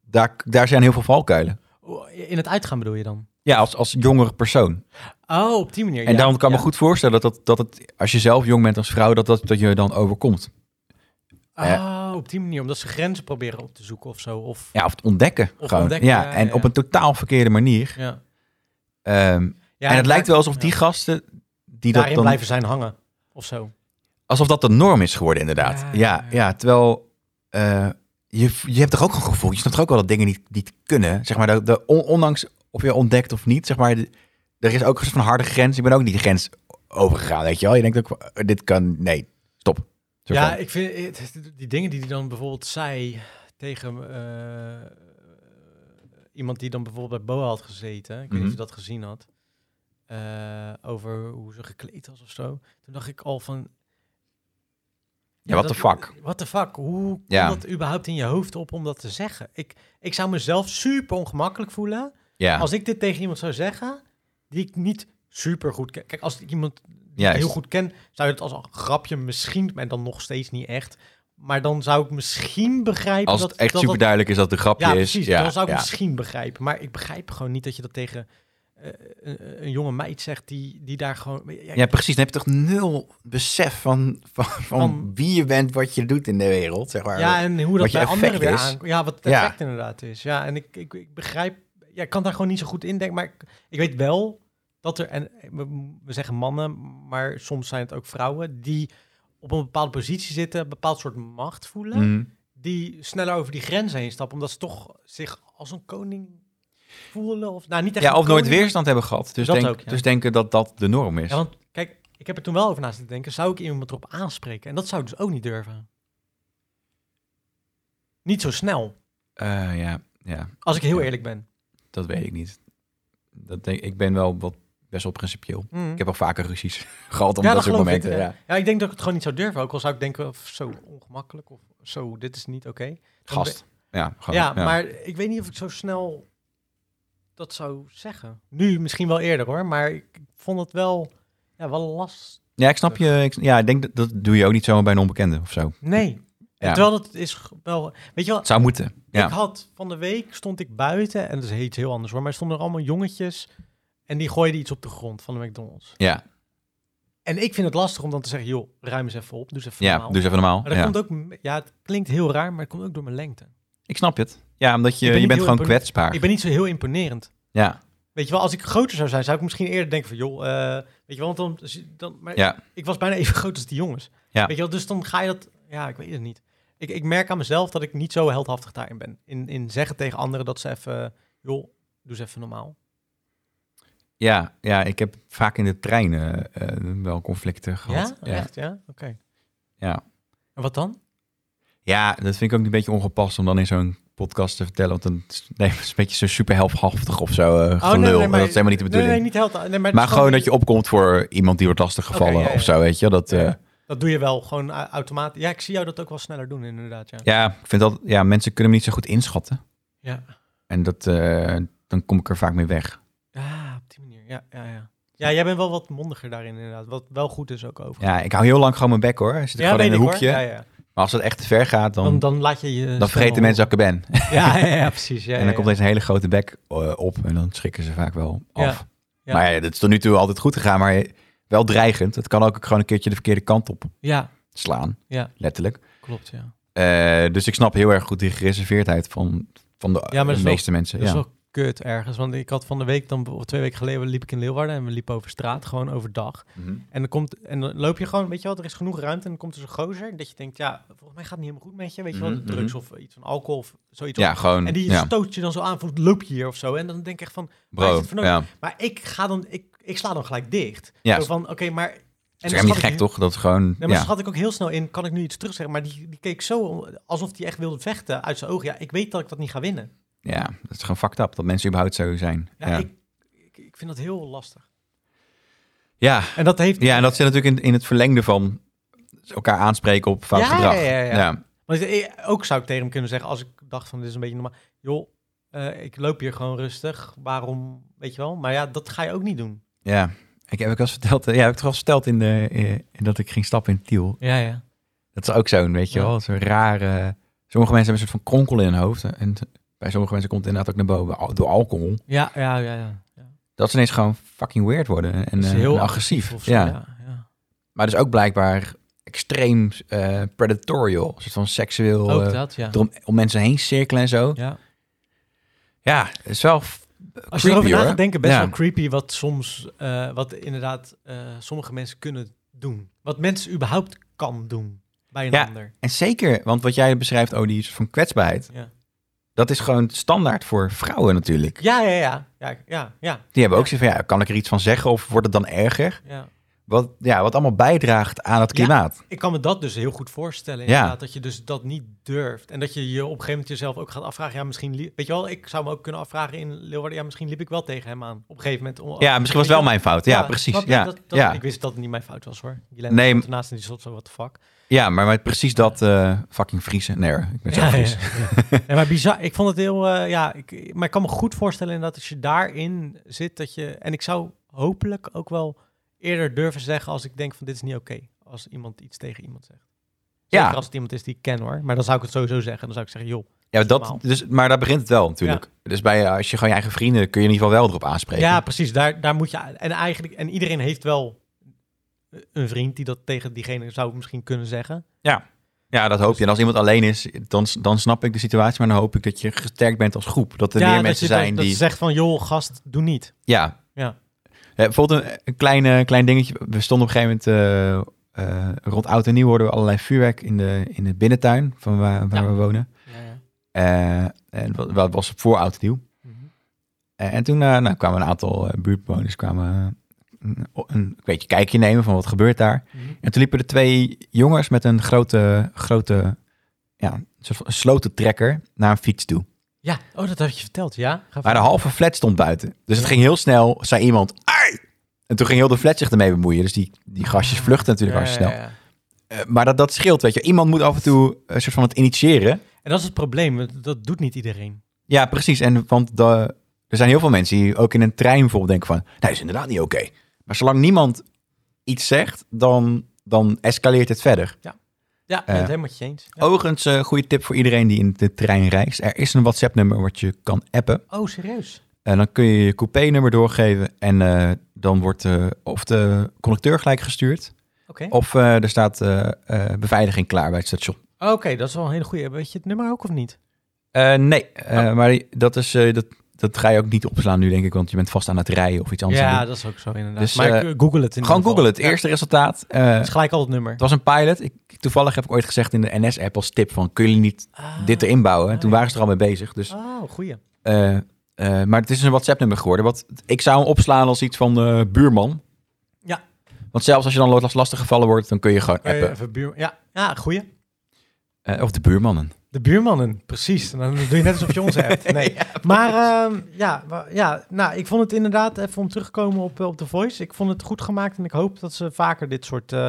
Speaker 1: daar, daar zijn heel veel valkuilen.
Speaker 2: Oh, In het uitgaan bedoel je dan?
Speaker 1: Ja, als, als jongere persoon.
Speaker 2: Oh, op die manier.
Speaker 1: En
Speaker 2: ja.
Speaker 1: daarom kan ik
Speaker 2: Ja.
Speaker 1: me goed voorstellen dat, dat, dat het, als je zelf jong bent als vrouw, dat dat, dat je dan overkomt.
Speaker 2: Oh, op die manier. Omdat ze grenzen proberen op te zoeken of zo. Of,
Speaker 1: Ja, of het ontdekken.
Speaker 2: Of
Speaker 1: gewoon.
Speaker 2: ontdekken,
Speaker 1: ja,
Speaker 2: ja,
Speaker 1: en
Speaker 2: ja.
Speaker 1: op een totaal verkeerde manier.
Speaker 2: ja.
Speaker 1: Ehm,
Speaker 2: Ja,
Speaker 1: en het lijkt wel alsof
Speaker 2: ja.
Speaker 1: die gasten, die dat
Speaker 2: daarin
Speaker 1: dan,
Speaker 2: blijven zijn hangen. Of zo.
Speaker 1: alsof dat de norm is geworden inderdaad.
Speaker 2: Ja,
Speaker 1: Ja,
Speaker 2: ja,
Speaker 1: ja,
Speaker 2: ja.
Speaker 1: terwijl eh, je, je hebt toch ook een gevoel, je snapt toch ook wel dat dingen niet, niet kunnen. Zeg maar, de, de, on- ondanks of je ontdekt of niet, zeg maar, de- er is ook een soort van harde grens. Ik ben ook niet de grens overgegaan, weet je wel. Je denkt ook, eh, dit kan, nee, stop. Soort
Speaker 2: Ja,
Speaker 1: van.
Speaker 2: ik vind het- die dingen die hij dan bijvoorbeeld zei tegen eh, iemand die dan bijvoorbeeld bij Boa had gezeten. Ik weet niet of
Speaker 1: Mhm.
Speaker 2: je dat gezien had. eh, over hoe ze gekleed was of zo. Toen dacht ik al van...
Speaker 1: Ja, what the fuck?
Speaker 2: What the fuck? Hoe komt
Speaker 1: Ja.
Speaker 2: dat überhaupt in je hoofd op om dat te zeggen? Ik, ik zou mezelf super ongemakkelijk voelen
Speaker 1: ja.
Speaker 2: als ik dit tegen iemand zou zeggen die ik niet super goed ken. Kijk, als ik iemand die ik
Speaker 1: Juist.
Speaker 2: heel goed ken, zou je het als een grapje misschien, maar dan nog steeds niet echt. Maar dan zou ik misschien begrijpen
Speaker 1: als
Speaker 2: dat
Speaker 1: het echt
Speaker 2: dat,
Speaker 1: super duidelijk is dat de grapje
Speaker 2: ja,
Speaker 1: is.
Speaker 2: precies.
Speaker 1: ja,
Speaker 2: dan zou ik
Speaker 1: ja.
Speaker 2: misschien begrijpen. Maar ik begrijp gewoon niet dat je dat tegen eh, een, een jonge meid zegt die, die daar gewoon. Ja,
Speaker 1: Ja, precies. Dan heb je toch nul besef van, van, van
Speaker 2: Van-
Speaker 1: wie je bent, wat je doet in de wereld, zeg maar.
Speaker 2: ja, en hoe dat
Speaker 1: wat je
Speaker 2: bij anderen
Speaker 1: effect
Speaker 2: weer
Speaker 1: is.
Speaker 2: aankomt. Ja, wat het
Speaker 1: Ja.
Speaker 2: effect inderdaad is. Ja, en ik, ik, ik begrijp... Ja, ik kan daar gewoon niet zo goed in denken. Maar ik, ik weet wel dat er... En eh, we, we zeggen mannen, maar soms zijn het ook vrouwen... die op een bepaalde positie zitten... een bepaald soort macht voelen...
Speaker 1: Mhm.
Speaker 2: die sneller over die grenzen heen stappen... omdat ze toch zich als een koning voelen. Of, nou, niet echt
Speaker 1: Ja,
Speaker 2: een
Speaker 1: of nooit
Speaker 2: koning, maar-
Speaker 1: weerstand hebben gehad. Dus,
Speaker 2: Dat
Speaker 1: denk,
Speaker 2: ook, ja.
Speaker 1: dus denken dat dat de norm is.
Speaker 2: Ja, want kijk, ik heb er toen wel over naast te denken. Zou ik iemand erop aanspreken? En dat zou ik dus ook niet durven. Niet zo snel,
Speaker 1: Eh, ja, ja,
Speaker 2: als ik heel
Speaker 1: Ja.
Speaker 2: eerlijk ben.
Speaker 1: dat weet ik niet. Dat denk, ik ben wel wat, best wel principieel.
Speaker 2: Mm.
Speaker 1: Ik heb al vaker ruzies [LAUGHS] gehad om
Speaker 2: Ja,
Speaker 1: dat soort
Speaker 2: dat geloof ik,
Speaker 1: momenten. ja.
Speaker 2: Ja, ik denk dat ik het gewoon niet zou durven. Ook al zou ik denken, of zo ongemakkelijk, of zo, dit is niet oké. Dan
Speaker 1: Gast. Ja,
Speaker 2: ben-
Speaker 1: gewoon,
Speaker 2: Ja, maar ik weet niet of ik zo snel dat zou zeggen. Nu misschien wel eerder hoor, maar ik vond het wel, ja, wel last.
Speaker 1: Ja, ik snap je. Ik, ja, ik denk dat, dat doe je ook niet zomaar bij een onbekende of zo.
Speaker 2: Nee. En
Speaker 1: Ja.
Speaker 2: terwijl dat is g- wel, weet je wel,
Speaker 1: Het zou moeten. Ja,
Speaker 2: ik had van de week, stond ik buiten, en dat is heet heel anders hoor, maar er stonden er allemaal jongetjes en die gooiden iets op de grond van de McDonald's.
Speaker 1: ja,
Speaker 2: En ik vind het lastig om dan te zeggen, joh, ruim eens even op, doe eens even
Speaker 1: ja
Speaker 2: normaal.
Speaker 1: dus even normaal.
Speaker 2: Maar dat
Speaker 1: Ja.
Speaker 2: komt ook, m- ja, het klinkt heel raar, maar het komt ook door mijn lengte.
Speaker 1: Ik snap het. Ja, omdat je,
Speaker 2: Ik ben
Speaker 1: je
Speaker 2: niet
Speaker 1: bent
Speaker 2: heel
Speaker 1: gewoon
Speaker 2: impone-
Speaker 1: kwetsbaar.
Speaker 2: Ik ben niet zo heel imponerend.
Speaker 1: Ja,
Speaker 2: Weet je wel, als ik groter zou zijn, zou ik misschien eerder denken van, joh, eh, weet je wel, want dan, dan maar
Speaker 1: Ja.
Speaker 2: ik was bijna [LAUGHS] even groot als die jongens.
Speaker 1: Ja.
Speaker 2: Weet je wel, dus dan ga je dat, ja, ik weet het niet. Ik, ik merk aan mezelf dat ik niet zo heldhaftig daarin ben. In, in zeggen tegen anderen dat ze even, joh, doe eens even normaal.
Speaker 1: ja, ja, ik heb vaak in de trein eh, eh, wel conflicten gehad.
Speaker 2: Ja, echt, ja, oké.
Speaker 1: ja.
Speaker 2: En wat dan?
Speaker 1: Ja, dat vind ik ook een beetje ongepast om dan in zo'n podcast te vertellen. Want dan is- nee, het is een beetje zo super helphaftig of zo. eh,
Speaker 2: Oh,
Speaker 1: gelul. dat is helemaal niet de bedoeling.
Speaker 2: Nee, nee, niet heldhaftig. Nee, maar
Speaker 1: maar gewoon dat je opkomt voor iemand die wordt lastiggevallen
Speaker 2: Oké, ja, ja.
Speaker 1: of zo, weet je. Dat, eh,
Speaker 2: Ja. Dat doe je wel, gewoon eh, automatisch. Ja, ik zie jou dat ook wel sneller doen, inderdaad, ja.
Speaker 1: ja, ik vind dat, ja, mensen kunnen me niet zo goed inschatten.
Speaker 2: Ja.
Speaker 1: En dat, eh, dan kom ik er vaak mee weg.
Speaker 2: Ah, op die manier. Ja, ja, ja. Ja, jij bent wel wat mondiger daarin inderdaad. Wat wel goed is ook over.
Speaker 1: Ja, ik hou heel lang gewoon mijn bek hoor. Dan Zit ik gewoon in een hoekje.
Speaker 2: Ja, ja.
Speaker 1: Maar als het echt te ver gaat, dan,
Speaker 2: Dan,
Speaker 1: dan,
Speaker 2: dan laat je je... stem
Speaker 1: vergeten
Speaker 2: wel-
Speaker 1: mensen dat ik er ben.
Speaker 2: Ja, ja, ja, precies. Ja,
Speaker 1: [LAUGHS] en dan
Speaker 2: ja,
Speaker 1: komt
Speaker 2: ja.
Speaker 1: deze hele grote bek eh, op en dan schrikken ze vaak wel
Speaker 2: Ja,
Speaker 1: af.
Speaker 2: ja.
Speaker 1: Maar ja, dat is tot nu toe altijd goed gegaan, maar wel dreigend. Het kan ook gewoon een keertje de verkeerde kant op
Speaker 2: Ja,
Speaker 1: slaan,
Speaker 2: Ja.
Speaker 1: letterlijk.
Speaker 2: klopt, ja.
Speaker 1: Eh, dus ik snap heel erg goed die gereserveerdheid van, van de,
Speaker 2: Ja, maar dat
Speaker 1: de
Speaker 2: is wel-
Speaker 1: meeste mensen.
Speaker 2: Dat is
Speaker 1: Ja.
Speaker 2: wel kut ergens. Want ik had van de week, dan, of twee weken geleden, liep ik in Leeuwarden en we liepen over straat, gewoon overdag.
Speaker 1: Mhm.
Speaker 2: En dan, komt, en dan loop je gewoon, weet je wel, er is genoeg ruimte en dan komt er zo'n gozer. Dat je denkt, ja, volgens mij gaat het niet helemaal goed met je. Weet je wel,
Speaker 1: Mhm,
Speaker 2: drugs
Speaker 1: mhm.
Speaker 2: of iets van alcohol of zoiets.
Speaker 1: Ja, gewoon,
Speaker 2: En die
Speaker 1: ja,
Speaker 2: stoot je dan zo aan, van loop je hier of zo. En dan denk ik echt van, waar is
Speaker 1: bro.
Speaker 2: het voor nodig?
Speaker 1: Ja.
Speaker 2: maar ik ga dan, ik, ik sla dan gelijk dicht.
Speaker 1: Ja,
Speaker 2: Zo
Speaker 1: is
Speaker 2: van, oké, maar... En dan
Speaker 1: is helemaal niet
Speaker 2: schat ik-
Speaker 1: gek, toch? Dat is gewoon,
Speaker 2: Nee, maar
Speaker 1: ja.
Speaker 2: schat ik ook heel snel in, kan ik nu iets terugzeggen? Maar die, die keek zo om- alsof hij echt wilde vechten uit zijn ogen. Ja, ik weet dat ik dat niet ga winnen.
Speaker 1: ja, dat is gewoon fucked up, dat mensen überhaupt zo zijn.
Speaker 2: Ja,
Speaker 1: Ja, ja.
Speaker 2: Ik, ik, ik vind dat heel lastig.
Speaker 1: ja.
Speaker 2: En dat heeft...
Speaker 1: en dat zit natuurlijk in, in het verlengde van elkaar aanspreken op fout
Speaker 2: Ja,
Speaker 1: gedrag.
Speaker 2: ja, ja, ja. Want ik- ook zou ik tegen hem kunnen zeggen, als ik dacht van dit is een beetje normaal. Joh, eh, ik loop hier gewoon rustig. Waarom, weet je wel? Maar ja, dat ga je ook niet doen.
Speaker 1: Ja, ik heb ik al eens verteld, eh, ja, heb ik toch al eens verteld in de, eh, in dat ik ging stappen in Tiel.
Speaker 2: Ja, ja.
Speaker 1: Dat is ook zo'n, weet je
Speaker 2: Ja.
Speaker 1: wel, zo'n rare... Sommige mensen hebben een soort van kronkel in hun hoofd. eh, En bij sommige mensen komt het inderdaad ook naar boven al- door alcohol.
Speaker 2: Ja, ja, ja. ja. ja.
Speaker 1: Dat ze ineens gewoon fucking weird worden en,
Speaker 2: Dat is
Speaker 1: eh,
Speaker 2: heel
Speaker 1: en agressief.
Speaker 2: Of zo,
Speaker 1: ja.
Speaker 2: ja, ja.
Speaker 1: Maar dus ook blijkbaar extreem eh, predatorial. Een soort van seksueel,
Speaker 2: Ook
Speaker 1: eh,
Speaker 2: dat, ja.
Speaker 1: erom- om mensen heen cirkelen en zo.
Speaker 2: ja.
Speaker 1: Ja, het is wel f-
Speaker 2: Als
Speaker 1: creepy,
Speaker 2: je erover na
Speaker 1: hoor.
Speaker 2: gaat denken, best
Speaker 1: Ja.
Speaker 2: wel creepy wat soms, eh, wat inderdaad eh, sommige mensen kunnen doen. Wat mensen überhaupt kan doen bij een
Speaker 1: Ja.
Speaker 2: ander.
Speaker 1: En zeker, want wat jij beschrijft, oh, die is van kwetsbaarheid.
Speaker 2: Ja.
Speaker 1: Dat is gewoon standaard voor vrouwen natuurlijk.
Speaker 2: Ja, ja, ja. Ja, ja, ja.
Speaker 1: Die hebben ook zoiets van, ja, kan ik er iets van zeggen of wordt het dan erger?
Speaker 2: ja.
Speaker 1: Wat, ja, wat allemaal bijdraagt aan het
Speaker 2: Ja.
Speaker 1: klimaat.
Speaker 2: Ik kan me dat dus heel goed voorstellen.
Speaker 1: Ja.
Speaker 2: Inderdaad, dat je dus dat niet durft. En dat je je op een gegeven moment jezelf ook gaat afvragen. Ja, misschien. li- Weet je wel, ik zou me ook kunnen afvragen in Leeuwarden. Ja, misschien liep ik wel tegen hem aan. Op een gegeven moment. om-
Speaker 1: Ja, misschien was het wel mijn fout. Ja, precies.
Speaker 2: snap je?
Speaker 1: Ja,
Speaker 2: Dat- dat-
Speaker 1: ja.
Speaker 2: Ik wist dat het niet mijn fout was hoor.
Speaker 1: Nee,
Speaker 2: nee,
Speaker 1: m-
Speaker 2: ernaast en die stond zo, wat the fuck.
Speaker 1: ja maar met precies dat eh, fucking vriezen. Nee hoor, ik ben zo
Speaker 2: Ja,
Speaker 1: Fries.
Speaker 2: ja, ja. Ja, maar bizar. Ik vond het heel, eh, ja, ik, maar ik kan me goed voorstellen inderdaad als je daarin zit dat je, en ik zou hopelijk ook wel eerder durven zeggen als ik denk van dit is niet oké, als iemand iets tegen iemand zegt. Zeker
Speaker 1: Ja.
Speaker 2: als het iemand is die ik ken hoor, maar dan zou ik het sowieso zeggen. Dan zou ik zeggen, joh.
Speaker 1: Ja, dat,
Speaker 2: normaal.
Speaker 1: dus, maar daar begint het wel natuurlijk. Dus bij, eh, als je gewoon je eigen vrienden, kun je in ieder geval wel erop aanspreken.
Speaker 2: Ja, precies. Daar, daar moet je, en eigenlijk, en iedereen heeft wel een vriend die dat tegen diegene zou misschien kunnen zeggen.
Speaker 1: Ja, dat hoop je. En als iemand alleen is, dan, dan snap ik de situatie. Maar dan hoop ik dat je gesterkt bent als groep. Dat er
Speaker 2: ja,
Speaker 1: meer
Speaker 2: dat,
Speaker 1: mensen
Speaker 2: je, dat-
Speaker 1: zijn
Speaker 2: dat
Speaker 1: die...
Speaker 2: ze zegt van, joh, gast, doe niet.
Speaker 1: Ja.
Speaker 2: Ja.
Speaker 1: Eh, bijvoorbeeld een, een klein, eh, klein dingetje. We stonden op een gegeven moment... eh, eh, rond oud en nieuw hoorden we allerlei vuurwerk in de, in de binnentuin van waar, waar
Speaker 2: Ja.
Speaker 1: we wonen. Eh, en wat, wat was voor oud en nieuw.
Speaker 2: Mhm.
Speaker 1: Eh, en toen eh, nou, kwamen een aantal eh, buurtbewoners kwamen, eh, een, een beetje kijkje nemen van wat gebeurt daar.
Speaker 2: Mhm.
Speaker 1: En toen liepen er twee jongens met een grote, grote ja, een soort van een slotentrekker naar een fiets toe.
Speaker 2: Ja, oh, dat had je verteld, ja. Ga
Speaker 1: Maar de
Speaker 2: verder.
Speaker 1: halve flat stond buiten. Dus het ging heel snel, zei iemand, "Ai!" En toen ging heel de flat zich ermee bemoeien. Dus die, die gastjes vluchten natuurlijk
Speaker 2: Ah. Ja,
Speaker 1: hartstikke
Speaker 2: ja,
Speaker 1: snel.
Speaker 2: ja.
Speaker 1: Eh, maar dat, dat scheelt, weet je. Iemand moet af en toe een soort van het initiëren.
Speaker 2: En dat is het probleem, want dat doet niet iedereen.
Speaker 1: Ja, precies. En want de, er zijn heel veel mensen die ook in een trein bijvoorbeeld denken van... Nou, is inderdaad niet oké. Maar zolang niemand iets zegt, dan, dan escaleert het verder.
Speaker 2: Ja, ik
Speaker 1: Eh.
Speaker 2: ben het helemaal met je eens. Ja.
Speaker 1: Overigens, een goede tip voor iedereen die in de trein reist. Er is een WhatsApp-nummer wat je kan appen.
Speaker 2: Oh, serieus?
Speaker 1: En Eh, dan kun je je coupé-nummer doorgeven. En eh, dan wordt eh, of de conducteur gelijk gestuurd.
Speaker 2: Oké.
Speaker 1: Of eh, er staat eh, eh, beveiliging klaar bij het station.
Speaker 2: Oh, Oké, dat is wel een hele goede. Weet je het nummer ook of niet?
Speaker 1: Eh, nee,
Speaker 2: Oh.
Speaker 1: eh, maar dat, is, eh, dat, dat ga je ook niet opslaan nu, denk ik. Want je bent vast aan het rijden of iets anders. aan
Speaker 2: ja,
Speaker 1: het
Speaker 2: dat is ook zo inderdaad.
Speaker 1: Dus,
Speaker 2: maar ik, eh, google het in
Speaker 1: doen.
Speaker 2: ieder
Speaker 1: Gewoon
Speaker 2: geval.
Speaker 1: googlen. Het
Speaker 2: Ja,
Speaker 1: eerste resultaat. eh,
Speaker 2: het is gelijk al het nummer.
Speaker 1: het was een pilot. Ik, toevallig heb ik ooit gezegd in de NS-app als tip van... kun je niet dit erin bouwen? En toen
Speaker 2: Ah.
Speaker 1: waren ze er al mee bezig. Dus
Speaker 2: Oh, goeie.
Speaker 1: Eh, eh, maar het is een WhatsApp-nummer geworden. Wat, ik zou hem opslaan als iets van eh, buurman.
Speaker 2: Ja.
Speaker 1: Want zelfs als je dan als lastig gevallen wordt, dan kun je gewoon appen.
Speaker 2: Eh, even buur... Ja, ja goeie.
Speaker 1: Eh, of de buurmannen.
Speaker 2: De buurmannen, precies. En Dan doe je net alsof
Speaker 1: [LAUGHS]
Speaker 2: je ons hebt. Nee. maar ehm, ja, wa- ja, nou, ik vond het inderdaad, even om terug te komen op, eh, op The Voice, ik vond het goed gemaakt en ik hoop dat ze vaker dit soort... eh,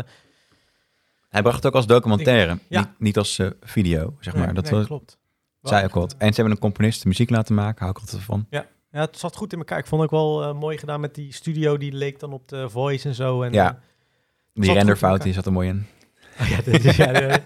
Speaker 1: Hij bracht het ook als documentaire,
Speaker 2: ja.
Speaker 1: niet, niet als eh, video, zeg maar.
Speaker 2: nee,
Speaker 1: dat
Speaker 2: nee,
Speaker 1: was-
Speaker 2: klopt.
Speaker 1: zei ik
Speaker 2: echt,
Speaker 1: ook wat. En ze hebben een componist de muziek laten maken, hou ik altijd van.
Speaker 2: Ja, het zat goed in elkaar. Ik vond het ook wel eh, mooi gedaan met die studio. Die leek dan op de Voice en zo. En,
Speaker 1: Ja. Die
Speaker 2: goed in
Speaker 1: renderfout
Speaker 2: elkaar.
Speaker 1: die zat er mooi in.
Speaker 2: eh, [LAUGHS] ja,
Speaker 1: [LAUGHS]
Speaker 2: dit is- ja, de-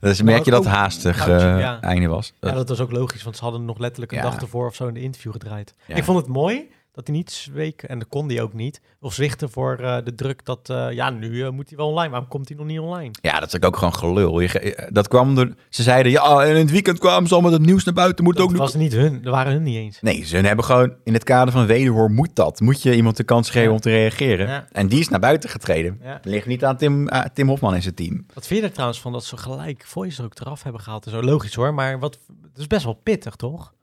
Speaker 1: Dus
Speaker 2: Maar
Speaker 1: merk je
Speaker 2: ook-
Speaker 1: dat het haastig
Speaker 2: Nou,
Speaker 1: eh,
Speaker 2: ja.
Speaker 1: einde was.
Speaker 2: ja, dat was ook logisch, want ze hadden nog letterlijk een
Speaker 1: Ja.
Speaker 2: dag ervoor of zo in de interview gedraaid.
Speaker 1: Ja.
Speaker 2: Ik vond het mooi dat hij niet zweek, en dat kon hij ook niet, of zwichten voor eh, de druk dat, eh, ja, nu eh, moet hij wel online. Waarom komt hij nog niet online?
Speaker 1: Ja, dat is ook gewoon gelul. Je, ge- eh, dat kwam door, ze zeiden, ja, en in het weekend kwamen ze al met het nieuws naar buiten. Moet
Speaker 2: Dat
Speaker 1: ook nu
Speaker 2: was niet hun, dat waren hun niet eens.
Speaker 1: Nee, ze hebben gewoon in het kader van wederhoor moet dat. Moet je iemand de kans geven
Speaker 2: Ja.
Speaker 1: om te reageren.
Speaker 2: Ja.
Speaker 1: En die is naar buiten getreden.
Speaker 2: Ja.
Speaker 1: Het ligt niet aan Tim, ah, Tim Hofman en zijn team.
Speaker 2: Wat vind je er trouwens van dat ze gelijk Voice er ook eraf hebben gehaald en zo? Logisch hoor, maar wat, het is best wel pittig, toch?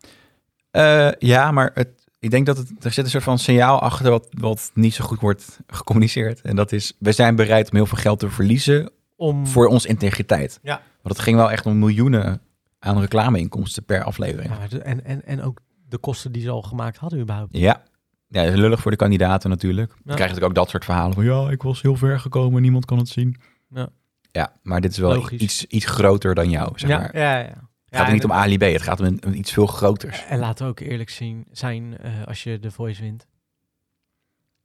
Speaker 1: Eh, ja, maar het, ik denk dat het, er zit een soort van signaal achter wat, wat niet zo goed wordt gecommuniceerd. En dat is, we zijn bereid om heel veel geld te verliezen
Speaker 2: Om...
Speaker 1: voor onze integriteit.
Speaker 2: Hmm. Ja.
Speaker 1: Want het ging wel echt om miljoenen aan reclameinkomsten per aflevering.
Speaker 2: Ja, maar de- en, en, en ook de kosten die ze al gemaakt hadden überhaupt.
Speaker 1: Ja. Ja, dat is lullig voor de kandidaten natuurlijk. Dan
Speaker 2: Ja.
Speaker 1: krijg je natuurlijk ook dat soort verhalen van... ja, ik was heel ver gekomen, niemand kan het zien.
Speaker 2: Ja.
Speaker 1: Ja, maar dit is wel
Speaker 2: Logisch.
Speaker 1: iets, iets groter dan jou, zeg maar.
Speaker 2: ja, ja, ja.
Speaker 1: Het gaat er niet om Ali B, het gaat om, een- om iets veel groters.
Speaker 2: En laten we ook eerlijk zien, zijn eh, als je de voice wint.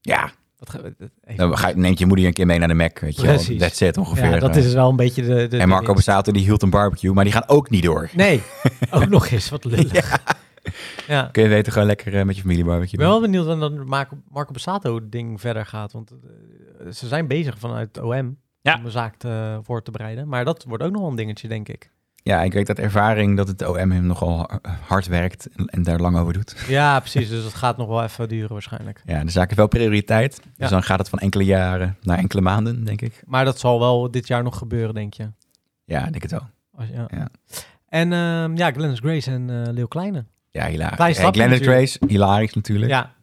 Speaker 1: Ja,
Speaker 2: Dat ga, dat, even-
Speaker 1: dan ga, neemt je moeder je een keer mee naar de Mac, weet je wel.
Speaker 2: Precies.
Speaker 1: That's it, ongeveer. eh,
Speaker 2: ja, dat is wel een beetje de. de
Speaker 1: en Marco
Speaker 2: de-
Speaker 1: Bassato, die hield een barbecue, maar die gaan ook niet door.
Speaker 2: Nee, ook nog eens
Speaker 1: [LAUGHS]
Speaker 2: wat lullig. ja.
Speaker 1: Kun je weten, gewoon lekker eh, met je familie barbecue
Speaker 2: Ik ben
Speaker 1: doen.
Speaker 2: wel benieuwd wanneer dat Marco, Marco Bassato ding verder gaat. Want eh, ze zijn bezig vanuit OM
Speaker 1: Ja.
Speaker 2: om de zaak te, voor te bereiden. Maar dat wordt ook nog wel een dingetje,
Speaker 1: [LAUGHS]
Speaker 2: denk ik.
Speaker 1: Ja, ik weet dat ervaring dat het OM hem nogal ha- hard werkt en, en daar lang over doet.
Speaker 2: Ja, precies. Dus dat gaat nog wel even duren waarschijnlijk.
Speaker 1: Ja, de zaak heeft wel prioriteit. Dus
Speaker 2: Ja.
Speaker 1: dan gaat het van enkele jaren naar enkele maanden, denk ik.
Speaker 2: Maar dat zal wel dit jaar nog gebeuren, denk je.
Speaker 1: Ja, ik denk het wel.
Speaker 2: Als- ja.
Speaker 1: Ja.
Speaker 2: En ehm, ja, Glennis Grace en eh Leeuw Kleine.
Speaker 1: Ja, hilarisch.
Speaker 2: Klein
Speaker 1: Hey,
Speaker 2: stapje
Speaker 1: Glennis
Speaker 2: natuurlijk.
Speaker 1: Grace, hilarisch natuurlijk.
Speaker 2: Ja,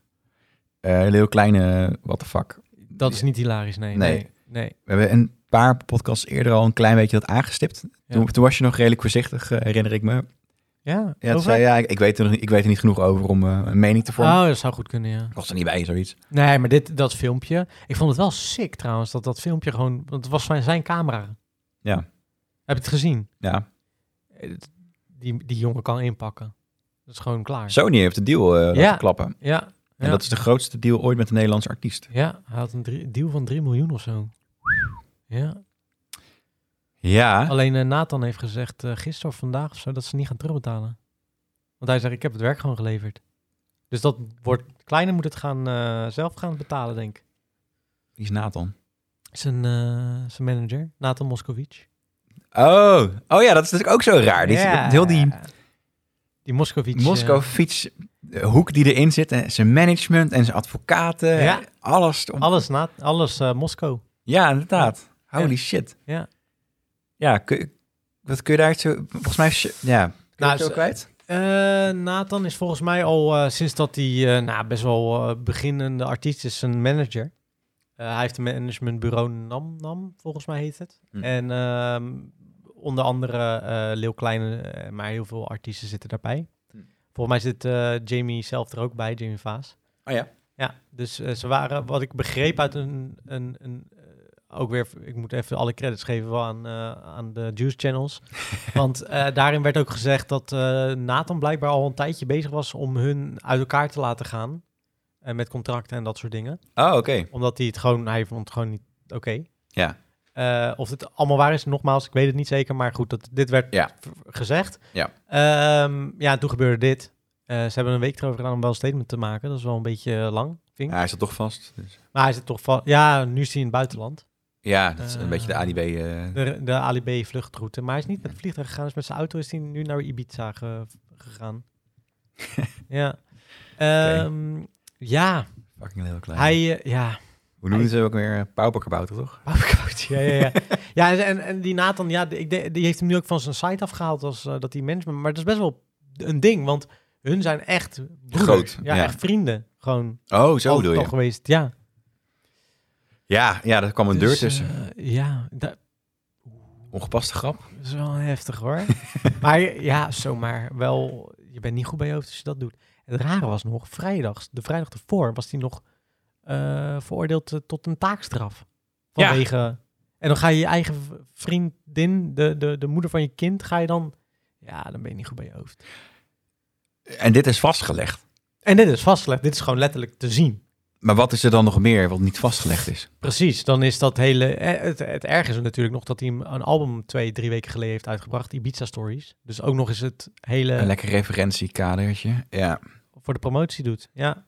Speaker 1: Eh, een heel kleine, eh, what the fuck.
Speaker 2: dat is niet hilarisch, nee.
Speaker 1: Nee.
Speaker 2: Nee. nee.
Speaker 1: We hebben een paar podcasts eerder al een klein beetje dat aangestipt. Toen, toen was je nog redelijk voorzichtig, eh, herinner ik me.
Speaker 2: Ja,
Speaker 1: Ja, toen
Speaker 2: over?
Speaker 1: zei, je, ja ik, ik weet er, nog niet- ik weet er niet genoeg over om eh, een mening te vormen.
Speaker 2: Oh, dat zou goed kunnen, ja.
Speaker 1: Ik was er niet bij, zoiets.
Speaker 2: Nee, maar dit, dat filmpje. Ik vond het wel sick trouwens, dat dat filmpje gewoon... Want het was van zijn camera.
Speaker 1: Ja.
Speaker 2: Heb je het gezien?
Speaker 1: Ja.
Speaker 2: Eh, het- Die, die jongen kan inpakken. Dat is gewoon klaar.
Speaker 1: Sony heeft de deal eh laten
Speaker 2: Ja.
Speaker 1: klappen. En
Speaker 2: Ja. ja.
Speaker 1: dat is de grootste deal ooit met een Nederlandse artiest.
Speaker 2: Ja, hij had een drie- deal van 3 miljoen of zo. Ja.
Speaker 1: Ja,
Speaker 2: [LAUGHS] Alleen eh, Nathan heeft gezegd eh, gisteren of vandaag of zo dat ze niet gaan terugbetalen. Want hij zegt, ik heb het werk gewoon geleverd. Dus dat wordt kleiner moet het gaan eh, zelf gaan betalen, denk ik.
Speaker 1: wie is Nathan?
Speaker 2: Zijn, eh, zijn manager, Nathan Moscovic.
Speaker 1: Oh, oh ja, dat is natuurlijk ook zo raar. Die,
Speaker 2: Ja.
Speaker 1: Heel die
Speaker 2: Die Moscovic. eh,
Speaker 1: Moskou-fietshoek eh, die erin zit. En zijn management en zijn advocaten.
Speaker 2: Ja.
Speaker 1: Alles. Om...
Speaker 2: alles na, alles eh, Moskou.
Speaker 1: Ja, inderdaad. Holy
Speaker 2: Ja.
Speaker 1: shit.
Speaker 2: Ja.
Speaker 1: Ja, kun, wat kun je daar zo... Volgens mij... is je- Ja. Kun je
Speaker 2: Nou,
Speaker 1: het zo
Speaker 2: ze-
Speaker 1: kwijt?
Speaker 2: Eh, Nathan is volgens mij al eh, sinds dat hij eh, nou, best wel eh, beginnende artiest is, een manager. Eh, hij heeft een managementbureau Nam Nam, volgens mij heet het.
Speaker 1: Hm.
Speaker 2: En ehm, onder andere eh Leeuw Kleine, eh, maar heel veel artiesten zitten daarbij.
Speaker 1: Hm.
Speaker 2: Volgens mij zit eh, Jamie zelf er ook bij, Jamie Vaas.
Speaker 1: Oh ja.
Speaker 2: Ja, dus eh, ze waren, wat ik begreep uit een, een, een eh, ook weer, ik moet even alle credits geven wel aan, eh, aan de Juice
Speaker 1: [LAUGHS]
Speaker 2: Channels. Want eh, daarin werd ook gezegd dat eh, Nathan blijkbaar al een tijdje bezig was om hun uit elkaar te laten gaan. eh, met contracten en dat soort dingen.
Speaker 1: Oh, oké.
Speaker 2: Omdat hij het gewoon, hij vond het gewoon niet oké.
Speaker 1: Ja.
Speaker 2: Eh, of het allemaal waar is, nogmaals, ik weet het niet zeker. Maar goed, dat, dit werd
Speaker 1: Ja.
Speaker 2: v- gezegd.
Speaker 1: Ja.
Speaker 2: Ehm, ja, toen gebeurde dit. Eh, ze hebben een week erover gedaan om wel een statement te maken. Dat is wel een beetje eh, lang, vind ik.
Speaker 1: Ja, hij zat toch vast. Dus.
Speaker 2: Maar hij zit toch van... Ja, nu is hij in het buitenland.
Speaker 1: Ja, dat is een
Speaker 2: Eh.
Speaker 1: beetje de ADB... eh
Speaker 2: De, de Ali B vluchtroute. Maar hij is niet met het vliegtuig gegaan. Dus met zijn auto is hij nu naar Ibiza ge-
Speaker 1: [LAUGHS]
Speaker 2: gegaan. ja. Ehm, Ja,
Speaker 1: fucking heel klein.
Speaker 2: hij... eh, ja.
Speaker 1: Hoe noemen ze hem ook weer? Pauperkabouter, toch?
Speaker 2: Ja, ja, ja. ja en- en, en die Nathan, ja, die- ik de- die heeft hem nu ook van zijn site afgehaald als eh, dat die management. Maar dat is best wel een ding, want hun zijn echt broeders.
Speaker 1: Groot,
Speaker 2: ja,
Speaker 1: ja.
Speaker 2: echt vrienden. Gewoon
Speaker 1: Oh, zo
Speaker 2: altijd
Speaker 1: bedoel
Speaker 2: al
Speaker 1: je.
Speaker 2: geweest, ja.
Speaker 1: Ja, ja, daar kwam een deur
Speaker 2: Dus,
Speaker 1: tussen.
Speaker 2: eh, ja, dat
Speaker 1: Ongepaste grap.
Speaker 2: is wel heftig hoor. [LAUGHS] maar ja, zomaar wel, je bent niet goed bij je hoofd als je dat doet. En het rare was nog, vrijdag, de vrijdag ervoor was hij nog eh, veroordeeld eh, tot een taakstraf.
Speaker 1: Ja.
Speaker 2: Vanwege, en dan ga je je eigen v- vriendin, de, de, de moeder van je kind, ga je dan, ja, dan ben je niet goed bij je hoofd.
Speaker 1: En dit is vastgelegd.
Speaker 2: En dit is vastgelegd, dit is gewoon letterlijk te zien.
Speaker 1: Maar wat is er dan nog meer wat niet vastgelegd is?
Speaker 2: Precies, dan is dat hele... eh, Het, het erg is natuurlijk nog dat hij een album twee, drie weken geleden heeft uitgebracht, Ibiza Stories. Dus ook nog eens het
Speaker 1: Een
Speaker 2: hele
Speaker 1: lekker referentiekadertje. Ja.
Speaker 2: voor de promotie doet. Ja,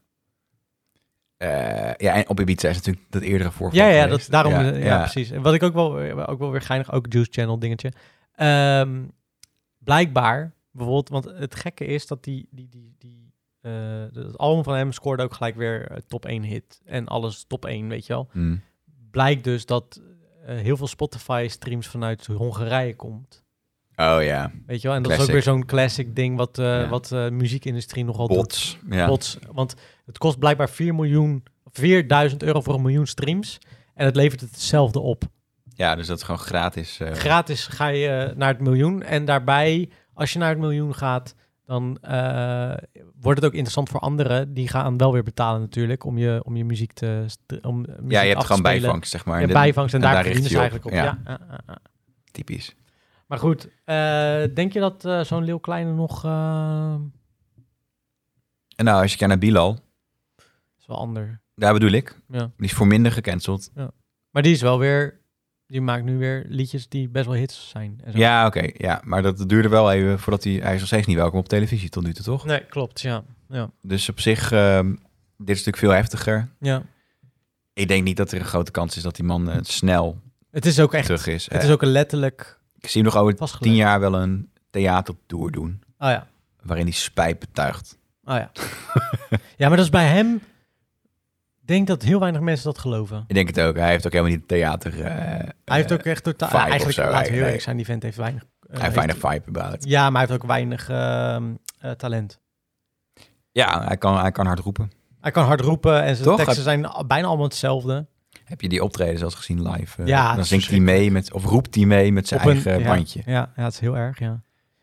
Speaker 1: Eh, ja, en op Ibiza is natuurlijk dat eerdere voorval
Speaker 2: ja, ja, dat,
Speaker 1: geweest.
Speaker 2: daarom...
Speaker 1: Ja,
Speaker 2: eh, Ja,
Speaker 1: ja.
Speaker 2: precies. En wat ik ook wel, eh, ook wel weer geinig, ook Juice Channel dingetje. Ehm, blijkbaar, bijvoorbeeld, want het gekke is dat die... die, die, die eh, het album van hem scoorde ook gelijk weer eh, top 1 hit. En alles top 1, weet je wel.
Speaker 1: Hmm.
Speaker 2: Blijkt dus dat eh, heel veel Spotify-streams vanuit Hongarije komt.
Speaker 1: Oh ja,
Speaker 2: Weet je wel, en dat is
Speaker 1: Classic.
Speaker 2: ook weer zo'n classic ding wat, eh,
Speaker 1: Ja.
Speaker 2: wat de muziekindustrie nogal doet.
Speaker 1: bots. Ja.
Speaker 2: Bots. Want het kost blijkbaar 4 miljoen, 4000 euro voor een miljoen streams. En het levert hetzelfde op.
Speaker 1: ja, dus dat is gewoon gratis. eh,
Speaker 2: Gratis ga je eh, naar het miljoen. En daarbij, als je naar het miljoen gaat, dan eh, wordt het ook interessant voor anderen. Die gaan wel weer betalen natuurlijk om je, om je muziek te st- om muziek
Speaker 1: Ja, je
Speaker 2: af
Speaker 1: hebt
Speaker 2: te
Speaker 1: gewoon
Speaker 2: spelen.
Speaker 1: bijvangst, zeg maar.
Speaker 2: Ja,
Speaker 1: En dit-
Speaker 2: bijvangst en,
Speaker 1: en
Speaker 2: daar
Speaker 1: daar
Speaker 2: verdienen ze
Speaker 1: richt je
Speaker 2: eigenlijk
Speaker 1: op.
Speaker 2: op. Ja. Ah, ah, ah.
Speaker 1: Typisch.
Speaker 2: Maar goed, eh, denk je dat eh, zo'n Leeuw Kleine nog... eh,
Speaker 1: En nou, als je kijkt naar Bilal,
Speaker 2: is wel ander.
Speaker 1: daar bedoel ik.
Speaker 2: Ja.
Speaker 1: Die is voor minder gecanceld.
Speaker 2: Maar die is wel weer... Die maakt nu weer liedjes die best wel hits zijn. En zo.
Speaker 1: Ja, oké. ja, maar dat duurde wel even voordat hij... Hij is nog steeds niet welkom op televisie tot nu toe, toch?
Speaker 2: Nee, klopt, ja. Ja.
Speaker 1: Dus op zich, ehm, dit is natuurlijk veel heftiger.
Speaker 2: ja.
Speaker 1: Ik denk niet dat er een grote kans is dat die man eh, snel
Speaker 2: Het is ook echt...
Speaker 1: terug is.
Speaker 2: Het
Speaker 1: Eh,
Speaker 2: is ook een letterlijk
Speaker 1: Ik zie hem nog over
Speaker 2: vastgelegd.
Speaker 1: tien jaar wel een theatertour doen.
Speaker 2: Oh ja.
Speaker 1: Waarin hij spijt betuigt.
Speaker 2: Oh ja. [LAUGHS] ja, maar dat is bij hem... Ik denk dat heel weinig mensen dat geloven.
Speaker 1: Ik denk het ook. Hij heeft ook helemaal niet theater... eh,
Speaker 2: Hij heeft
Speaker 1: eh,
Speaker 2: ook echt totaal...
Speaker 1: vibe of
Speaker 2: eigenlijk,
Speaker 1: zo,
Speaker 2: laten we
Speaker 1: hij-
Speaker 2: heel
Speaker 1: hij-
Speaker 2: eerlijk zijn, die vent heeft weinig... eh,
Speaker 1: hij heeft weinig vibe about.
Speaker 2: Ja, maar hij heeft ook weinig ehm, eh, talent.
Speaker 1: Ja, hij kan, hij kan hard roepen.
Speaker 2: Hij kan hard roepen en zijn
Speaker 1: Toch?
Speaker 2: teksten zijn al- bijna allemaal hetzelfde.
Speaker 1: Heb je die optredens als gezien live? eh,
Speaker 2: Ja, dat
Speaker 1: dan
Speaker 2: is
Speaker 1: zingt hij mee met, of roept hij mee met zijn
Speaker 2: Op een-
Speaker 1: eigen
Speaker 2: ja,
Speaker 1: bandje.
Speaker 2: Ja, ja, het is heel erg, ja.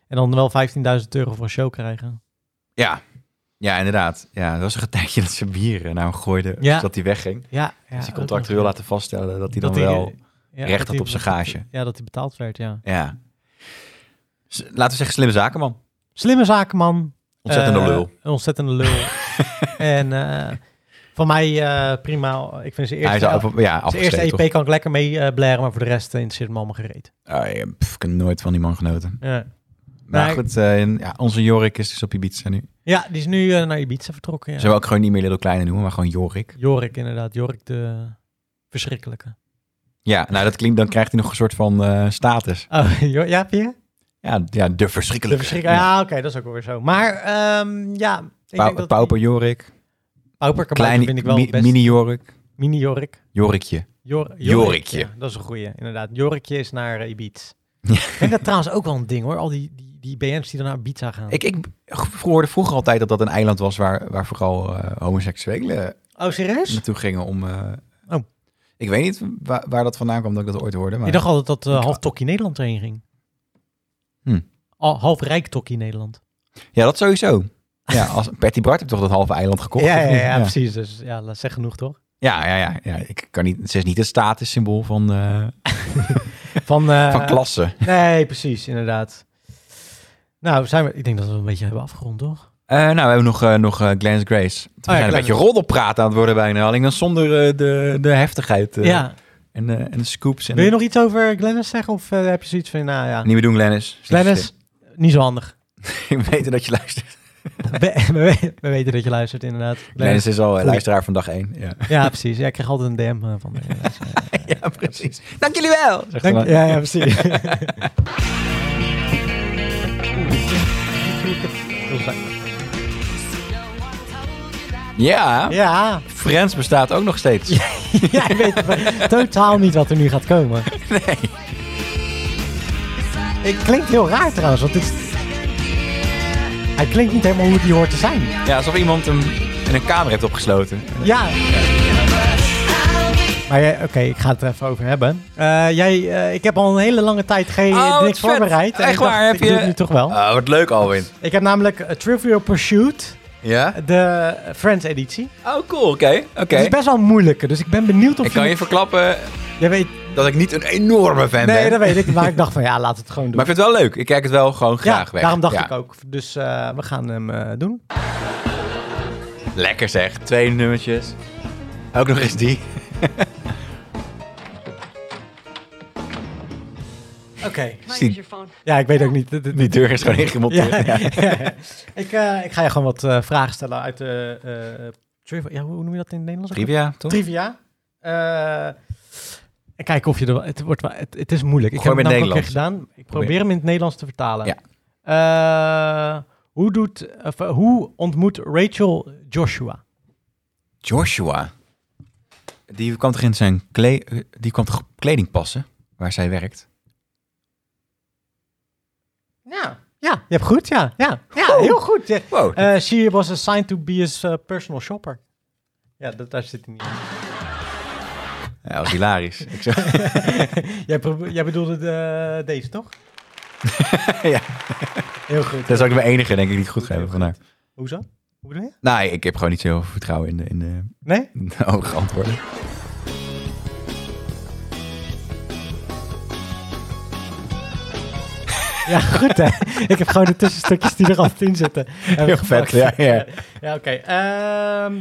Speaker 2: En dan wel 15.000 euro voor een show krijgen.
Speaker 1: Ja. ja, inderdaad. Ja, er was een [LAUGHS] tijdje dat ze bieren naar hem gooiden,
Speaker 2: Ja.
Speaker 1: zodat hij wegging.
Speaker 2: Ja, ja
Speaker 1: dus die
Speaker 2: ook
Speaker 1: contractueel
Speaker 2: nog.
Speaker 1: laten vaststellen dat hij dan
Speaker 2: Dat hij,
Speaker 1: wel...
Speaker 2: eh, ja,
Speaker 1: recht
Speaker 2: dat
Speaker 1: had
Speaker 2: hij-
Speaker 1: op zijn
Speaker 2: dat hij-
Speaker 1: gage.
Speaker 2: Ja, dat hij betaald werd, ja.
Speaker 1: Ja. S- Laten we zeggen, slimme zaken, man.
Speaker 2: Slimme zakenman.
Speaker 1: Ontzettende
Speaker 2: Eh,
Speaker 1: lul.
Speaker 2: Een ontzettende
Speaker 1: [LAUGHS]
Speaker 2: lul. en eh, voor mij eh, prima. Ik vind zijn
Speaker 1: Hij is
Speaker 2: eerste,
Speaker 1: af, ja,
Speaker 2: zijn eerste
Speaker 1: afgeschreven,
Speaker 2: EP
Speaker 1: toch?
Speaker 2: kan ik lekker mee eh, blaren, maar voor de rest eh, interesseert me allemaal gereed.
Speaker 1: Ah, ja, pff, ik heb nooit van die man genoten.
Speaker 2: Ja.
Speaker 1: Maar
Speaker 2: Nee.
Speaker 1: goed, eh, en, ja, onze Jorik is dus op Ibiza nu.
Speaker 2: ja, die is nu eh, naar Ibiza vertrokken. Ja.
Speaker 1: Zullen we ook gewoon niet meer Little Kleine noemen, maar gewoon Jorik.
Speaker 2: Jorik inderdaad. Jorik de verschrikkelijke.
Speaker 1: Ja, nou dat klinkt, dan krijgt hij nog een soort van eh, status.
Speaker 2: Oh, [LAUGHS] Jo- ja, Pierre?
Speaker 1: Ja, ja de
Speaker 2: De
Speaker 1: verschrikkelijke.
Speaker 2: verschrik- Ja, oké, dat is ook wel weer zo. Maar ehm, ja, ik
Speaker 1: Pau-
Speaker 2: denk dat
Speaker 1: Pauper Jorik.
Speaker 2: die- pauper kleine,
Speaker 1: Kleine,
Speaker 2: vind ik wel
Speaker 1: mi-
Speaker 2: het best.
Speaker 1: mini Jorik.
Speaker 2: mini Jorik.
Speaker 1: Jorikje.
Speaker 2: Jor-
Speaker 1: Jorikje.
Speaker 2: Ja, dat is een goeie, inderdaad. Jorikje is naar eh, Ibiza.
Speaker 1: Ja.
Speaker 2: Ik denk dat trouwens ook wel een ding hoor, al die, die, die BM's die dan naar Ibiza gaan.
Speaker 1: Ik, ik hoorde vroeger altijd dat dat een eiland was waar, waar vooral eh, homoseksuelen
Speaker 2: oh, serieus?
Speaker 1: naartoe gingen om... eh,
Speaker 2: Oh.
Speaker 1: Ik weet niet waar, waar dat vandaan kwam dat ik dat ooit hoorde. Maar...
Speaker 2: Ik dacht altijd dat eh,
Speaker 1: Ik-
Speaker 2: half Tokkie Nederland erheen ging.
Speaker 1: Hm.
Speaker 2: Al- half Rijk Tokkie Nederland.
Speaker 1: Ja, dat sowieso. [LAUGHS] Ja, als Patty Bart heeft toch dat halve eiland gekocht?
Speaker 2: ja,
Speaker 1: of
Speaker 2: ja,
Speaker 1: niet?
Speaker 2: ja,
Speaker 1: [LAUGHS]
Speaker 2: precies. Dus ja, dat zegt genoeg toch?
Speaker 1: ja, ja, ja, ja. Ik kan niet, ze is niet het statussymbool van, eh,
Speaker 2: Van, eh,
Speaker 1: van klasse.
Speaker 2: Nee, precies, inderdaad. Nou, zijn we, ik denk dat we een beetje hebben afgerond, toch?
Speaker 1: Eh, nou, we hebben nog, eh, nog eh, Glenn's Grace. We zijn een
Speaker 2: Glenn's.
Speaker 1: beetje roddelpraat aan het worden bijna. Alleen dan zonder eh, de, de heftigheid eh,
Speaker 2: ja,
Speaker 1: en, eh, en de scoops. En
Speaker 2: Wil je nog iets over Glennis zeggen? Of eh, heb je zoiets van, nou ja.
Speaker 1: Ah. Niet meer doen, Glennis.
Speaker 2: [LAUGHS] Glennis, niet zo handig. [LAUGHS]
Speaker 1: Ik weet dat je luistert.
Speaker 2: we, we- we weten dat je luistert, inderdaad. Glennis.
Speaker 1: Glennis is al eh,
Speaker 2: Oeh.
Speaker 1: luisteraar van dag één. Ja,
Speaker 2: Ja, precies. Ja, ik krijg altijd een DM eh, van haar. Dus, eh,
Speaker 1: [LAUGHS] ja precies. Dank jullie wel! zegt
Speaker 2: dank-
Speaker 1: ze dan.
Speaker 2: ja, ja, precies.
Speaker 1: [LAUGHS] Ja,
Speaker 2: ja,
Speaker 1: Friends bestaat ook nog steeds.
Speaker 2: jij weet totaal niet wat er nu gaat komen.
Speaker 1: Nee.
Speaker 2: Het klinkt heel raar trouwens, want dit is- Hij klinkt niet helemaal hoe die hoort te zijn.
Speaker 1: Ja, alsof iemand hem in een kamer heeft opgesloten.
Speaker 2: Ja. Maar jij- oké, ik ga het er even over hebben. Eh, jij, eh, ik heb al een hele lange tijd geen
Speaker 1: Oh, wat
Speaker 2: niks
Speaker 1: vet.
Speaker 2: voorbereid. En
Speaker 1: Echt
Speaker 2: ik dacht,
Speaker 1: waar, heb
Speaker 2: ik doe
Speaker 1: je-
Speaker 2: het nu toch wel.
Speaker 1: Ah, wat leuk, Alwin.
Speaker 2: Ik heb namelijk eh, Trivial Pursuit,
Speaker 1: Ja?
Speaker 2: de Friends editie.
Speaker 1: Oh, cool. Oké, oké.
Speaker 2: Het is best wel moeilijker, dus ik ben benieuwd of
Speaker 1: Ik kan je verklappen
Speaker 2: Jij weet...
Speaker 1: dat ik niet een enorme fan ben.
Speaker 2: Nee, dat weet ik. Maar ik dacht van ja, laat het gewoon doen.
Speaker 1: Maar ik vind het wel leuk. Ik kijk het wel gewoon graag
Speaker 2: ja,
Speaker 1: weg.
Speaker 2: daarom dacht
Speaker 1: Ja.
Speaker 2: ik ook. Dus eh, we gaan hem eh, doen.
Speaker 1: Lekker zeg. Twee nummertjes. Ook nog eens
Speaker 2: [LAUGHS]
Speaker 1: die.
Speaker 2: Oké.
Speaker 5: Might
Speaker 1: See-
Speaker 5: use your phone.
Speaker 2: Ja, ik weet ook niet. Dit- dit-
Speaker 1: Die deur is gewoon ingemonteerd.
Speaker 2: Ja,
Speaker 1: Ja.
Speaker 2: ja. ik, eh, ik ga je gewoon wat eh, vragen stellen uit de... eh, trivia, ja, hoe noem je dat in het Nederlands? ook
Speaker 1: Trivia, toch?
Speaker 2: Trivia. Eh, en kijken of je er wel... Het, wordt, wel- het, het is moeilijk. Ik
Speaker 1: Gooi
Speaker 2: heb
Speaker 1: hem
Speaker 2: het
Speaker 1: in
Speaker 2: namelijk ook een keer gedaan. Ik probeer
Speaker 1: Probeer.
Speaker 2: hem in het Nederlands te vertalen. Ja. hoe, doet, of, eh, hoe ontmoet Rachel Joshua?
Speaker 1: Joshua. Die kwam toch in zijn kle- eh, die kwam toch op kleding passen? Waar zij werkt.
Speaker 2: Ja. Ja, je hebt goed, ja. Ja, ja heel goed. Ja.
Speaker 1: Wow.
Speaker 2: Eh, she was assigned to be his eh, personal shopper. Ja, dat, daar zit hij niet in.
Speaker 1: Ja, dat was hilarisch. [LAUGHS] Ik zo-
Speaker 2: jij, probe- jij bedoelde de- deze,
Speaker 1: [LAUGHS]
Speaker 2: toch?
Speaker 1: Ja.
Speaker 2: Heel goed.
Speaker 1: Dus- dat is ook de enige, denk ik, die het goed geven vandaag.
Speaker 2: Hoezo? Hoe bedoel je?
Speaker 1: Nee, ik heb gewoon niet zo heel veel vertrouwen in de, in de,
Speaker 2: Nee?
Speaker 1: in de [LAUGHS] hoge antwoorden.
Speaker 2: Ja, goed [LAUGHS] hè. ik heb gewoon de tussenstukjes die er altijd in zitten.
Speaker 1: Heel vet, ja, ja.
Speaker 2: Ja, oké. Ehm,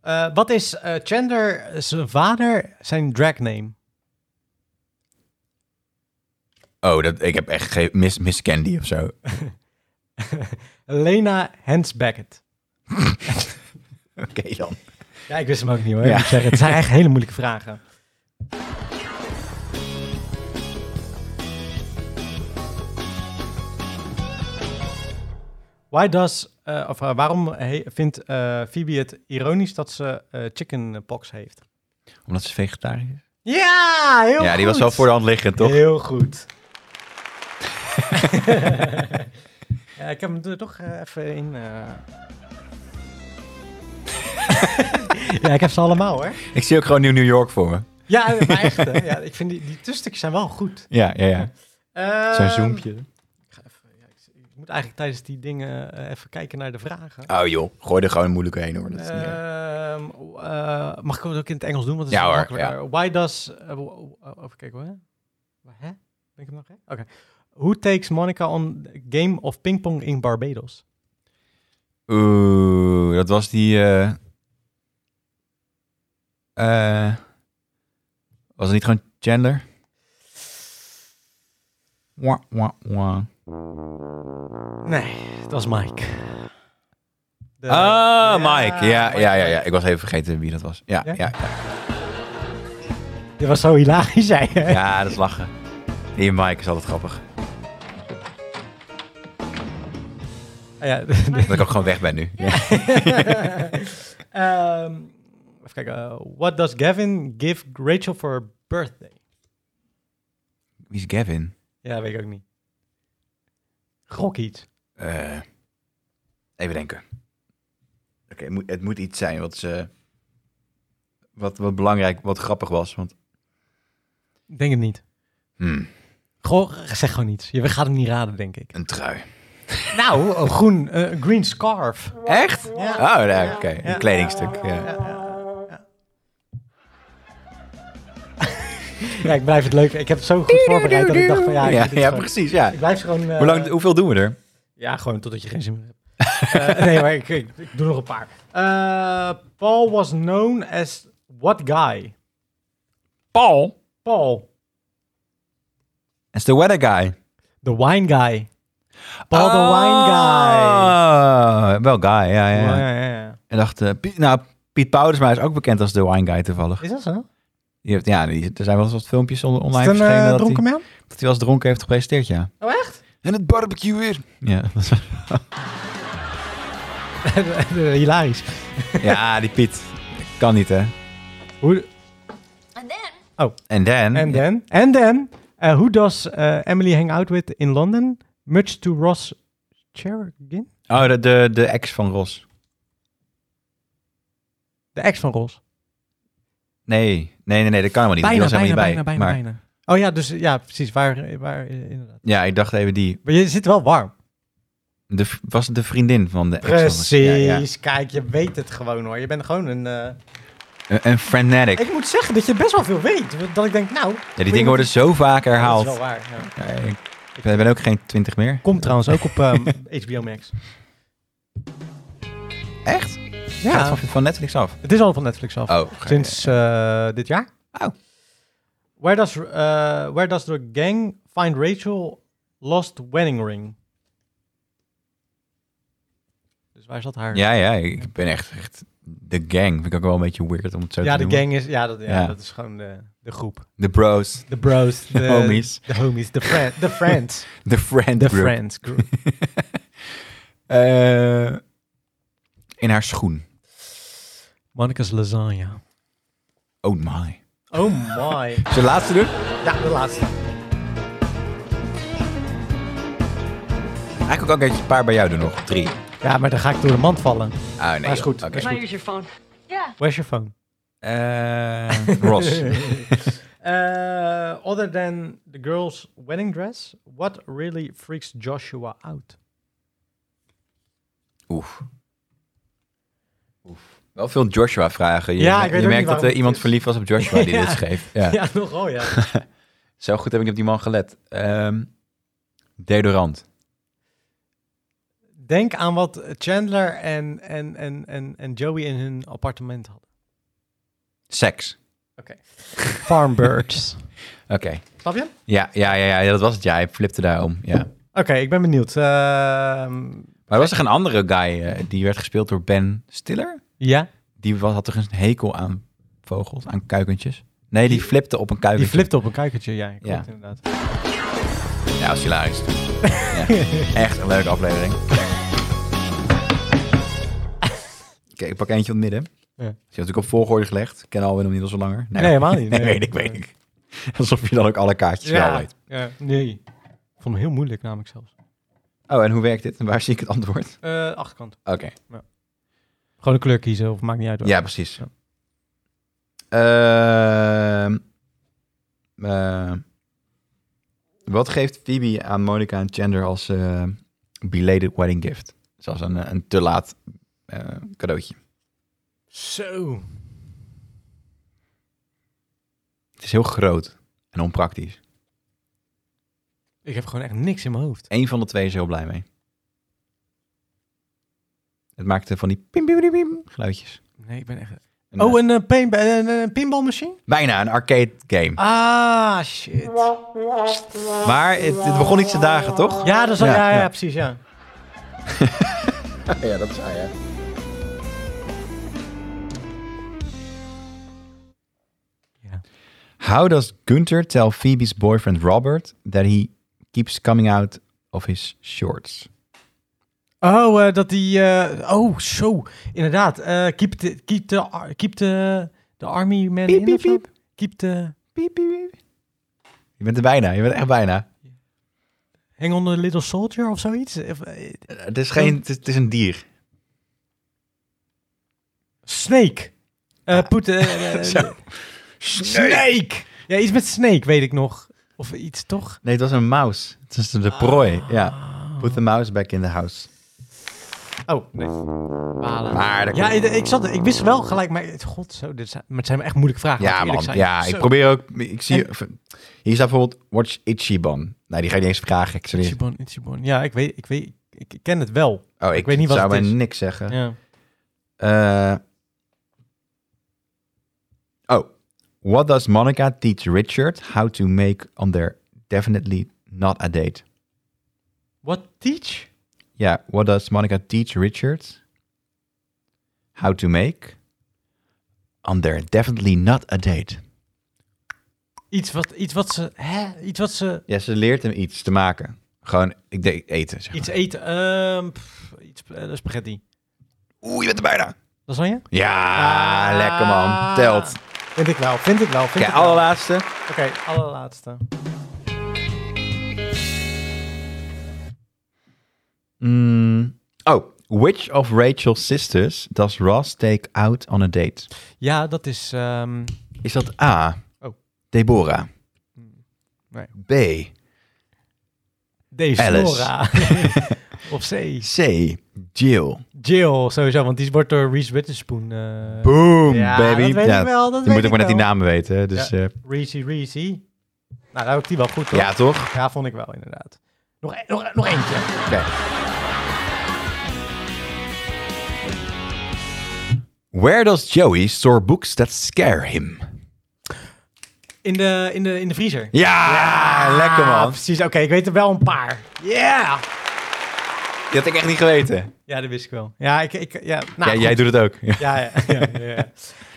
Speaker 2: eh, wat is eh Chandler zijn vader, zijn drag name?
Speaker 1: Oh, dat, ik heb echt geen Miss, Miss Candy of [LAUGHS] zo.
Speaker 2: Lena Hans Beckett.
Speaker 1: Oké dan.
Speaker 2: Ja, ik wist hem ook niet hoor.
Speaker 1: Ja.
Speaker 2: Ik moet zeggen, het zijn echt hele moeilijke vragen. Why does, eh, of, eh, waarom he- vindt eh Phoebe het ironisch dat ze eh, chickenpox heeft?
Speaker 1: Omdat ze vegetariër is.
Speaker 2: Ja, heel goed.
Speaker 1: Ja, die was wel voor de hand liggend, toch?
Speaker 2: Heel goed. [LAUGHS] ja, ik heb hem er toch eh, even in. eh. [LAUGHS] ja, ik heb ze allemaal hoor.
Speaker 1: Ik zie ook gewoon New New York voor me.
Speaker 2: Ja, maar echt. hè. ja, ik vind die, die tussenstukjes zijn wel goed.
Speaker 1: Ja, ja, ja. Zo'n
Speaker 2: Ehm,
Speaker 1: zoompje.
Speaker 2: Ik, ga even, ja, ik, ik moet eigenlijk tijdens die dingen eh, even kijken naar de vragen.
Speaker 1: Oh joh, gooi er gewoon moeilijk heen hoor. Dat is niet erg.
Speaker 2: Ehm, eh, mag ik het ook in het Engels doen? Want het
Speaker 1: Ja
Speaker 2: is
Speaker 1: hoor,
Speaker 2: makkelijker. Why does... eh, w- w- oh, even kijken hoor. Wa- Hè? Ben ik hem nog hè? Oké. Who takes Monica on the game of pingpong in Barbados?
Speaker 1: Oeh, dat was die. eh, eh, was het niet gewoon Chandler? Wah, wah, wah.
Speaker 2: Nee, dat was Mike. De-
Speaker 1: Ah, Mike. Ja, ja, ja, ja. Ik was even vergeten wie dat was. Ja,
Speaker 2: Ja?
Speaker 1: ja, ja.
Speaker 2: Dit was zo hilarisch, zei je.
Speaker 1: ja dat is lachen. Die Mike is altijd grappig.
Speaker 2: Ah, ja.
Speaker 1: Dat ik ook gewoon weg ben nu. Ja.
Speaker 2: Ehm, even kijken. eh, what does Gavin give Rachel for her birthday?
Speaker 1: Wie is Gavin?
Speaker 2: Ja, weet ik ook niet. Gok iets.
Speaker 1: Eh, even denken. Oké, het, moet, het moet iets zijn wat ze. Wat, wat belangrijk, wat grappig was. Want.
Speaker 2: Ik denk het niet.
Speaker 1: hmm,
Speaker 2: Goh, zeg gewoon iets. Je gaat hem niet raden, denk ik.
Speaker 1: een trui.
Speaker 2: Nou, een groen, eh, green scarf.
Speaker 1: Echt?
Speaker 2: Ja.
Speaker 1: Oh, nee, oké.
Speaker 2: Ja.
Speaker 1: Een kledingstuk. Ja.
Speaker 2: Ja, ik blijf het leuk. Ik heb het zo goed voorbereid dat ik dacht van ja,
Speaker 1: Ja,
Speaker 2: ik,
Speaker 1: ja,
Speaker 2: doe dit gewoon.
Speaker 1: precies. Ja.
Speaker 2: ik blijf gewoon... eh,
Speaker 1: Hoe lang, hoeveel doen we er?
Speaker 2: Ja, gewoon totdat je geen zin meer hebt. Eh, nee, maar ik, ik, ik doe nog een paar. Eh, Paul was known as what guy?
Speaker 1: Paul.
Speaker 2: Paul,
Speaker 1: Is the weather guy.
Speaker 2: the wine guy. Paul the wine guy.
Speaker 1: guy. Oh. Wel guy, ja, ja.
Speaker 2: Oh. Ja, ja, ja.
Speaker 1: En dacht, eh, Piet, nou, Piet Poudersma is ook bekend als de wine guy toevallig.
Speaker 2: Is dat zo?
Speaker 1: Die heeft, ja, die, er zijn wel eens wat filmpjes on-
Speaker 2: Is
Speaker 1: online
Speaker 2: het een
Speaker 1: verschenen
Speaker 2: eh,
Speaker 1: dat,
Speaker 2: dronken
Speaker 1: hij,
Speaker 2: man?
Speaker 1: dat hij wel eens dronken heeft gepresenteerd, ja.
Speaker 2: Oh, echt?
Speaker 1: En het barbecue weer. Ja, dat is-
Speaker 2: [LAUGHS] Hilarisch.
Speaker 1: [LAUGHS] ja die Piet. Kan niet, hè.
Speaker 2: Hoe,
Speaker 5: And then
Speaker 1: En dan...
Speaker 2: And then, and then, uh, who does uh, Emily hang out with in London? Much to Ross Cheragin?
Speaker 1: Oh, de, de, de ex van Ros.
Speaker 2: De ex van Ross.
Speaker 1: Nee, nee, nee, nee dat kan helemaal niet. die was helemaal niet bij. maar,
Speaker 2: Oh ja, dus ja, precies. Waar, waar eh, inderdaad.
Speaker 1: Ja, ik dacht even die.
Speaker 2: Maar je zit wel warm.
Speaker 1: De, v- was het de vriendin van de ex van Ros?
Speaker 2: Precies.
Speaker 1: Ja, ja.
Speaker 2: Kijk, je weet het gewoon hoor. Je bent gewoon een... eh,
Speaker 1: Een, een fanatic.
Speaker 2: Ik moet zeggen dat je best wel veel weet. Dat ik denk, nou...
Speaker 1: Ja, die dingen worden zo vaak herhaald.
Speaker 2: Dat is wel waar, ja.
Speaker 1: Ja, ik ik ben ook geen twintig meer.
Speaker 2: Komt trouwens ook
Speaker 1: [LAUGHS]
Speaker 2: op ehm, HBO Max.
Speaker 1: Echt? Gaat
Speaker 2: Ja,
Speaker 1: Van, van Netflix af.
Speaker 2: het is al van Netflix af.
Speaker 1: Oh,
Speaker 2: Sinds eh, dit jaar.
Speaker 1: Oh.
Speaker 2: Where does, eh, where does the gang find Rachel lost wedding ring? Dus waar zat haar?
Speaker 1: Ja, ja, ik ben echt, echt... De gang vind ik ook wel een beetje weird om het zo
Speaker 2: Ja,
Speaker 1: te
Speaker 2: de
Speaker 1: noemen.
Speaker 2: gang is, ja, dat, ja,
Speaker 1: Ja.
Speaker 2: dat is gewoon de, de groep.
Speaker 1: De bros.
Speaker 2: De bros. De
Speaker 1: homies.
Speaker 2: De homies. De friend, [LAUGHS] the friends.
Speaker 1: De friend
Speaker 2: De
Speaker 1: group.
Speaker 2: friends group.
Speaker 1: Eh, in haar schoen.
Speaker 2: Monica's lasagne.
Speaker 1: Oh my.
Speaker 2: Oh my.
Speaker 1: Is de laatste doen?
Speaker 2: Ja, de laatste.
Speaker 1: Eigenlijk ook een paar bij jou doen nog. Drie.
Speaker 2: Ja, maar dan ga ik door de mand vallen.
Speaker 1: Ah, nee.
Speaker 2: Maar is goed.
Speaker 1: joh. Oké.
Speaker 2: Is goed.
Speaker 6: Use your phone.
Speaker 5: yeah.
Speaker 2: Where's your phone?
Speaker 1: Eh,
Speaker 2: [LAUGHS]
Speaker 1: Ross.
Speaker 2: Uh, other than the girl's wedding dress, what really freaks Joshua out?
Speaker 1: Oef. Wel veel Joshua-vragen. Je,
Speaker 2: Ja,
Speaker 1: me-
Speaker 2: ik weet
Speaker 1: je
Speaker 2: ook
Speaker 1: merkt
Speaker 2: niet
Speaker 1: dat
Speaker 2: waarom
Speaker 1: er iemand
Speaker 2: het is.
Speaker 1: verliefd was op Joshua die
Speaker 2: [LAUGHS] Ja.
Speaker 1: dit schreef. Ja.
Speaker 2: Ja, nogal ja.
Speaker 1: Zo goed heb ik op die man gelet. Ehm, deodorant.
Speaker 2: Denk aan wat Chandler en, en, en, en, en Joey in hun appartement hadden.
Speaker 1: Seks.
Speaker 2: [LAUGHS] Farmbirds.
Speaker 1: Oké.
Speaker 2: Snap je?
Speaker 1: Ja, ja, ja, ja, ja, dat was het. Ja, hij flipte daarom. Ja.
Speaker 2: Oké, ik ben benieuwd. Ehm,
Speaker 1: Maar er was toch een andere guy, eh, die werd gespeeld door Ben Stiller?
Speaker 2: ja,
Speaker 1: Die was, had toch eens een hekel aan vogels, aan kuikentjes? Nee, die flipte op een
Speaker 2: die
Speaker 1: kuikentje.
Speaker 2: flipte op een kuikentje. Ja, klopt
Speaker 1: Ja.
Speaker 2: inderdaad.
Speaker 1: Ja, dat is hilarisch. [LAUGHS] Ja. Echt een leuke aflevering. Oké, ik pak eentje op het midden. Je
Speaker 2: Ja.
Speaker 1: hebt natuurlijk op volgorde gelegd. Ik ken Alwin hem niet al zo langer.
Speaker 2: Nee, helemaal
Speaker 1: [LAUGHS]
Speaker 2: niet.
Speaker 1: Nee,
Speaker 2: Nee.
Speaker 1: weet ik, weet ik. Alsof je dan ook alle kaartjes wel weet.
Speaker 2: ja, nee. Ik vond hem heel moeilijk namelijk zelfs.
Speaker 1: Oh, en hoe werkt dit? En waar zie ik het antwoord?
Speaker 2: Eh, achterkant.
Speaker 1: Oké.
Speaker 2: Gewoon een kleur kiezen of maakt niet uit. wat.
Speaker 1: Ja, precies.
Speaker 2: Ja.
Speaker 1: Ehm, eh, wat geeft Phoebe aan Monica en Chandler als eh, belated wedding gift? Zoals een, eh, een te laat eh, cadeautje.
Speaker 2: Zo.
Speaker 1: Het is heel groot en onpraktisch.
Speaker 2: Ik heb gewoon echt niks in mijn hoofd.
Speaker 1: Eén van de twee is er heel blij mee. Het maakte van die pim, pim, pim, pim geluidjes.
Speaker 2: Nee, ik ben echt...
Speaker 1: Een,
Speaker 2: Oh,
Speaker 1: eh,
Speaker 2: een, eh, pain- een, een, een pinballmachine?
Speaker 1: bijna een arcade game.
Speaker 2: Ah, shit.
Speaker 1: Maar het, het begon iets te dagen, toch?
Speaker 2: Ja, dat is al,
Speaker 1: Ja,
Speaker 2: ja, ja,
Speaker 1: ja.
Speaker 2: precies, ja.
Speaker 1: Ja, dat is hij, hè.
Speaker 2: Ja.
Speaker 1: How does Gunther tell Phoebe's boyfriend Robert that he keeps coming out of his shorts?
Speaker 2: Oh, eh, dat die... eh, oh, zo. Inderdaad. eh, keep, the, keep, the, ar- keep the, the army man
Speaker 1: Piep,
Speaker 2: in
Speaker 1: piep,
Speaker 2: of zo?
Speaker 1: piep.
Speaker 2: Keep the...
Speaker 1: Piep, piep, piep. Je bent er bijna, je bent echt bijna.
Speaker 2: Hang on the little soldier of zoiets? Of, eh,
Speaker 1: Eh, Het is, geen, het is, het is een dier.
Speaker 2: snake. Eh
Speaker 1: Ah.
Speaker 2: Put... [LAUGHS] eh, eh,
Speaker 1: Zo.
Speaker 2: snake! Ja, iets met snake, weet ik nog. Of iets, toch?
Speaker 1: Nee, het was een mouse. Het is de prooi, ja.
Speaker 2: Ah.
Speaker 1: Put the mouse back in the house.
Speaker 2: Oh, nee. Balen.
Speaker 1: Maar dat-
Speaker 2: Ja, ik, ik zat, ik wist wel gelijk, maar het- god, zo, dit zijn, maar het zijn echt moeilijke vragen. laat
Speaker 1: Ja,
Speaker 2: ik eerlijk
Speaker 1: man.
Speaker 2: zijn.
Speaker 1: Ja,
Speaker 2: Zo.
Speaker 1: ik probeer ook... Ik zie, hier staat bijvoorbeeld Watch Ichiban. Nee, die ga je niet eens vragen. Ik, zal die-
Speaker 2: Ichiban, Ichiban. Ja, ik weet, ik weet, ik, ik ken het wel.
Speaker 1: oh, ik,
Speaker 2: weet niet wat
Speaker 1: zou
Speaker 2: het
Speaker 1: mij
Speaker 2: is.
Speaker 1: niks zeggen.
Speaker 2: Ja.
Speaker 1: Eh, oh. What does Monica teach Richard how to make on their definitely not a date?
Speaker 2: What teach?
Speaker 1: Yeah, what does Monica teach Richard how to make on their definitely not a date?
Speaker 2: Iets wat, iets wat ze, hè? Iets wat ze,
Speaker 1: Ja, ze leert hem iets te maken. Gewoon, ik denk eten. Zeg
Speaker 2: iets
Speaker 1: maar.
Speaker 2: eten, ehm, pff, iets, eh, spaghetti.
Speaker 1: Oeh, je bent er bijna.
Speaker 2: Lasagne?
Speaker 1: Ja,
Speaker 2: Ah.
Speaker 1: lekker man. Telt.
Speaker 2: Vind ik wel, vind ik wel,
Speaker 1: Oké,
Speaker 2: vind ik wel.
Speaker 1: allerlaatste.
Speaker 2: Oké, allerlaatste.
Speaker 1: Mm, Oh, which of Rachel's sisters does Ross take out on a date?
Speaker 2: Ja, dat is, ehm,
Speaker 1: Is dat A.
Speaker 2: Oh. Hmm.
Speaker 1: Deborah.
Speaker 2: Nee.
Speaker 1: B.
Speaker 2: deze.
Speaker 1: Alice.
Speaker 2: [LAUGHS] Nora. of C.
Speaker 1: C. Jill.
Speaker 2: Jill, sowieso, want die wordt door Reese Witherspoon. eh,
Speaker 1: Boom,
Speaker 2: ja,
Speaker 1: baby.
Speaker 2: dat weet
Speaker 1: Ja,
Speaker 2: ik wel, dat
Speaker 1: je
Speaker 2: weet
Speaker 1: moet ook maar net die
Speaker 2: wel.
Speaker 1: namen weten. hè, Dus, ja.
Speaker 2: Reese, Reese. Nou, daar heb ik die wel goed, toch?
Speaker 1: ja, toch?
Speaker 2: Ja, vond ik wel, inderdaad. Nog, e- nog, nog eentje.
Speaker 1: Oké. Where does Joey store books that scare him?
Speaker 2: In de, in de, in de vriezer.
Speaker 1: Ja, lekker
Speaker 2: Ah,
Speaker 1: man.
Speaker 2: precies. Oké, ik weet er wel een paar. Ja!
Speaker 1: Die had ik echt niet geweten.
Speaker 2: Ja, dat wist ik wel. Ja, ik... ik ja,
Speaker 1: ja,
Speaker 2: nou, goed.
Speaker 1: jij doet het ook. Ja,
Speaker 2: Ja, ja, [LAUGHS] ja, ja, ja.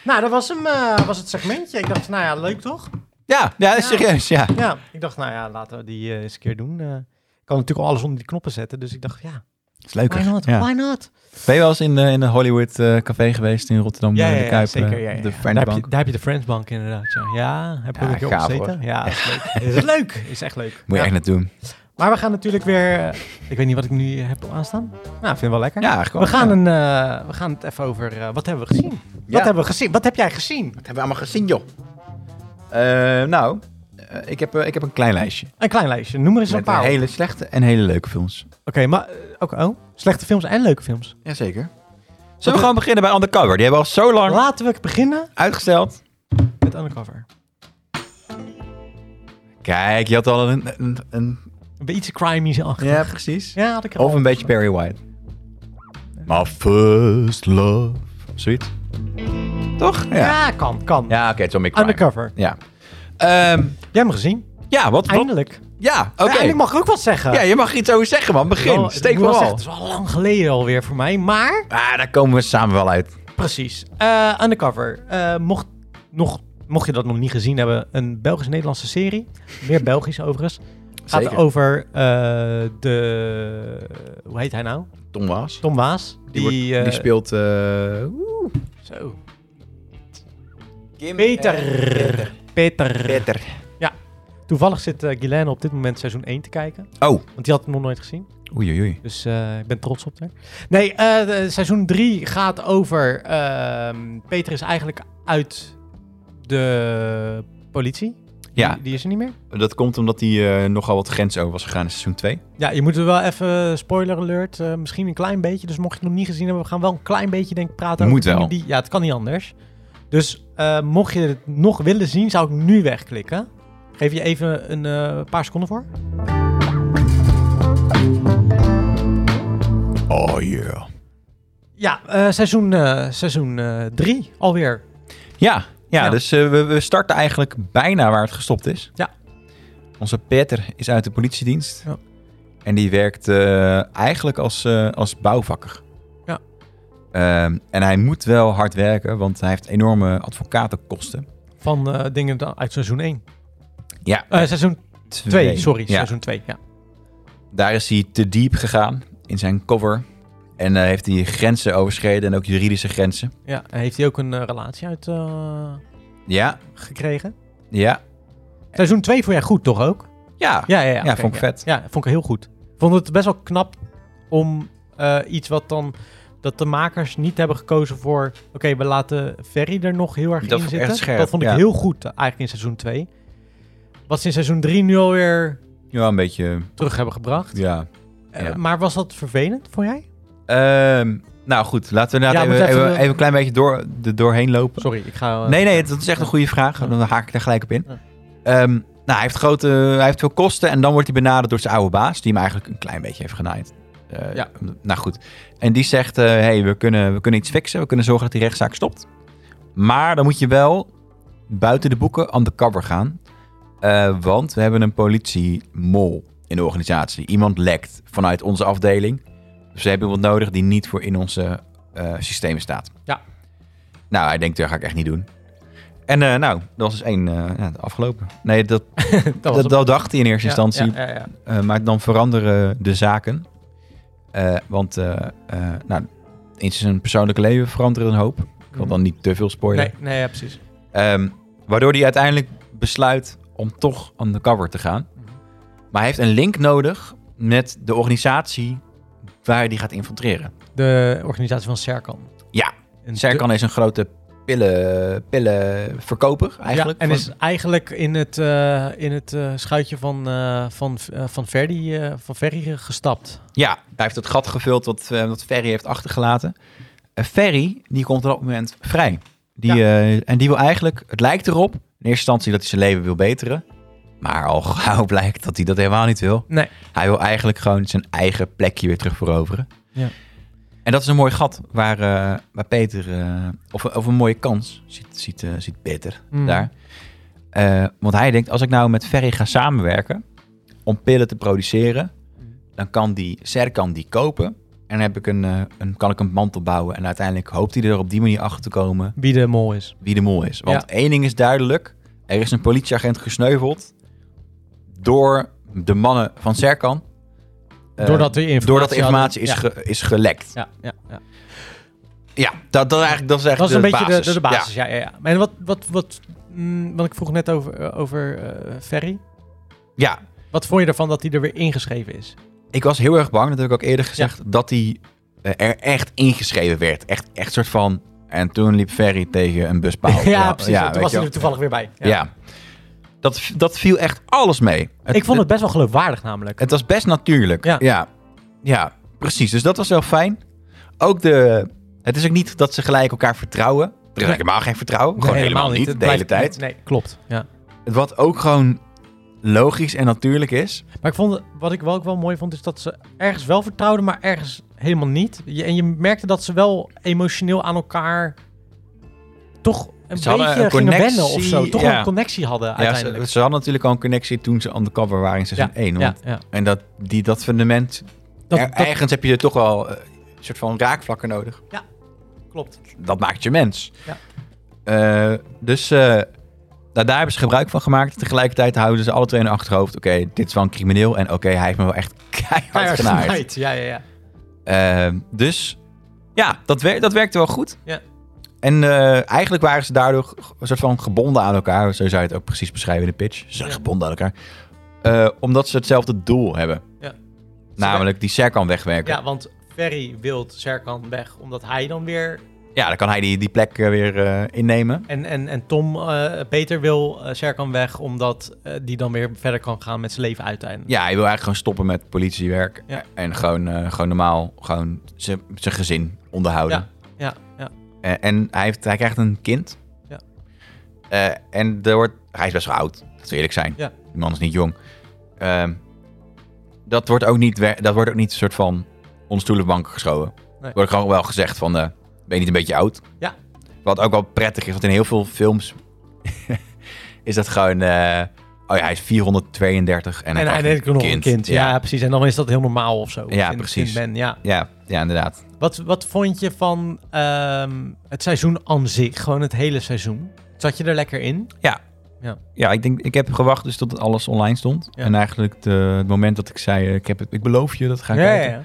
Speaker 2: Nou, dat was, hem, eh, was het segmentje. Ik dacht, nou ja, leuk toch?
Speaker 1: ja, ja serieus, ja.
Speaker 2: Ja, ik dacht, nou ja, laten we die eh, eens een keer doen. Eh, ik kan natuurlijk al alles onder die knoppen zetten, dus ik dacht, ja,
Speaker 1: Is leuker.
Speaker 2: why not?
Speaker 1: Ja.
Speaker 2: Why not?
Speaker 1: Ben je wel eens in, eh, in een Hollywood eh, café geweest in Rotterdam?
Speaker 2: Ja,
Speaker 1: eh,
Speaker 2: ja,
Speaker 1: de
Speaker 2: ja,
Speaker 1: Kuip,
Speaker 2: zeker.
Speaker 1: eh,
Speaker 2: Ja,
Speaker 1: de
Speaker 2: ja, ja. daar, heb
Speaker 1: Friendbank.
Speaker 2: je, daar heb je de Friendsbank inderdaad, ja. Ja, heb ik
Speaker 1: Ja,
Speaker 2: ook een keer
Speaker 1: gaaf,
Speaker 2: opgezeten. Ja, dat is leuk. [LAUGHS] is leuk. Is echt leuk.
Speaker 1: Moet je
Speaker 2: Ja.
Speaker 1: echt net doen.
Speaker 2: Maar we gaan natuurlijk weer. eh, ik weet niet wat ik nu eh, heb aanstaan. Nou, ik vind het wel lekker.
Speaker 1: Ja, gewoon.
Speaker 2: we, gaan een, eh, we gaan het even over. eh, wat hebben we gezien? Wat hebben we gezien? Wat heb jij gezien?
Speaker 1: hebben we allemaal gezien, joh? nou, eh, ik, heb, eh, ik heb een klein lijstje.
Speaker 2: Een klein lijstje. Noem er eens een
Speaker 1: Met eh,
Speaker 2: paar. op. Oké,
Speaker 1: hele slechte en hele leuke films.
Speaker 2: maar. eh, ook oh, slechte films en leuke films.
Speaker 1: Jazeker.
Speaker 2: Zullen
Speaker 1: Zullen we gewoon beginnen bij Undercover? Die hebben we al zo lang
Speaker 2: Laten we beginnen
Speaker 1: uitgesteld.
Speaker 2: met Undercover.
Speaker 1: Kijk, je had al een... een, een
Speaker 2: Een beetje crimey achter.
Speaker 1: ja, [LAUGHS] precies.
Speaker 2: Ja, had ik er
Speaker 1: Of
Speaker 2: al.
Speaker 1: een beetje Barry White. My first love. Zoiets. Toch?
Speaker 2: Ja,
Speaker 1: Ja,
Speaker 2: kan, kan.
Speaker 1: ja oké, het is wel meer crime.
Speaker 2: Undercover.
Speaker 1: Ja. Ehm,
Speaker 2: Jij hebt hem gezien.
Speaker 1: ja, wat? wat-
Speaker 2: Eindelijk.
Speaker 1: ja, oké.
Speaker 2: Ja, eindelijk mag ik ook wat zeggen.
Speaker 1: Ja, je mag iets over zeggen, man. Begin.
Speaker 2: Wel,
Speaker 1: Steek
Speaker 2: ik moet wel
Speaker 1: vooral.
Speaker 2: zeggen, Het is wel lang geleden alweer voor mij, maar...
Speaker 1: Ah, daar komen we samen wel uit.
Speaker 2: Precies. Eh, undercover. Eh, mocht, nog, mocht je dat nog niet gezien hebben, een Belgisch-Nederlandse serie.
Speaker 1: [LAUGHS]
Speaker 2: Meer Belgisch overigens. Gaat
Speaker 1: Zeker.
Speaker 2: over eh, de... Hoe heet hij nou?
Speaker 1: Tom Waas.
Speaker 2: Tom Waas.
Speaker 1: Die, wordt- die
Speaker 2: eh,
Speaker 1: speelt... eh, oeh,
Speaker 2: Zo.
Speaker 1: Kim-
Speaker 2: Peter.
Speaker 1: eh,
Speaker 2: Peter.
Speaker 1: Peter.
Speaker 2: Toevallig zit eh Guylaine op dit moment seizoen 1 te kijken.
Speaker 1: Oh.
Speaker 2: Want die had het nog nooit gezien.
Speaker 1: Oei, oei, oei.
Speaker 2: Dus eh, ik ben trots op haar. Nee, eh, de- seizoen 3 gaat over... ehm, Peter is eigenlijk uit de politie.
Speaker 1: Ja,
Speaker 2: Die, die is er niet meer.
Speaker 1: dat komt omdat hij eh, nogal wat grens over was gegaan in seizoen 2.
Speaker 2: Ja, je moet er wel even, spoiler alert, eh, misschien een klein beetje. Dus mocht je het nog niet gezien hebben, we gaan wel een klein beetje denk ik praten
Speaker 1: Moet
Speaker 2: dingen
Speaker 1: wel.
Speaker 2: Die, ja, het kan niet anders. Dus eh, mocht je het nog willen zien, zou ik nu wegklikken. Geef je even een eh, paar seconden voor.
Speaker 1: Oh, yeah.
Speaker 2: Ja, eh, seizoen 3 seizoen, eh, drie alweer.
Speaker 1: Ja, ja,
Speaker 2: Ja.
Speaker 1: dus eh, we, we starten eigenlijk bijna waar het gestopt is.
Speaker 2: Ja.
Speaker 1: Onze Peter is uit de politiedienst.
Speaker 2: Ja.
Speaker 1: En die werkt eh, eigenlijk als, eh, als bouwvakker.
Speaker 2: Ja.
Speaker 1: Ehm, en hij moet wel hard werken, want hij heeft enorme advocatenkosten.
Speaker 2: Van eh, dingen da- uit seizoen 1.
Speaker 1: Ja,
Speaker 2: seizoen 2, sorry. Seizoen 2, ja.
Speaker 1: Daar is hij te diep gegaan in zijn cover. En eh, heeft hij grenzen overschreden en ook juridische grenzen.
Speaker 2: ja. En heeft hij ook een eh, relatie uit eh,
Speaker 1: Ja,
Speaker 2: gekregen?
Speaker 1: ja, Eh.
Speaker 2: Seizoen 2 vond jij goed toch ook?
Speaker 1: ja.
Speaker 2: Ja, ja, ja.
Speaker 1: Ja,
Speaker 2: oké,
Speaker 1: vond ik vet.
Speaker 2: Ja, vond ik heel goed. Vond het best wel knap om eh, iets wat dan... Dat de makers niet hebben gekozen voor... Oké, we laten Ferry er nog heel erg
Speaker 1: Dat
Speaker 2: in
Speaker 1: vond ik
Speaker 2: zitten.
Speaker 1: echt scherp,
Speaker 2: dat vond ik
Speaker 1: ja.
Speaker 2: heel goed eh, eigenlijk in seizoen 2. Wat ze in seizoen 3 nu alweer
Speaker 1: Ja, een beetje,
Speaker 2: terug hebben gebracht.
Speaker 1: ja.
Speaker 2: Eh,
Speaker 1: ja.
Speaker 2: maar was dat vervelend, vond jij?
Speaker 1: Ehm, nou goed, laten we
Speaker 2: Ja,
Speaker 1: inderdaad
Speaker 2: moet
Speaker 1: even,
Speaker 2: even-
Speaker 1: even, even een klein beetje door, er doorheen lopen.
Speaker 2: Sorry, ik ga... eh,
Speaker 1: Nee, nee, dat is echt een goede vraag. Dan haak ik daar gelijk op in.
Speaker 2: Ja.
Speaker 1: Ehm, nou, hij heeft, grote, hij heeft veel kosten en dan wordt hij benaderd door zijn oude baas, die hem eigenlijk een klein beetje heeft genaaid. Eh,
Speaker 2: Ja.
Speaker 1: Nou goed. En die zegt, hé, hey, we, kunnen, we kunnen iets fixen, we kunnen zorgen dat die rechtszaak stopt. Maar dan moet je wel buiten de boeken undercover gaan. Eh, want we hebben een politiemol in de organisatie. Iemand lekt vanuit onze afdeling. Dus we hebben iemand nodig die niet voor in onze eh, systemen staat.
Speaker 2: Ja.
Speaker 1: Nou, hij denkt, dat ga ik echt niet doen. En eh, nou, dat was dus één eh, ja, afgelopen. Nee, dat,
Speaker 2: [LAUGHS] dat
Speaker 1: dat,
Speaker 2: het.
Speaker 1: dat dacht hij in eerste
Speaker 2: Ja,
Speaker 1: instantie.
Speaker 2: ja, ja, ja.
Speaker 1: Eh, maar dan veranderen de zaken. Eh, want eh, eh, nou, in zijn persoonlijke leven veranderen een hoop. Ik wil dan niet te veel spoilen.
Speaker 2: Mhm. Nee, nee ja, precies.
Speaker 1: Ehm, waardoor hij uiteindelijk besluit om toch undercover te gaan.
Speaker 2: Mhm.
Speaker 1: Maar hij heeft een link nodig met de organisatie waar hij die gaat infiltreren.
Speaker 2: De organisatie van Serkan.
Speaker 1: Ja,
Speaker 2: En
Speaker 1: Serkan is een grote pillen, pillenverkoper eigenlijk.
Speaker 2: Ja, en
Speaker 1: Van-
Speaker 2: is eigenlijk in het, eh, in het eh, schuitje van, eh, van, eh, van, Verdi, eh, van Ferry eh, gestapt.
Speaker 1: Ja, hij heeft het gat gevuld wat, eh, wat Ferry heeft achtergelaten. Eh, Ferry, die komt op dat moment vrij. Die, eh, en die wil eigenlijk, het lijkt erop, in eerste instantie dat hij zijn leven wil beteren. Maar al gauw [LAUGHS] blijkt dat hij dat helemaal niet wil.
Speaker 2: Nee.
Speaker 1: Hij wil eigenlijk gewoon zijn eigen plekje weer terug veroveren.
Speaker 2: Ja.
Speaker 1: En dat is een mooi gat waar, eh, waar Peter, eh, of, of een mooie kans, ziet, ziet, eh, ziet Peter
Speaker 2: Hmm.
Speaker 1: daar. Eh, want hij denkt, als ik nou met Ferry ga samenwerken om pillen te produceren,
Speaker 2: Hmm.
Speaker 1: dan kan die Serkan die kopen. En dan heb ik een, eh, een, kan ik een mantel bouwen. En uiteindelijk hoopt hij er op die manier achter te komen
Speaker 2: Wie de mol is.
Speaker 1: wie de mol is. Want
Speaker 2: Ja.
Speaker 1: één ding is duidelijk. Er is een politieagent gesneuveld door de mannen van Serkan. Eh,
Speaker 2: doordat de informatie,
Speaker 1: doordat de informatie is,
Speaker 2: hadden-
Speaker 1: ge- is gelekt.
Speaker 2: Ja, ja, ja, ja.
Speaker 1: Ja, dat, dat, eigenlijk, dat is echt
Speaker 2: Dat
Speaker 1: de
Speaker 2: is een beetje
Speaker 1: basis.
Speaker 2: De, de
Speaker 1: Ja.
Speaker 2: basis, ja. ja, ja, En wat, wat, wat, mm, want ik vroeg net over, eh, over eh, Ferry.
Speaker 1: ja,
Speaker 2: Wat vond je ervan dat hij er weer ingeschreven is?
Speaker 1: Ik was heel erg bang, dat heb ik ook eerder gezegd, dat hij eh, er echt ingeschreven werd. Echt, echt soort van. En toen liep Ferry tegen een buspaal.
Speaker 2: [LAUGHS] ja, precies. toen
Speaker 1: weet je
Speaker 2: was hij
Speaker 1: wel.
Speaker 2: er toevallig weer bij.
Speaker 1: Ja. Dat, dat viel echt alles mee.
Speaker 2: ik vond het best wel geloofwaardig namelijk.
Speaker 1: Het was best natuurlijk.
Speaker 2: Ja.
Speaker 1: ja. Ja, precies. Dus dat was wel fijn. Ook de, Het is ook niet dat ze gelijk elkaar vertrouwen. Er is
Speaker 2: Nee.
Speaker 1: helemaal geen vertrouwen. Gewoon
Speaker 2: Nee,
Speaker 1: helemaal, niet,
Speaker 2: Het
Speaker 1: de hele
Speaker 2: blijft-
Speaker 1: tijd.
Speaker 2: Nee, klopt. Ja.
Speaker 1: Wat ook gewoon logisch en natuurlijk is.
Speaker 2: Maar ik vond, wat ik wel ook wel mooi vond, is dat ze ergens wel vertrouwden, maar ergens helemaal niet. Je- en je merkte dat ze wel emotioneel aan elkaar toch een
Speaker 1: Ze hadden
Speaker 2: beetje
Speaker 1: een
Speaker 2: gingen
Speaker 1: connectie,
Speaker 2: wennen of zo. Toch
Speaker 1: ja.
Speaker 2: een connectie hadden
Speaker 1: Ja, ze,
Speaker 2: uiteindelijk.
Speaker 1: ze hadden natuurlijk al een connectie toen ze undercover waren in seizoen 1.
Speaker 2: ja, ja.
Speaker 1: En dat, die, dat fundament,
Speaker 2: Dat,
Speaker 1: er-
Speaker 2: dat
Speaker 1: ergens heb je er toch wel eh, een soort van raakvlakken nodig.
Speaker 2: klopt.
Speaker 1: Dat maakt je mens.
Speaker 2: Ja.
Speaker 1: Eh, dus eh, nou, daar hebben ze gebruik van gemaakt. Tegelijkertijd houden ze alle twee in hun achterhoofd. Oké, dit is wel een crimineel. En oké, hij heeft me wel echt [LAUGHS] keihard
Speaker 2: Keihard
Speaker 1: genaaid.
Speaker 2: genaaid, Ja, ja, ja.
Speaker 1: Ehm, dus ja, dat, wer dat werkte wel goed.
Speaker 2: Ja.
Speaker 1: En eh, eigenlijk waren ze daardoor g- een soort van gebonden aan elkaar. Zo zou je het ook precies beschrijven in de pitch. Ze zijn
Speaker 2: Ja.
Speaker 1: gebonden aan elkaar. Eh, omdat ze hetzelfde doel hebben.
Speaker 2: Ja.
Speaker 1: Namelijk die Serkan wegwerken. Ja.
Speaker 2: Ja, want Ferry wil Serkan weg, omdat hij dan weer...
Speaker 1: dan kan hij die, die plek eh, weer eh, innemen.
Speaker 2: En, en, en Tom eh, Peter wil eh, Serkan weg, omdat eh, die dan weer verder kan gaan met zijn leven uiteindelijk.
Speaker 1: Ja, hij wil eigenlijk gewoon stoppen met politiewerk.
Speaker 2: Ja.
Speaker 1: En gewoon, eh, gewoon normaal gewoon zijn zijn gezin onderhouden.
Speaker 2: Ja, ja.
Speaker 1: Eh, en hij, heeft, hij krijgt een kind.
Speaker 2: Ja.
Speaker 1: Eh, en er wordt, hij is best wel oud, dat we eerlijk zijn.
Speaker 2: Ja.
Speaker 1: Die man is niet jong. Ehm, dat wordt ook niet, wer- dat wordt ook niet een soort van onder stoel of banken geschoven.
Speaker 2: Nee.
Speaker 1: Wordt gewoon wel gezegd van, eh, ben je niet een beetje oud?
Speaker 2: Ja.
Speaker 1: Wat ook wel prettig is, want in heel veel films [LAUGHS] is dat gewoon... eh, oh ja, hij is 432 en,
Speaker 2: En
Speaker 1: hij
Speaker 2: hij
Speaker 1: krijgt
Speaker 2: denkt nog een kind. Ja. precies. En dan is dat heel normaal of zo.
Speaker 1: Ja,
Speaker 2: Vind-
Speaker 1: precies.
Speaker 2: vindt men, ja.
Speaker 1: Ja, ja, inderdaad.
Speaker 2: Wat, wat vond je van ehm, het seizoen aan zich? Gewoon het hele seizoen. Zat je er lekker in?
Speaker 1: Ja, ik denk, ik heb gewacht dus tot alles online stond.
Speaker 2: Ja.
Speaker 1: En eigenlijk de, het moment dat ik zei, eh, ik, heb het, ik beloof je, dat ga ik
Speaker 2: ja,
Speaker 1: kijken.
Speaker 2: ja, ja.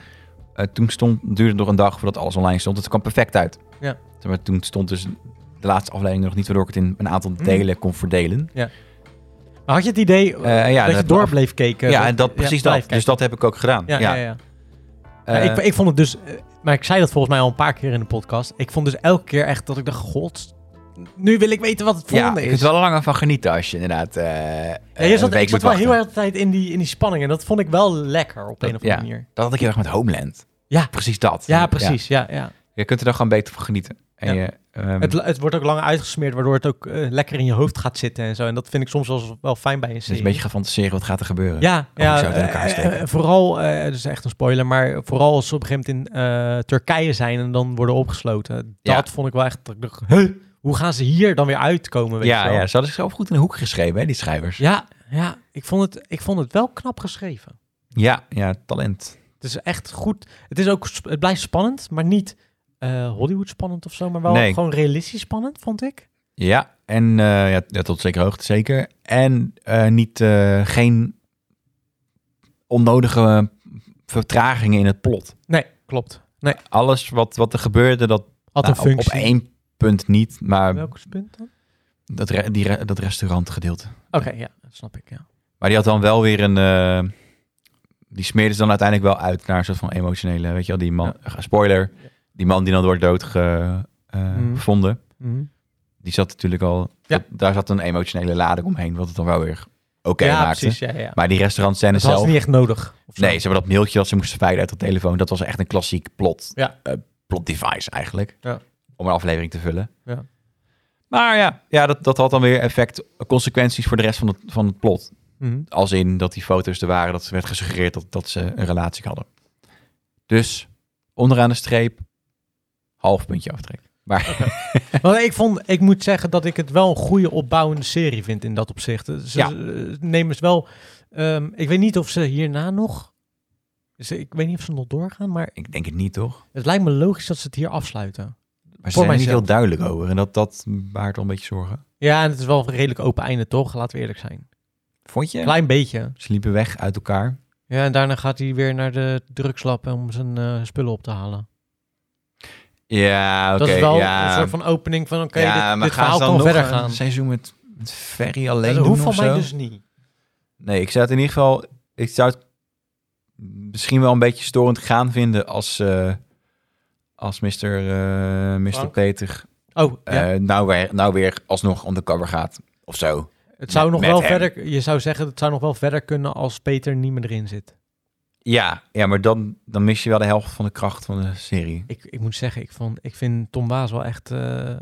Speaker 1: Eh, toen stond, duurde het nog een dag voordat alles online stond. Het kwam perfect uit.
Speaker 2: Ja.
Speaker 1: Zeg Maar toen stond dus de laatste aflevering nog niet, waardoor ik het in een aantal
Speaker 2: Mhm.
Speaker 1: delen kon verdelen.
Speaker 2: Maar had je het idee eh,
Speaker 1: Eh, ja,
Speaker 2: dat je
Speaker 1: dat-
Speaker 2: door bleef keken?
Speaker 1: ja, en dat, precies
Speaker 2: blijf
Speaker 1: dat. Dus
Speaker 2: kijken.
Speaker 1: dat heb ik ook gedaan. Ja,
Speaker 2: Ja, ja, ja.
Speaker 1: Eh,
Speaker 2: Ja, ik, ik vond het dus... eh, maar ik zei dat volgens mij al een paar keer in de podcast. Ik vond dus elke keer echt dat ik dacht... God, nu wil ik weten wat het
Speaker 1: ja,
Speaker 2: volgende
Speaker 1: je kunt
Speaker 2: is.
Speaker 1: er wel langer van genieten als je inderdaad eh
Speaker 2: ja, je
Speaker 1: een
Speaker 2: zat,
Speaker 1: week
Speaker 2: ik
Speaker 1: moet
Speaker 2: zat wel
Speaker 1: wachten.
Speaker 2: heel erg de tijd in die, in die spanning. En dat vond ik wel lekker op
Speaker 1: Dat-
Speaker 2: een of andere
Speaker 1: ja.
Speaker 2: manier.
Speaker 1: Dat had ik heel erg met Homeland.
Speaker 2: Ja.
Speaker 1: Precies dat.
Speaker 2: Ja, precies. Ja, ja.
Speaker 1: Je kunt er dan gewoon beter van genieten. En
Speaker 2: Ja.
Speaker 1: je, ehm,
Speaker 2: Het, het wordt ook lang uitgesmeerd, waardoor het ook eh, lekker in je hoofd gaat zitten en zo. En dat vind ik soms wel, wel fijn bij een
Speaker 1: dus
Speaker 2: serie.
Speaker 1: een beetje gaan fantaseren, wat gaat er gebeuren?
Speaker 2: ja,
Speaker 1: Oh,
Speaker 2: ja
Speaker 1: ik zou het in elkaar
Speaker 2: eh,
Speaker 1: steken.
Speaker 2: eh, vooral, eh, het is echt een spoiler, maar vooral als ze op een gegeven moment in eh, Turkije zijn en dan worden opgesloten. Dat
Speaker 1: Ja.
Speaker 2: vond ik wel echt, dat ik dacht, huh, hoe gaan ze hier dan weer uitkomen? Weet je
Speaker 1: ja,
Speaker 2: wel?
Speaker 1: ja, ze hadden zichzelf goed in de hoek geschreven, hè, die schrijvers.
Speaker 2: ja, ja ik, vond het, ik vond het wel knap geschreven.
Speaker 1: Ja, ja, talent.
Speaker 2: Het is echt goed. Het, is ook, sp- het blijft spannend, maar niet eh, Hollywood spannend of zo, maar wel
Speaker 1: Nee.
Speaker 2: gewoon realistisch spannend, vond ik.
Speaker 1: Ja, en eh, ja, ja, tot zekere hoogte zeker. En eh, niet, eh, geen onnodige vertragingen in het plot.
Speaker 2: Nee, klopt. Nee,
Speaker 1: Alles wat, wat er gebeurde, dat
Speaker 2: had
Speaker 1: nou,
Speaker 2: een
Speaker 1: op- op,
Speaker 2: functie.
Speaker 1: één punt niet, maar
Speaker 2: Welk punt dan?
Speaker 1: dat, re- die re- dat restaurantgedeelte.
Speaker 2: Oké, ja, dat snap ik, ja.
Speaker 1: Maar die had dan wel weer een... eh, die smeerde ze dan uiteindelijk wel uit naar een soort van emotionele... Weet je wel, die man... Spoiler. Die man die dan wordt doodgevonden.
Speaker 2: Mm.
Speaker 1: gevonden Die zat natuurlijk al...
Speaker 2: Ja.
Speaker 1: dat- daar zat een emotionele lading omheen, wat het dan wel weer oké
Speaker 2: ja,
Speaker 1: maakte.
Speaker 2: precies, ja, ja.
Speaker 1: Maar die restaurantscène
Speaker 2: Dat was
Speaker 1: zelf...
Speaker 2: niet echt nodig. of zo.
Speaker 1: Nee, ze hebben dat mailtje dat ze moesten verwijderen uit de telefoon. Dat was echt een klassiek plot.
Speaker 2: Ja.
Speaker 1: eh, plot device eigenlijk.
Speaker 2: Ja.
Speaker 1: Om een aflevering te vullen.
Speaker 2: Ja.
Speaker 1: Maar ja, ja dat, dat had dan weer effect, consequenties voor de rest van het, van het plot.
Speaker 2: Mhm.
Speaker 1: Als in dat die foto's er waren, dat werd gesuggereerd dat, dat ze een relatie hadden. Dus onderaan de streep, half puntje aftrek.
Speaker 2: Want ik, vond, ik moet zeggen dat ik het wel een goede opbouwende serie vind in dat opzicht. Ze
Speaker 1: Ja.
Speaker 2: eh, nemen ze wel... ehm, ik weet niet of ze hierna nog... Ze, ik weet niet of ze nog doorgaan, maar
Speaker 1: Ik denk het niet, toch?
Speaker 2: het lijkt me logisch dat ze het hier afsluiten.
Speaker 1: Maar ze
Speaker 2: Voor
Speaker 1: zijn er niet
Speaker 2: mijzelf.
Speaker 1: heel duidelijk over. En dat, dat baart wel een beetje zorgen.
Speaker 2: Ja, en het is wel een redelijk open einde, toch? Laten we eerlijk zijn.
Speaker 1: Vond je?
Speaker 2: Klein beetje.
Speaker 1: Ze liepen weg uit elkaar.
Speaker 2: Ja, en daarna gaat hij weer naar de drugslab om zijn eh, spullen op te halen.
Speaker 1: Ja, oké.
Speaker 2: dat is wel
Speaker 1: ja.
Speaker 2: een soort van opening van... Oké, dit, dit
Speaker 1: gaan
Speaker 2: verhaal
Speaker 1: ze dan
Speaker 2: kan
Speaker 1: nog
Speaker 2: verder
Speaker 1: een
Speaker 2: gaan.
Speaker 1: seizoen met, met Ferry
Speaker 2: Dat
Speaker 1: alleen doen
Speaker 2: hoeft
Speaker 1: of
Speaker 2: van
Speaker 1: zo?
Speaker 2: mij dus niet.
Speaker 1: Nee, ik zou het in ieder geval... Ik zou het misschien wel een beetje storend gaan vinden als... eh, als Mr. eh, Mr.
Speaker 2: Frank?
Speaker 1: Peter
Speaker 2: Oh,
Speaker 1: eh,
Speaker 2: ja.
Speaker 1: nou, weer, nou weer alsnog undercover gaat of zo.
Speaker 2: het zou
Speaker 1: met-
Speaker 2: nog
Speaker 1: met
Speaker 2: wel
Speaker 1: hem.
Speaker 2: verder. Je zou zeggen, het zou nog wel verder kunnen als Peter niet meer erin zit.
Speaker 1: Ja, ja maar dan, dan mis je wel de helft van de kracht van de serie.
Speaker 2: Ik, ik moet zeggen, ik, vond, ik vind Tom Waas wel echt eh,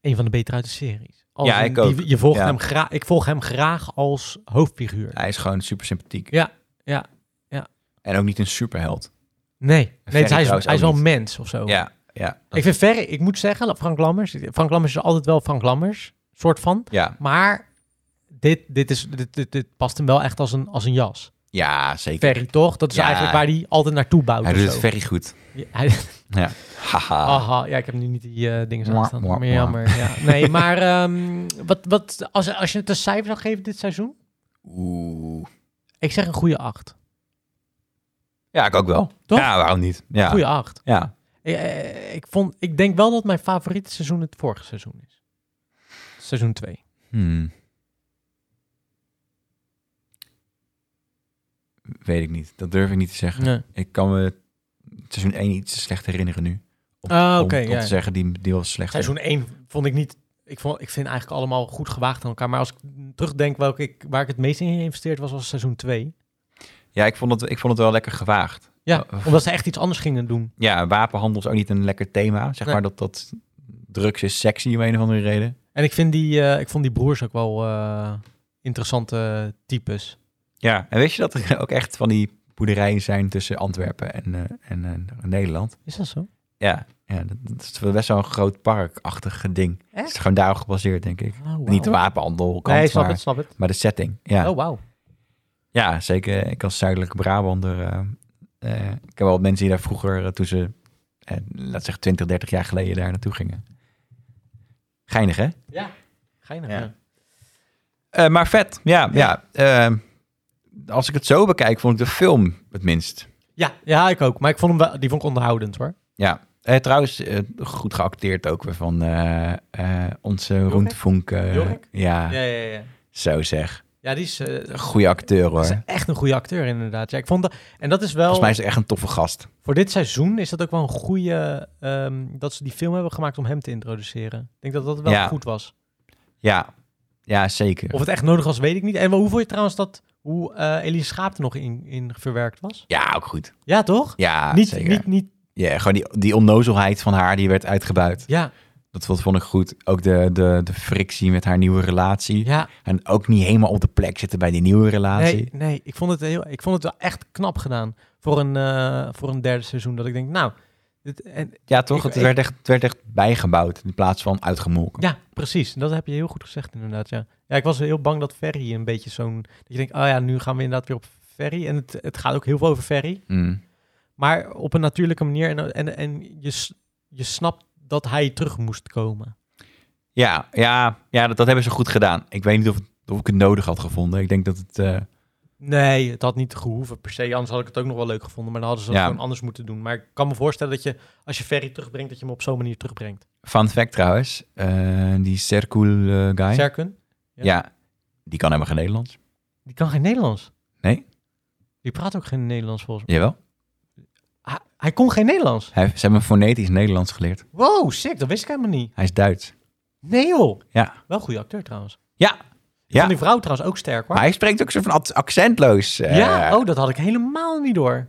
Speaker 2: een van de betere uit de series. Als
Speaker 1: Ja,
Speaker 2: in,
Speaker 1: ik ook.
Speaker 2: die- je volgt
Speaker 1: Ja.
Speaker 2: hem graag, ik volg hem graag als hoofdfiguur.
Speaker 1: Hij is gewoon super sympathiek.
Speaker 2: Ja, ja, ja.
Speaker 1: En ook niet een superheld.
Speaker 2: Nee, nee dus hij, is,
Speaker 1: trouwens
Speaker 2: hij is wel
Speaker 1: ook
Speaker 2: een
Speaker 1: niet.
Speaker 2: mens of zo.
Speaker 1: Ja, ja.
Speaker 2: Ik vind Verre, ik moet zeggen, Frank Lammers. Frank Lammers is altijd wel Frank Lammers, soort van.
Speaker 1: Ja,
Speaker 2: Maar dit, dit, is, dit, dit, dit past hem wel echt als een, als een jas.
Speaker 1: ja zeker.
Speaker 2: Ferry, toch? Dat is
Speaker 1: Ja.
Speaker 2: eigenlijk waar hij altijd naartoe bouwt.
Speaker 1: Hij
Speaker 2: of
Speaker 1: doet
Speaker 2: zo. Ah.
Speaker 1: het very goed.
Speaker 2: Ja, hij-
Speaker 1: Haha.
Speaker 2: Aha, ja, ik heb nu niet die eh dingen
Speaker 1: Ah. Mwah,
Speaker 2: aan staan.
Speaker 1: mwah,
Speaker 2: Maar
Speaker 1: mwah.
Speaker 2: jammer, ja.
Speaker 1: [LAUGHS]
Speaker 2: Nee, maar ehm, wat, wat, als, als je het een cijfer zou geven dit seizoen?
Speaker 1: Oeh.
Speaker 2: Ik zeg een goede acht.
Speaker 1: Ja, ik ook wel.
Speaker 2: Toch?
Speaker 1: Ja, waarom niet? Ja.
Speaker 2: Goede acht.
Speaker 1: Ja.
Speaker 2: Ik, eh, ik, vond, ik denk wel dat mijn favoriete seizoen het vorige seizoen is. Seizoen 2.
Speaker 1: Hmm. Weet ik niet. Dat durf ik niet te zeggen.
Speaker 2: Nee.
Speaker 1: Ik kan me seizoen 1 iets te slecht herinneren nu. Om-
Speaker 2: Ah, oké,
Speaker 1: om, om
Speaker 2: ja.
Speaker 1: te zeggen, die, die was slecht.
Speaker 2: Seizoen 1 vond ik niet... Ik, vond, ik vind eigenlijk allemaal goed gewaagd aan elkaar. Maar als ik terugdenk welke ik, waar ik het meest in geïnvesteerd was, was seizoen 2.
Speaker 1: Ja, ik vond, het, ik vond het wel lekker gewaagd.
Speaker 2: Ja,
Speaker 1: Oh, oh.
Speaker 2: omdat ze echt iets anders gingen doen.
Speaker 1: Ja, wapenhandel is ook niet een lekker thema. Zeg
Speaker 2: Nee.
Speaker 1: maar dat, dat drugs is sexy om een of andere reden.
Speaker 2: En ik, vind die, eh, ik vond die broers ook wel eh, interessante types.
Speaker 1: Ja, en wist je dat er ook echt van die boerderijen zijn tussen Antwerpen en, eh, en eh, Nederland?
Speaker 2: Is dat zo?
Speaker 1: Ja, ja dat, dat is wel best wel een groot parkachtig ding.
Speaker 2: Echt?
Speaker 1: Het is gewoon daarop gebaseerd, denk ik. Niet de wapenhandel, kant,
Speaker 2: Nee, snap
Speaker 1: maar,
Speaker 2: het, snap het.
Speaker 1: maar de setting. Ja.
Speaker 2: Oh, wauw.
Speaker 1: Ja, zeker. Ik als zuidelijke Brabander. eh, eh, ik heb wel wat mensen die daar vroeger, eh, toen ze, eh, laat zeggen 20, 30 jaar geleden daar naartoe gingen. Geinig, hè?
Speaker 2: Ja, geinig.
Speaker 1: Ja. Eh, maar vet, ja. ja. eh, als ik het zo bekijk, vond ik de film het minst.
Speaker 2: Ja, ja, ik ook. Maar ik vond hem wel, die vond ik onderhoudend hoor.
Speaker 1: Ja. Eh, trouwens, eh, goed geacteerd ook weer van eh, eh, onze Roentvonk. eh,
Speaker 2: Jorik?
Speaker 1: ja,
Speaker 2: ja, ja.
Speaker 1: zo zeg.
Speaker 2: Ja, die is, eh,
Speaker 1: Goeie acteur hoor.
Speaker 2: is echt een goede acteur inderdaad. Ja, ik vond dat, en dat is wel,
Speaker 1: Volgens mij is hij echt een toffe gast.
Speaker 2: voor dit seizoen is dat ook wel een goede, ehm, dat ze die film hebben gemaakt om hem te introduceren. Ik denk dat dat wel
Speaker 1: Ja.
Speaker 2: goed was.
Speaker 1: Ja, ja zeker.
Speaker 2: Of het echt nodig was, weet ik niet. En hoe vond je trouwens dat, hoe eh Elise Schaap er nog in, in verwerkt was?
Speaker 1: Ja, ook goed.
Speaker 2: Ja, toch?
Speaker 1: Ja,
Speaker 2: niet,
Speaker 1: zeker.
Speaker 2: niet, niet,
Speaker 1: Ja, gewoon die, die onnozelheid van haar die werd uitgebuit.
Speaker 2: ja,
Speaker 1: Dat vond, vond ik goed. Ook de, de, de frictie met haar nieuwe relatie.
Speaker 2: ja.
Speaker 1: En ook niet helemaal op de plek zitten bij die nieuwe relatie.
Speaker 2: Nee, nee ik, vond het heel, ik vond het wel echt knap gedaan voor een, eh, voor een derde seizoen. Dat ik denk, nou, dit, en,
Speaker 1: Ja, toch?
Speaker 2: Ik-
Speaker 1: het,
Speaker 2: ik-
Speaker 1: werd echt, het werd echt bijgebouwd in plaats van uitgemolken.
Speaker 2: ja, precies. Dat heb je heel goed gezegd inderdaad, ja. Ja, ik was heel bang dat Ferry een beetje zo'n... Dat je denkt, oh ja, nu gaan we inderdaad weer op Ferry. En het, het gaat ook heel veel over Ferry.
Speaker 1: Mm.
Speaker 2: Maar op een natuurlijke manier. En, en, en je, s- je snapt dat hij terug moest komen.
Speaker 1: Ja, ja, ja dat, dat hebben ze goed gedaan. Ik weet niet of, het- of ik het nodig had gevonden. Ik denk dat het... eh,
Speaker 2: Nee, het had niet gehoeven per se. Anders had ik het ook nog wel leuk gevonden. Maar dan hadden ze het
Speaker 1: Ja.
Speaker 2: gewoon anders moeten doen. Maar ik kan me voorstellen dat je, als je Ferry terugbrengt, dat je hem op zo'n manier terugbrengt.
Speaker 1: fun fact trouwens. eh, die Sercool eh, guy.
Speaker 2: Serkun?
Speaker 1: ja. die kan helemaal geen Nederlands.
Speaker 2: Die kan geen Nederlands.
Speaker 1: Nee?
Speaker 2: Die praat ook geen Nederlands volgens mij.
Speaker 1: Jawel.
Speaker 2: Hij, hij kon geen Nederlands.
Speaker 1: Hij, heeft- ze hebben hem fonetisch Nederlands geleerd.
Speaker 2: Wow, sick. Dat wist ik helemaal niet.
Speaker 1: Hij is Duits.
Speaker 2: Nee joh.
Speaker 1: Ja.
Speaker 2: Wel een goede acteur trouwens. Ik
Speaker 1: Ja, Ja.
Speaker 2: vond die vrouw trouwens ook sterk hoor.
Speaker 1: maar hij spreekt ook zo van ac- accentloos. eh,
Speaker 2: Ja, oh, dat had ik helemaal niet door.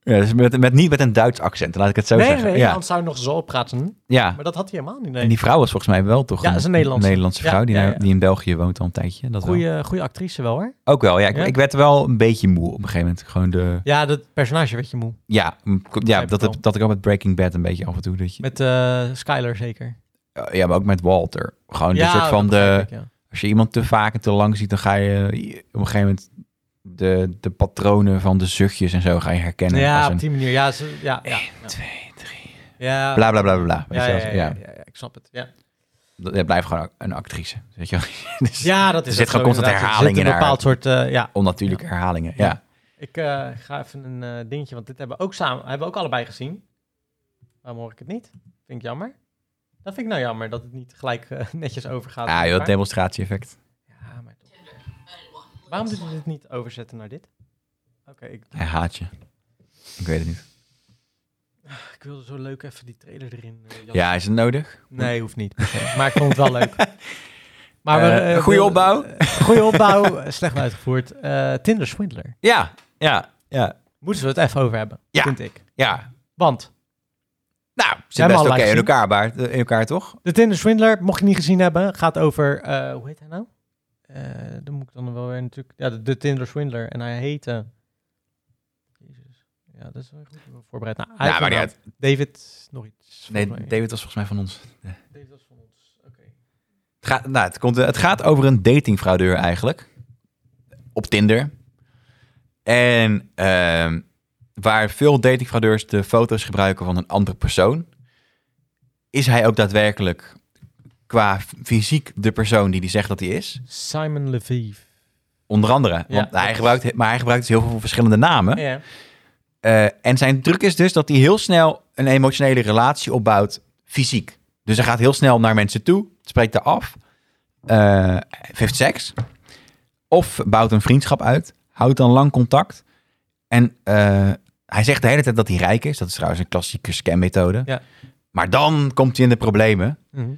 Speaker 1: Ja, dus met, met, niet met een Duits accent, laat ik het zo
Speaker 2: nee,
Speaker 1: zeggen.
Speaker 2: nee,
Speaker 1: ja,
Speaker 2: anders zou hij nog zo praten.
Speaker 1: ja.
Speaker 2: Maar dat had hij helemaal niet.
Speaker 1: En die
Speaker 2: Nee.
Speaker 1: vrouw was volgens mij wel toch
Speaker 2: Ja, is een Nederlandse. Ja,
Speaker 1: vrouw die,
Speaker 2: ja,
Speaker 1: nou-
Speaker 2: ja.
Speaker 1: die in België woont al een tijdje. Dat wel.
Speaker 2: Goeie, goeie actrice wel hoor.
Speaker 1: Ook wel, ja ik,
Speaker 2: Ja?
Speaker 1: ik werd wel een beetje moe op een gegeven moment. Gewoon de,
Speaker 2: Ja, dat personage werd je moe.
Speaker 1: ja, m- ja
Speaker 2: ik
Speaker 1: dat,
Speaker 2: wel.
Speaker 1: heb, dat ik ook met Breaking Bad een beetje af en toe. Dat je, eh,
Speaker 2: Met eh Skyler zeker.
Speaker 1: ja, maar ook met Walter. Gewoon
Speaker 2: ja,
Speaker 1: de soort
Speaker 2: dat
Speaker 1: van
Speaker 2: begrijp
Speaker 1: de,
Speaker 2: ik, ja.
Speaker 1: als je iemand te vaak en te lang ziet, dan ga je op een gegeven moment de, de patronen van de zuchtjes en zo ga je herkennen.
Speaker 2: Ja,
Speaker 1: als
Speaker 2: op
Speaker 1: een,
Speaker 2: die manier. Ja, ze, ja, ja, ja.
Speaker 1: twee, drie,
Speaker 2: Ja.
Speaker 1: bla bla bla bla. bla weet
Speaker 2: Ja,
Speaker 1: je
Speaker 2: ja,
Speaker 1: wel.
Speaker 2: ja,
Speaker 1: Ja.
Speaker 2: ja, ja, ja, ik snap het. Ja,
Speaker 1: Dat- dat blijft gewoon een actrice. Weet je wel. [LAUGHS] Dus
Speaker 2: ja dat is
Speaker 1: Er zit
Speaker 2: ook
Speaker 1: gewoon
Speaker 2: zo,
Speaker 1: constant
Speaker 2: inderdaad. Er
Speaker 1: herhaling
Speaker 2: zit
Speaker 1: in
Speaker 2: een
Speaker 1: haar.
Speaker 2: bepaald soort, eh, ja,
Speaker 1: Onnatuurlijke herhalingen. Ja.
Speaker 2: Ik eh, ga even een eh, dingetje, want dit hebben we ook samen, hebben we ook allebei gezien. Waarom hoor ik het niet? Vind ik jammer. Dat vind ik nou jammer, dat het niet gelijk eh, [LAUGHS] netjes overgaat.
Speaker 1: Ah,
Speaker 2: met
Speaker 1: joh,
Speaker 2: elkaar.
Speaker 1: demonstratie-effect.
Speaker 2: ja, maar toch. Waarom doet hij dit niet overzetten naar dit? Oké, ik, [LAUGHS]
Speaker 1: Hij haat je. Ik weet het niet.
Speaker 2: ik wilde zo leuk even die trailer erin. eh, jassen.
Speaker 1: Ja, is het nodig?
Speaker 2: Nee, hoeft niet. [LAUGHS] per se. Maar ik vond het wel
Speaker 1: [LAUGHS]
Speaker 2: leuk. Maar we,
Speaker 1: Eh,
Speaker 2: [LAUGHS] eh,
Speaker 1: goeie
Speaker 2: wil-
Speaker 1: opbouw.
Speaker 2: eh, goeie opbouw, eh, slecht uitgevoerd. Eh Tinder Swindler.
Speaker 1: Ja, ja, ja.
Speaker 2: Moeten we het even over hebben,
Speaker 1: Ja.
Speaker 2: vind ik.
Speaker 1: Ja.
Speaker 2: Want
Speaker 1: Nou,
Speaker 2: Jij
Speaker 1: zit
Speaker 2: hebt hem
Speaker 1: best oké
Speaker 2: al live
Speaker 1: in
Speaker 2: gezien.
Speaker 1: elkaar, maar, eh, in elkaar toch?
Speaker 2: The Tinder Swindler, mocht je niet gezien hebben, gaat over... eh, hoe heet hij nou? Eh dan moet ik dan wel weer natuurlijk... Ja, de, de Tinder Swindler. En hij heette... Jezus. Ja, dat is wel goed ik ben voorbereid. Nou, hij
Speaker 1: Ja,
Speaker 2: heeft
Speaker 1: maar
Speaker 2: een
Speaker 1: niet
Speaker 2: naam. David nog iets.
Speaker 1: Nee,
Speaker 2: volgens mij.
Speaker 1: David was volgens mij van ons.
Speaker 2: David was van ons. Oké.
Speaker 1: Het gaat, nou, het, komt, het gaat over een datingfraudeur eigenlijk. Op Tinder. En ehm, waar veel datingfraudeurs de foto's gebruiken van een andere persoon, is hij ook daadwerkelijk qua f- fysiek de persoon die hij zegt dat hij is.
Speaker 2: Simon Leviev.
Speaker 1: Onder andere.
Speaker 2: Ja,
Speaker 1: want
Speaker 2: dat
Speaker 1: hij
Speaker 2: is-
Speaker 1: gebruikt, maar hij gebruikt dus heel veel verschillende namen.
Speaker 2: Ja.
Speaker 1: Eh, en zijn truc is dus dat hij heel snel een emotionele relatie opbouwt, fysiek. Dus hij gaat heel snel naar mensen toe, spreekt er af, eh, heeft seks. Of bouwt een vriendschap uit, houdt dan lang contact. En eh, hij zegt de hele tijd dat hij rijk is. Dat is trouwens een klassieke scammethode.
Speaker 2: Ja.
Speaker 1: Maar dan komt hij in de problemen.
Speaker 2: Mhm.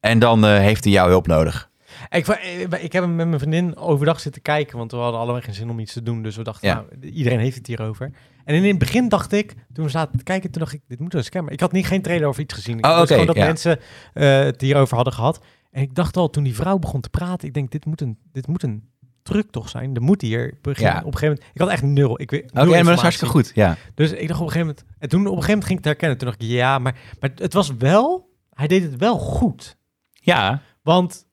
Speaker 1: En dan eh, heeft hij jouw hulp nodig.
Speaker 2: Ik, wa- eh, ik heb hem met mijn vriendin overdag zitten kijken, want we hadden allemaal geen zin om iets te doen. Dus we dachten,
Speaker 1: Ja.
Speaker 2: nou, iedereen heeft het hierover. En in het begin dacht ik, toen we zaten te kijken, toen dacht ik, dit moet wel een scammer. Ik had niet, geen trailer of iets gezien. Ik
Speaker 1: Oh,
Speaker 2: wist
Speaker 1: oké,
Speaker 2: gewoon dat
Speaker 1: ja.
Speaker 2: mensen eh, het hierover hadden gehad. En ik dacht al, toen die vrouw begon te praten, ik denk, dit moet een, dit moet een truc toch zijn. Er moet hier begin,
Speaker 1: Ja.
Speaker 2: op een gegeven moment... Ik had echt nul. Ik weet, nul
Speaker 1: Oké, maar dat is
Speaker 2: informatie.
Speaker 1: hartstikke goed. Ja.
Speaker 2: Dus ik dacht op een gegeven moment... En toen op een gegeven moment ging ik het herkennen. Toen dacht ik, ja, maar, maar het was wel... Hij deed het wel goed.
Speaker 1: ja.
Speaker 2: Want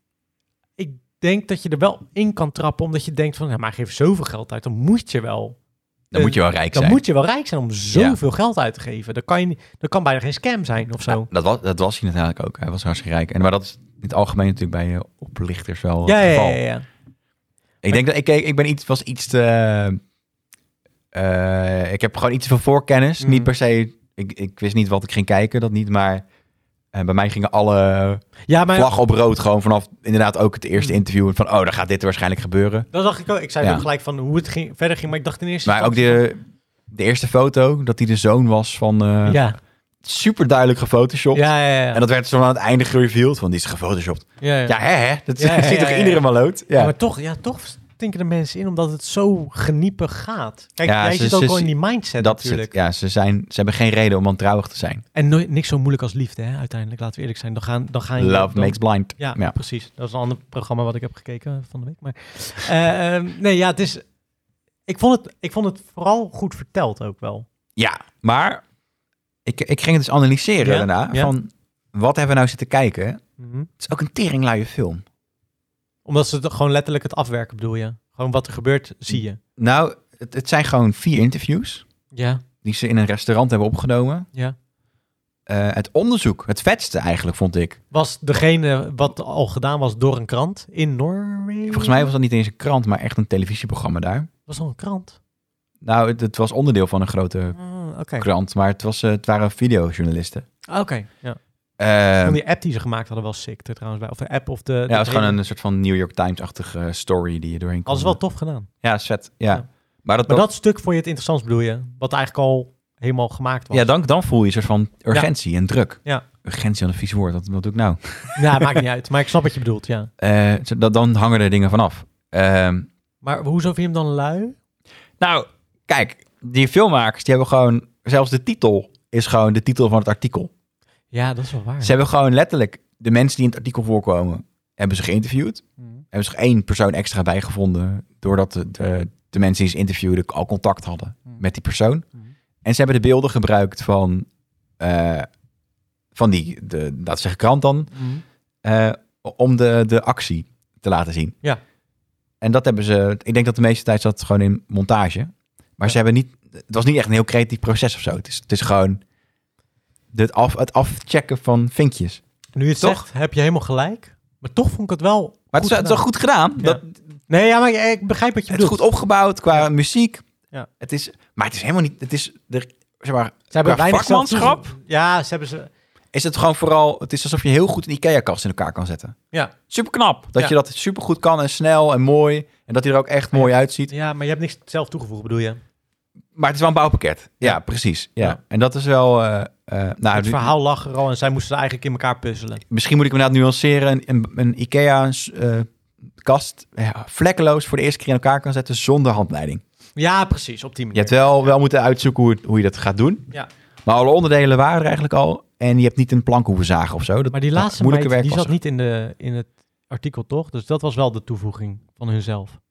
Speaker 2: ik denk dat je er wel in kan trappen, omdat je denkt van, ja, maar hij geeft zoveel geld uit, dan moet je wel,
Speaker 1: Dan
Speaker 2: Eh,
Speaker 1: moet je wel rijk
Speaker 2: dan
Speaker 1: zijn.
Speaker 2: moet je wel rijk zijn om zoveel geld uit te geven. Dat kan, je, niet- dat kan bijna geen scam zijn of zo.
Speaker 1: Ja, dat, was, dat was hij natuurlijk ook. Hij was hartstikke rijk. En, maar dat is in het algemeen natuurlijk bij eh, oplichters wel
Speaker 2: Ja,
Speaker 1: het
Speaker 2: ja,
Speaker 1: geval.
Speaker 2: ja, ja, ja.
Speaker 1: Ik denk dat ik, ik ik ben iets, was iets te... eh, ik heb gewoon iets van voorkennis.
Speaker 2: Mhm.
Speaker 1: Niet per se... Ik, ik wist niet wat ik ging kijken, dat niet. Maar eh, bij mij gingen alle
Speaker 2: Ja, maar
Speaker 1: vlag op rood gewoon vanaf inderdaad ook het eerste
Speaker 2: Mhm.
Speaker 1: interview. Van, oh, dan gaat dit waarschijnlijk gebeuren.
Speaker 2: dat dacht ik ook. Ik zei
Speaker 1: Ja.
Speaker 2: ook gelijk van hoe het ging, verder ging, maar ik dacht in eerste
Speaker 1: Maar ook
Speaker 2: instantie
Speaker 1: de, de eerste foto, dat hij de zoon was van... eh,
Speaker 2: van- Ja,
Speaker 1: Super duidelijk gefotoshopt.
Speaker 2: ja, ja, ja.
Speaker 1: En dat werd zo aan het einde gereveeld, van die is gefotoshopt.
Speaker 2: ja, ja.
Speaker 1: Ja, hè, hè? Dat
Speaker 2: Ja,
Speaker 1: [LAUGHS]
Speaker 2: ja,
Speaker 1: ziet
Speaker 2: ja,
Speaker 1: toch
Speaker 2: ja,
Speaker 1: iedere
Speaker 2: ja.
Speaker 1: maloot? Ja.
Speaker 2: Ja, maar toch, ja, toch stinken de mensen in, omdat het zo geniepig gaat. Kijk,
Speaker 1: Ja,
Speaker 2: jij
Speaker 1: ze-
Speaker 2: zit ook
Speaker 1: ze-
Speaker 2: wel in die mindset
Speaker 1: dat is
Speaker 2: natuurlijk.
Speaker 1: het. Ja, ze, zijn, ze hebben geen reden om wantrouwig te zijn.
Speaker 2: En nooit, niks zo moeilijk als liefde, hè, uiteindelijk. Laten we eerlijk zijn, dan gaan, dan gaan je...
Speaker 1: Love
Speaker 2: dan-
Speaker 1: makes blind.
Speaker 2: Ja,
Speaker 1: Ja.
Speaker 2: precies. Dat is een ander programma wat ik heb gekeken van de week. Maar, [LAUGHS] eh, ehm, nee, ja, het is... Ik vond het, ik vond het vooral goed verteld ook wel.
Speaker 1: Ja, maar ik, ik ging het dus analyseren
Speaker 2: Ja,
Speaker 1: daarna.
Speaker 2: ja.
Speaker 1: Van, wat hebben we nou zitten kijken? Het
Speaker 2: Mhm.
Speaker 1: is ook een teringluie film.
Speaker 2: Omdat ze het gewoon letterlijk het afwerken, bedoel je? Gewoon wat er gebeurt, zie je.
Speaker 1: Nou, het, het zijn gewoon vier interviews
Speaker 2: Ja,
Speaker 1: die ze in een restaurant hebben opgenomen.
Speaker 2: ja.
Speaker 1: Eh, het onderzoek, het vetste eigenlijk, vond ik.
Speaker 2: Was degene wat al gedaan was door een krant in Noorwegen?
Speaker 1: Volgens mij was dat niet eens een krant, maar echt een televisieprogramma daar.
Speaker 2: Was al een krant?
Speaker 1: Nou, het, het was onderdeel van een grote
Speaker 2: Ah, Oké,
Speaker 1: krant, maar het, was, eh, het waren videojournalisten.
Speaker 2: Ah, oké. ja.
Speaker 1: Eh,
Speaker 2: Van die app die ze gemaakt hadden was sick er trouwens bij. Of de app of de... de
Speaker 1: ja, het was gewoon
Speaker 2: trailer.
Speaker 1: een soort van New York Times-achtige eh, story die je doorheen kon.
Speaker 2: Alles wel tof gedaan.
Speaker 1: Ja, is vet. Ja.
Speaker 2: Ja.
Speaker 1: Maar dat,
Speaker 2: Maar
Speaker 1: dat-
Speaker 2: dat stuk vond je het interessant, bedoel je? Wat eigenlijk al helemaal gemaakt was.
Speaker 1: ja, dan, dan voel je een soort van urgentie en druk.
Speaker 2: Ja.
Speaker 1: Urgentie aan een vies woord, wat, wat doe ik nou?
Speaker 2: Ja, maakt niet uit. Maar ik snap wat je bedoelt, ja.
Speaker 1: Eh, zo- dat, dan hangen er dingen vanaf. Ehm
Speaker 2: Maar hoezo vind je hem dan lui?
Speaker 1: nou, kijk, die filmmakers die hebben gewoon, zelfs de titel is gewoon de titel van het artikel.
Speaker 2: Ja, dat is wel waar.
Speaker 1: Ze hebben gewoon letterlijk de mensen die in het artikel voorkomen, hebben ze geïnterviewd. Hebben ze er één persoon extra bijgevonden, doordat de, de, de mensen die ze interviewden al contact hadden
Speaker 3: Hmm.
Speaker 1: met die persoon.
Speaker 3: Mhm.
Speaker 1: En ze hebben de beelden gebruikt van, eh, van die, de, laten we zeggen, krant dan.
Speaker 2: Hm.
Speaker 1: eh, om de, de actie te laten zien.
Speaker 2: Ja.
Speaker 1: En dat hebben ze. Ik denk dat de meeste tijd zat gewoon in montage. Maar ze hebben niet. Het was niet echt een heel creatief proces of zo. Het is, het is gewoon. Het, af, het afchecken van vinkjes.
Speaker 2: Nu je het
Speaker 1: Toch?
Speaker 2: zegt, heb je helemaal gelijk. Maar toch vond ik het wel
Speaker 1: Maar het is, wel- het is wel goed gedaan.
Speaker 2: Ja.
Speaker 1: Dat,
Speaker 2: Nee, ja, maar ik ik begrijp wat je
Speaker 1: het is
Speaker 2: bedoelt.
Speaker 1: goed opgebouwd qua muziek.
Speaker 2: Ja.
Speaker 1: Het is, maar het is helemaal niet. Het is. Er, zeg maar,
Speaker 2: Ze
Speaker 1: hebben qua
Speaker 2: weinig zelf
Speaker 1: vakmanschap?
Speaker 2: toege- Ja, ze hebben ze...
Speaker 1: is het gewoon vooral. Het is alsof je heel goed een IKEA-kast in elkaar kan zetten.
Speaker 2: Ja.
Speaker 1: Super knap. Dat
Speaker 2: Ja.
Speaker 1: je dat super goed kan en snel en mooi. En dat hij er ook echt mooi uitziet.
Speaker 2: Ja, maar je hebt niks zelf toegevoegd, bedoel je?
Speaker 1: Maar het is wel een bouwpakket. Ja, precies. Ja.
Speaker 2: Ja.
Speaker 1: En dat is wel... eh, eh, nou,
Speaker 2: het
Speaker 1: nu-
Speaker 2: verhaal lag er al en zij moesten eigenlijk in elkaar puzzelen.
Speaker 1: misschien moet ik me inderdaad nuanceren. Een, een, een eh, IKEA-kast vlekkeloos voor de eerste keer in elkaar kan zetten zonder handleiding.
Speaker 2: Ja, precies, op die
Speaker 1: Je
Speaker 2: manier.
Speaker 1: hebt wel, wel moeten uitzoeken hoe, het- hoe je dat gaat doen.
Speaker 2: Ja.
Speaker 1: Maar alle onderdelen waren er eigenlijk al. En je hebt niet een plank hoeven zagen of zo. Dat,
Speaker 2: maar die
Speaker 1: dat
Speaker 2: laatste
Speaker 1: moeilijke
Speaker 2: meid,
Speaker 1: werk
Speaker 2: die
Speaker 1: was
Speaker 2: zat niet in, de, in het artikel, toch? Dus dat was wel de toevoeging van hunzelf.
Speaker 1: er.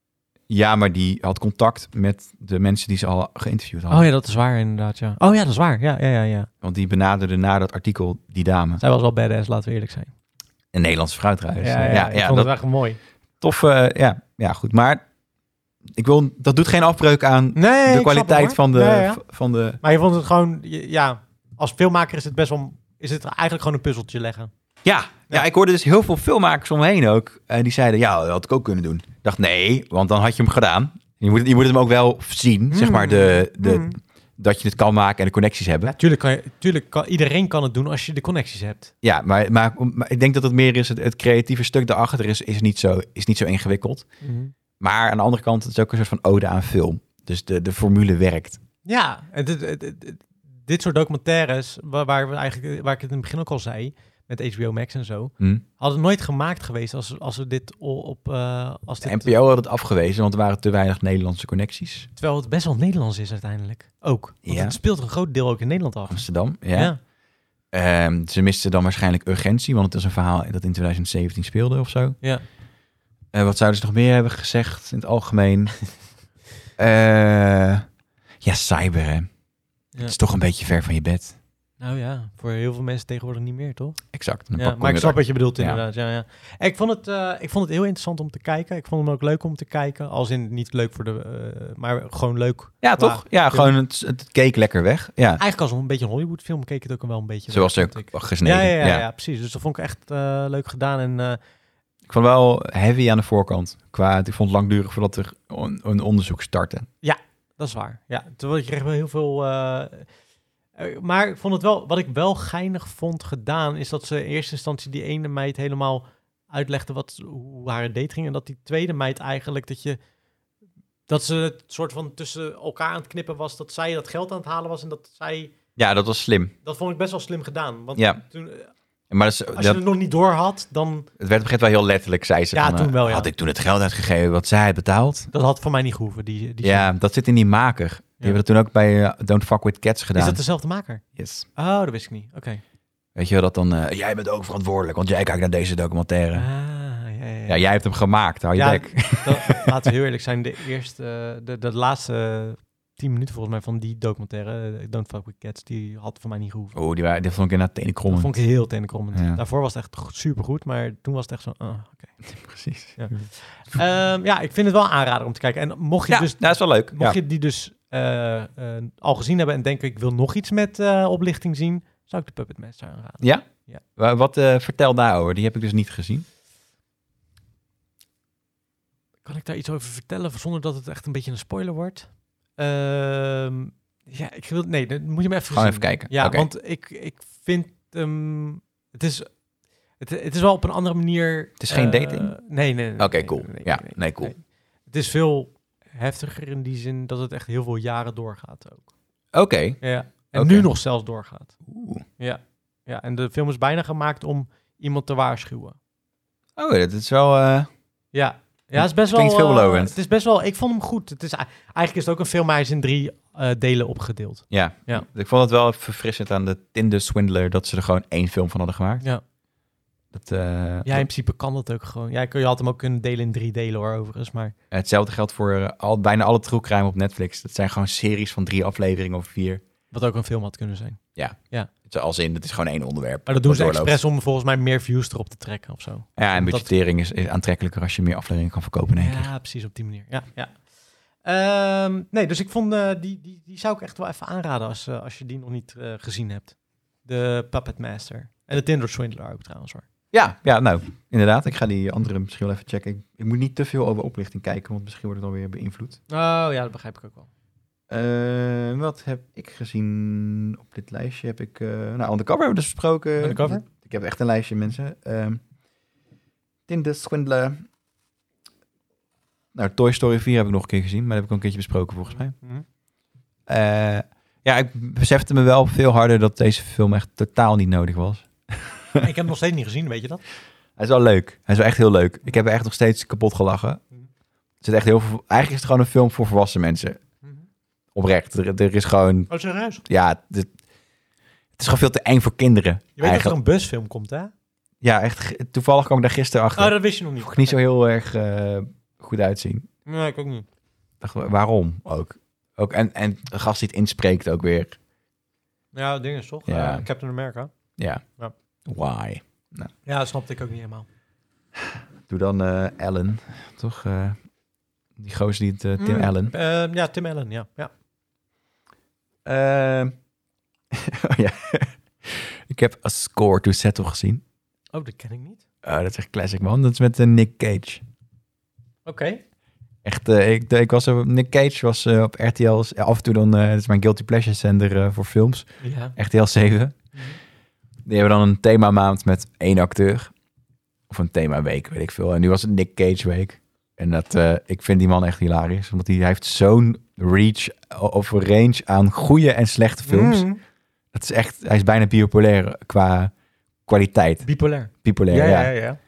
Speaker 1: Ja, maar die had contact met de mensen die ze al geïnterviewd hadden.
Speaker 2: Oh ja, dat is waar inderdaad, ja. Oh ja, dat is waar, ja, ja, ja. ja.
Speaker 1: Want die benaderde na dat artikel die dame.
Speaker 2: Zij was wel badass, laten we eerlijk zijn.
Speaker 1: Een Nederlandse fruitrijder. Ja, ja,
Speaker 2: Dus, eh, ik vond
Speaker 1: dat
Speaker 2: het echt mooi.
Speaker 1: tof. eh, ja, ja, goed. Maar ik wil, dat doet geen afbreuk aan
Speaker 2: Nee,
Speaker 1: de kwaliteit van de, v- van de...
Speaker 2: Maar je vond het gewoon, je- ja, als filmmaker is het best wel, is het eigenlijk gewoon een puzzeltje leggen.
Speaker 1: Ja, ja. ik hoorde dus heel veel filmmakers omheen ook. En die zeiden, ja, dat had ik ook kunnen doen. Ik dacht, nee, want dan had je hem gedaan. Je moet, het- je moet hem ook wel zien, zeg maar, de, de,
Speaker 2: Mm.
Speaker 1: dat je het kan maken en de connecties hebben.
Speaker 2: Tuurlijk, kan je, tuurlijk kan, iedereen kan het doen als je de connecties hebt.
Speaker 1: Ja, maar, maar, maar ik denk dat het meer is, het, het creatieve stuk daarachter is, is, niet zo, is niet zo ingewikkeld.
Speaker 2: Mhm.
Speaker 1: Maar aan de andere kant, het is ook een soort van ode aan film. Dus de, de formule werkt.
Speaker 2: Ja, het, het- het- het- het- dit soort documentaires, waar, waar, we eigenlijk, waar ik het in het begin ook al zei, met HBO Max en zo,
Speaker 1: Hm?
Speaker 2: hadden het nooit gemaakt geweest als, als we dit o- op... eh, als
Speaker 1: De
Speaker 2: dit,
Speaker 1: NPO had het afgewezen, want er waren te weinig Nederlandse connecties.
Speaker 2: terwijl het best wel Nederlands is uiteindelijk. Ook. Want
Speaker 1: Ja.
Speaker 2: het speelt een groot deel ook in Nederland af.
Speaker 1: Amsterdam, ja. Ehm, ze misten dan waarschijnlijk urgentie, want het is een verhaal dat in 2017 speelde of zo.
Speaker 2: Ja.
Speaker 1: Eh, wat zouden ze nog meer hebben gezegd in het
Speaker 2: [LAUGHS]
Speaker 1: algemeen? Eh, ja, cyber, hè. Het is toch een beetje ver van je bed.
Speaker 2: Nou ja, voor heel veel mensen tegenwoordig niet meer, toch?
Speaker 1: Exact. Dan
Speaker 2: Ja,
Speaker 1: pak- kom
Speaker 2: maar ik
Speaker 1: je
Speaker 2: snap
Speaker 1: er-
Speaker 2: wat je bedoelt
Speaker 1: Ja.
Speaker 2: inderdaad. Ja, ja. Ik, vond het, eh, ik vond het heel interessant om te kijken. Ik vond hem ook leuk om te kijken. Als in niet leuk voor de... eh, maar gewoon leuk.
Speaker 1: Ja, toch?
Speaker 2: Maar-
Speaker 1: ja, gewoon het, het keek lekker weg. Ja,
Speaker 2: Eigenlijk als een beetje een Hollywood film keek het ook wel een beetje.
Speaker 1: zoals
Speaker 2: weg,
Speaker 1: ze
Speaker 2: vond ik.
Speaker 1: ook gesneden.
Speaker 2: Ja, ja, ja,
Speaker 1: ja.
Speaker 2: ja, precies. Dus dat vond ik echt eh, leuk gedaan. En eh,
Speaker 1: Ik vond wel heavy aan de voorkant. Qua, ik vond het langdurig voordat er on- een onderzoek startte.
Speaker 2: dat is waar. Ja, terwijl je kreeg wel heel veel... eh, eh, maar ik vond het wel... Wat ik wel geinig vond gedaan... is dat ze in eerste instantie die ene meid helemaal uitlegde... Wat, hoe haar date ging. En dat die tweede meid eigenlijk... dat je dat ze het soort van tussen elkaar aan het knippen was... dat zij dat geld aan het halen was... en dat zij...
Speaker 1: Ja, dat was slim.
Speaker 2: Dat vond ik best wel slim gedaan. Want
Speaker 1: Ja.
Speaker 2: toen, eh,
Speaker 1: Maar dat, is-
Speaker 2: als
Speaker 1: dat-
Speaker 2: je het nog niet door had... dan...
Speaker 1: het werd op een gegeven moment wel heel letterlijk, zei ze.
Speaker 2: Ja,
Speaker 1: van, eh,
Speaker 2: toen wel, ja.
Speaker 1: Had ik toen het geld uitgegeven wat zij had betaald?
Speaker 2: dat had voor mij niet gehoeven. Die, die
Speaker 1: ja, dat zit in die maker. Die hebben dat toen ook bij eh, Don't Fuck With Cats gedaan.
Speaker 2: Is dat dezelfde maker?
Speaker 1: yes.
Speaker 2: Oh, dat wist ik niet. Oké.
Speaker 1: Weet je wel, dat dan... eh, jij bent ook verantwoordelijk, want jij kijkt naar deze documentaire.
Speaker 2: Ah, ja, ja.
Speaker 1: Ja, jij hebt hem gemaakt, hou je
Speaker 2: Ja,
Speaker 1: bek. [LAUGHS]
Speaker 2: Dat- laten we heel eerlijk zijn. De eerste, eh, de, de laatste tien minuten volgens mij van die documentaire, eh, Don't Fuck With Cats, die had voor mij niet gehoeven.
Speaker 1: Oeh, Oh, die, waren- die vond ik inderdaad tenenkrommend.
Speaker 2: Dat vond ik heel tenenkrommend.
Speaker 1: Ja.
Speaker 2: Daarvoor was het echt go- supergoed, maar toen was het echt zo... ah, oké.
Speaker 1: [LAUGHS] Precies.
Speaker 2: Ja.
Speaker 1: Ja,
Speaker 2: Ehm, ja, ik vind het wel een aanrader om te kijken. En mocht je,
Speaker 1: ja
Speaker 2: dus,
Speaker 1: dat is wel leuk. Ja.
Speaker 2: mocht je die dus eh, eh, al gezien hebben en denken, ik wil nog iets met eh, oplichting zien, zou ik de Puppet Master aanraden.
Speaker 1: Wa- Wat eh, vertel daarover? Die heb ik dus niet gezien.
Speaker 2: Kan ik daar iets over vertellen zonder dat het echt een beetje een spoiler wordt? Ehm, ja, ik wil. Nee, dan moet je me even.
Speaker 1: Gewoon
Speaker 2: zien.
Speaker 1: even kijken.
Speaker 2: Ja,
Speaker 1: Oké.
Speaker 2: want ik, ik vind. ehm, het, is, het, het is wel op een andere manier. Het
Speaker 1: is geen dating?
Speaker 2: Nee, nee. nee,
Speaker 1: Oké,
Speaker 2: nee,
Speaker 1: cool.
Speaker 2: nee, nee,
Speaker 1: Ja,
Speaker 2: nee,
Speaker 1: nee, cool.
Speaker 2: Het is veel heftiger in die zin dat het echt heel veel jaren doorgaat ook.
Speaker 1: Oké.
Speaker 2: Ja. En
Speaker 1: Oké.
Speaker 2: nu nog zelfs doorgaat.
Speaker 1: Oeh.
Speaker 2: Ja. ja. En de film is bijna gemaakt om iemand te waarschuwen.
Speaker 1: Oh, dat is wel... eh,
Speaker 2: Ja. Ja, het is best
Speaker 1: Klinkt
Speaker 2: wel... eh,
Speaker 1: veelbelovend.
Speaker 2: het is best wel... Ik vond hem goed. Het is, eigenlijk is het ook een film, maar hij is in drie eh, delen opgedeeld.
Speaker 1: ja.
Speaker 2: Ja.
Speaker 1: ik vond het wel verfrissend aan de Tinder Swindler... dat ze er gewoon één film van hadden gemaakt.
Speaker 2: Ja.
Speaker 1: Dat, eh,
Speaker 2: Ja, in principe kan dat ook gewoon. Ja, kun- je had hem ook kunnen delen in drie delen hoor, overigens. Maar
Speaker 1: Hetzelfde geldt voor eh, al, bijna alle true crime op Netflix. Dat zijn gewoon series van drie afleveringen of vier.
Speaker 2: wat ook een film had kunnen zijn.
Speaker 1: Het is Als in, het is gewoon één onderwerp.
Speaker 2: Maar dat doen
Speaker 1: wat
Speaker 2: ze
Speaker 1: doorloopt.
Speaker 2: expres om volgens mij meer views erop te trekken of zo.
Speaker 1: Ja, en
Speaker 2: omdat-
Speaker 1: budgettering is, is aantrekkelijker als je meer afleveringen kan verkopen in één keer.
Speaker 2: Ja, precies op die manier. Ja, ja. Ehm, nee, dus ik vond eh, die, die, die zou ik echt wel even aanraden als, eh, als je die nog niet eh, gezien hebt. De Puppet Master. En de Tinder Swindler ook trouwens hoor.
Speaker 1: Ja, ja, nou, inderdaad. Ik ga die andere misschien wel even checken. Ik, ik moet niet te veel over oplichting kijken, want misschien wordt het dan weer beïnvloed.
Speaker 2: Oh ja, dat begrijp ik ook wel.
Speaker 1: Eh, wat heb ik gezien op dit lijstje? Heb ik, eh nou, Undercover hebben we dus besproken.
Speaker 2: Undercover?
Speaker 1: Ik heb echt een lijstje, mensen. Ehm Tinder Swindler. Nou, Toy Story 4 heb ik nog een keer gezien, maar dat heb ik al een keertje besproken volgens mij.
Speaker 2: Mhm.
Speaker 1: Eh, ja, ik besefte me wel veel harder dat deze film echt totaal niet nodig was.
Speaker 2: ik heb hem nog steeds niet gezien, weet je dat?
Speaker 1: Hij is wel leuk. Hij is wel echt heel leuk. Ik heb er echt nog steeds kapot gelachen. Er zit echt heel veel, eigenlijk is het gewoon een film voor volwassen mensen.
Speaker 2: Mhm.
Speaker 1: Oprecht. Er, er is gewoon,
Speaker 2: Oh, serieus?
Speaker 1: ja, dit- het is gewoon veel te eng voor kinderen.
Speaker 2: Je weet dat er
Speaker 1: eigenlijk.
Speaker 2: een busfilm komt, hè?
Speaker 1: Ja, echt. ge- Toevallig kwam ik daar gisteren achter.
Speaker 2: Oh, dat wist je nog niet.
Speaker 1: Vond ik niet zo heel erg eh, goed uitzien.
Speaker 2: Nee, ik ook niet.
Speaker 1: Dacht, wa- waarom ook? ook en, en de gast die het inspreekt ook weer.
Speaker 2: Ja, ding is toch?
Speaker 1: Ja.
Speaker 2: Eh, Captain America.
Speaker 1: Ja.
Speaker 2: Ja.
Speaker 1: Why?
Speaker 2: Ja, dat snapte ik ook niet helemaal.
Speaker 1: Doe dan eh, Ellen, toch? eh, die gozer die het, eh, Tim
Speaker 2: Mm.
Speaker 1: Allen.
Speaker 2: Eh, ja, Tim Allen, ja. ja.
Speaker 1: Ehm, [LAUGHS] oh ja. ik heb A Score to Settle gezien.
Speaker 2: Oh, dat ken ik niet.
Speaker 1: Oh, dat is echt classic, man. Dat is met eh, Nick Cage.
Speaker 2: Oké.
Speaker 1: Echt, eh, ik, ik was, er- Nick Cage was eh, op RTL, s- af en toe dan, eh, dat is mijn Guilty Pleasure zender eh, voor films,
Speaker 2: Ja.
Speaker 1: RTL 7. Die hebben dan een themamaand met één acteur. Of een themaweek, weet ik veel. En nu was het Nick Cage week. En dat, eh, ik vind die man echt hilarisch, omdat hij, hij heeft zo'n reach of range aan goede en slechte films.
Speaker 2: Mm.
Speaker 1: Het is echt, hij is bijna bipolair qua kwaliteit.
Speaker 2: Bipolair.
Speaker 1: Bipolair, ja. [LAUGHS]
Speaker 2: ja.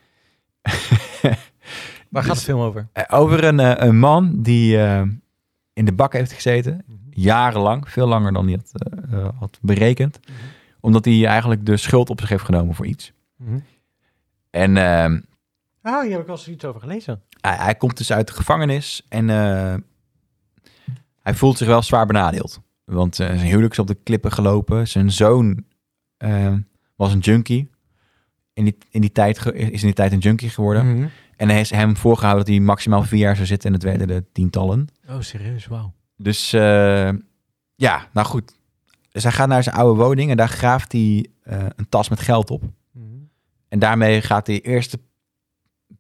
Speaker 2: Waar gaat de film over?
Speaker 1: Eh, Over een, eh, een man die eh, in de bak heeft gezeten,
Speaker 2: Mm-hmm.
Speaker 1: jarenlang, veel langer dan hij had, eh, eh, had berekend,
Speaker 2: Mhm.
Speaker 1: omdat hij eigenlijk de schuld op zich heeft genomen voor iets.
Speaker 2: Mm-hmm.
Speaker 1: En ehm,
Speaker 2: Ah, hier heb ik wel eens iets over gelezen.
Speaker 1: hij, hij komt dus uit de gevangenis en eh, hij voelt zich wel zwaar benadeeld. Want eh, zijn huwelijk is op de klippen gelopen. Zijn zoon eh, was een junkie. In die, in die tijd ge- is in die tijd een junkie geworden.
Speaker 2: Mm. Mm-hmm.
Speaker 1: En hij is hem voorgehouden dat hij maximaal vier jaar zou zitten en het werden de tientallen.
Speaker 2: Oh, serieus, wauw.
Speaker 1: Dus eh, ja, nou goed. Dus hij gaat naar zijn oude woning en daar graaft hij eh, een tas met geld op.
Speaker 2: Mm-hmm.
Speaker 1: En daarmee gaat hij de eerste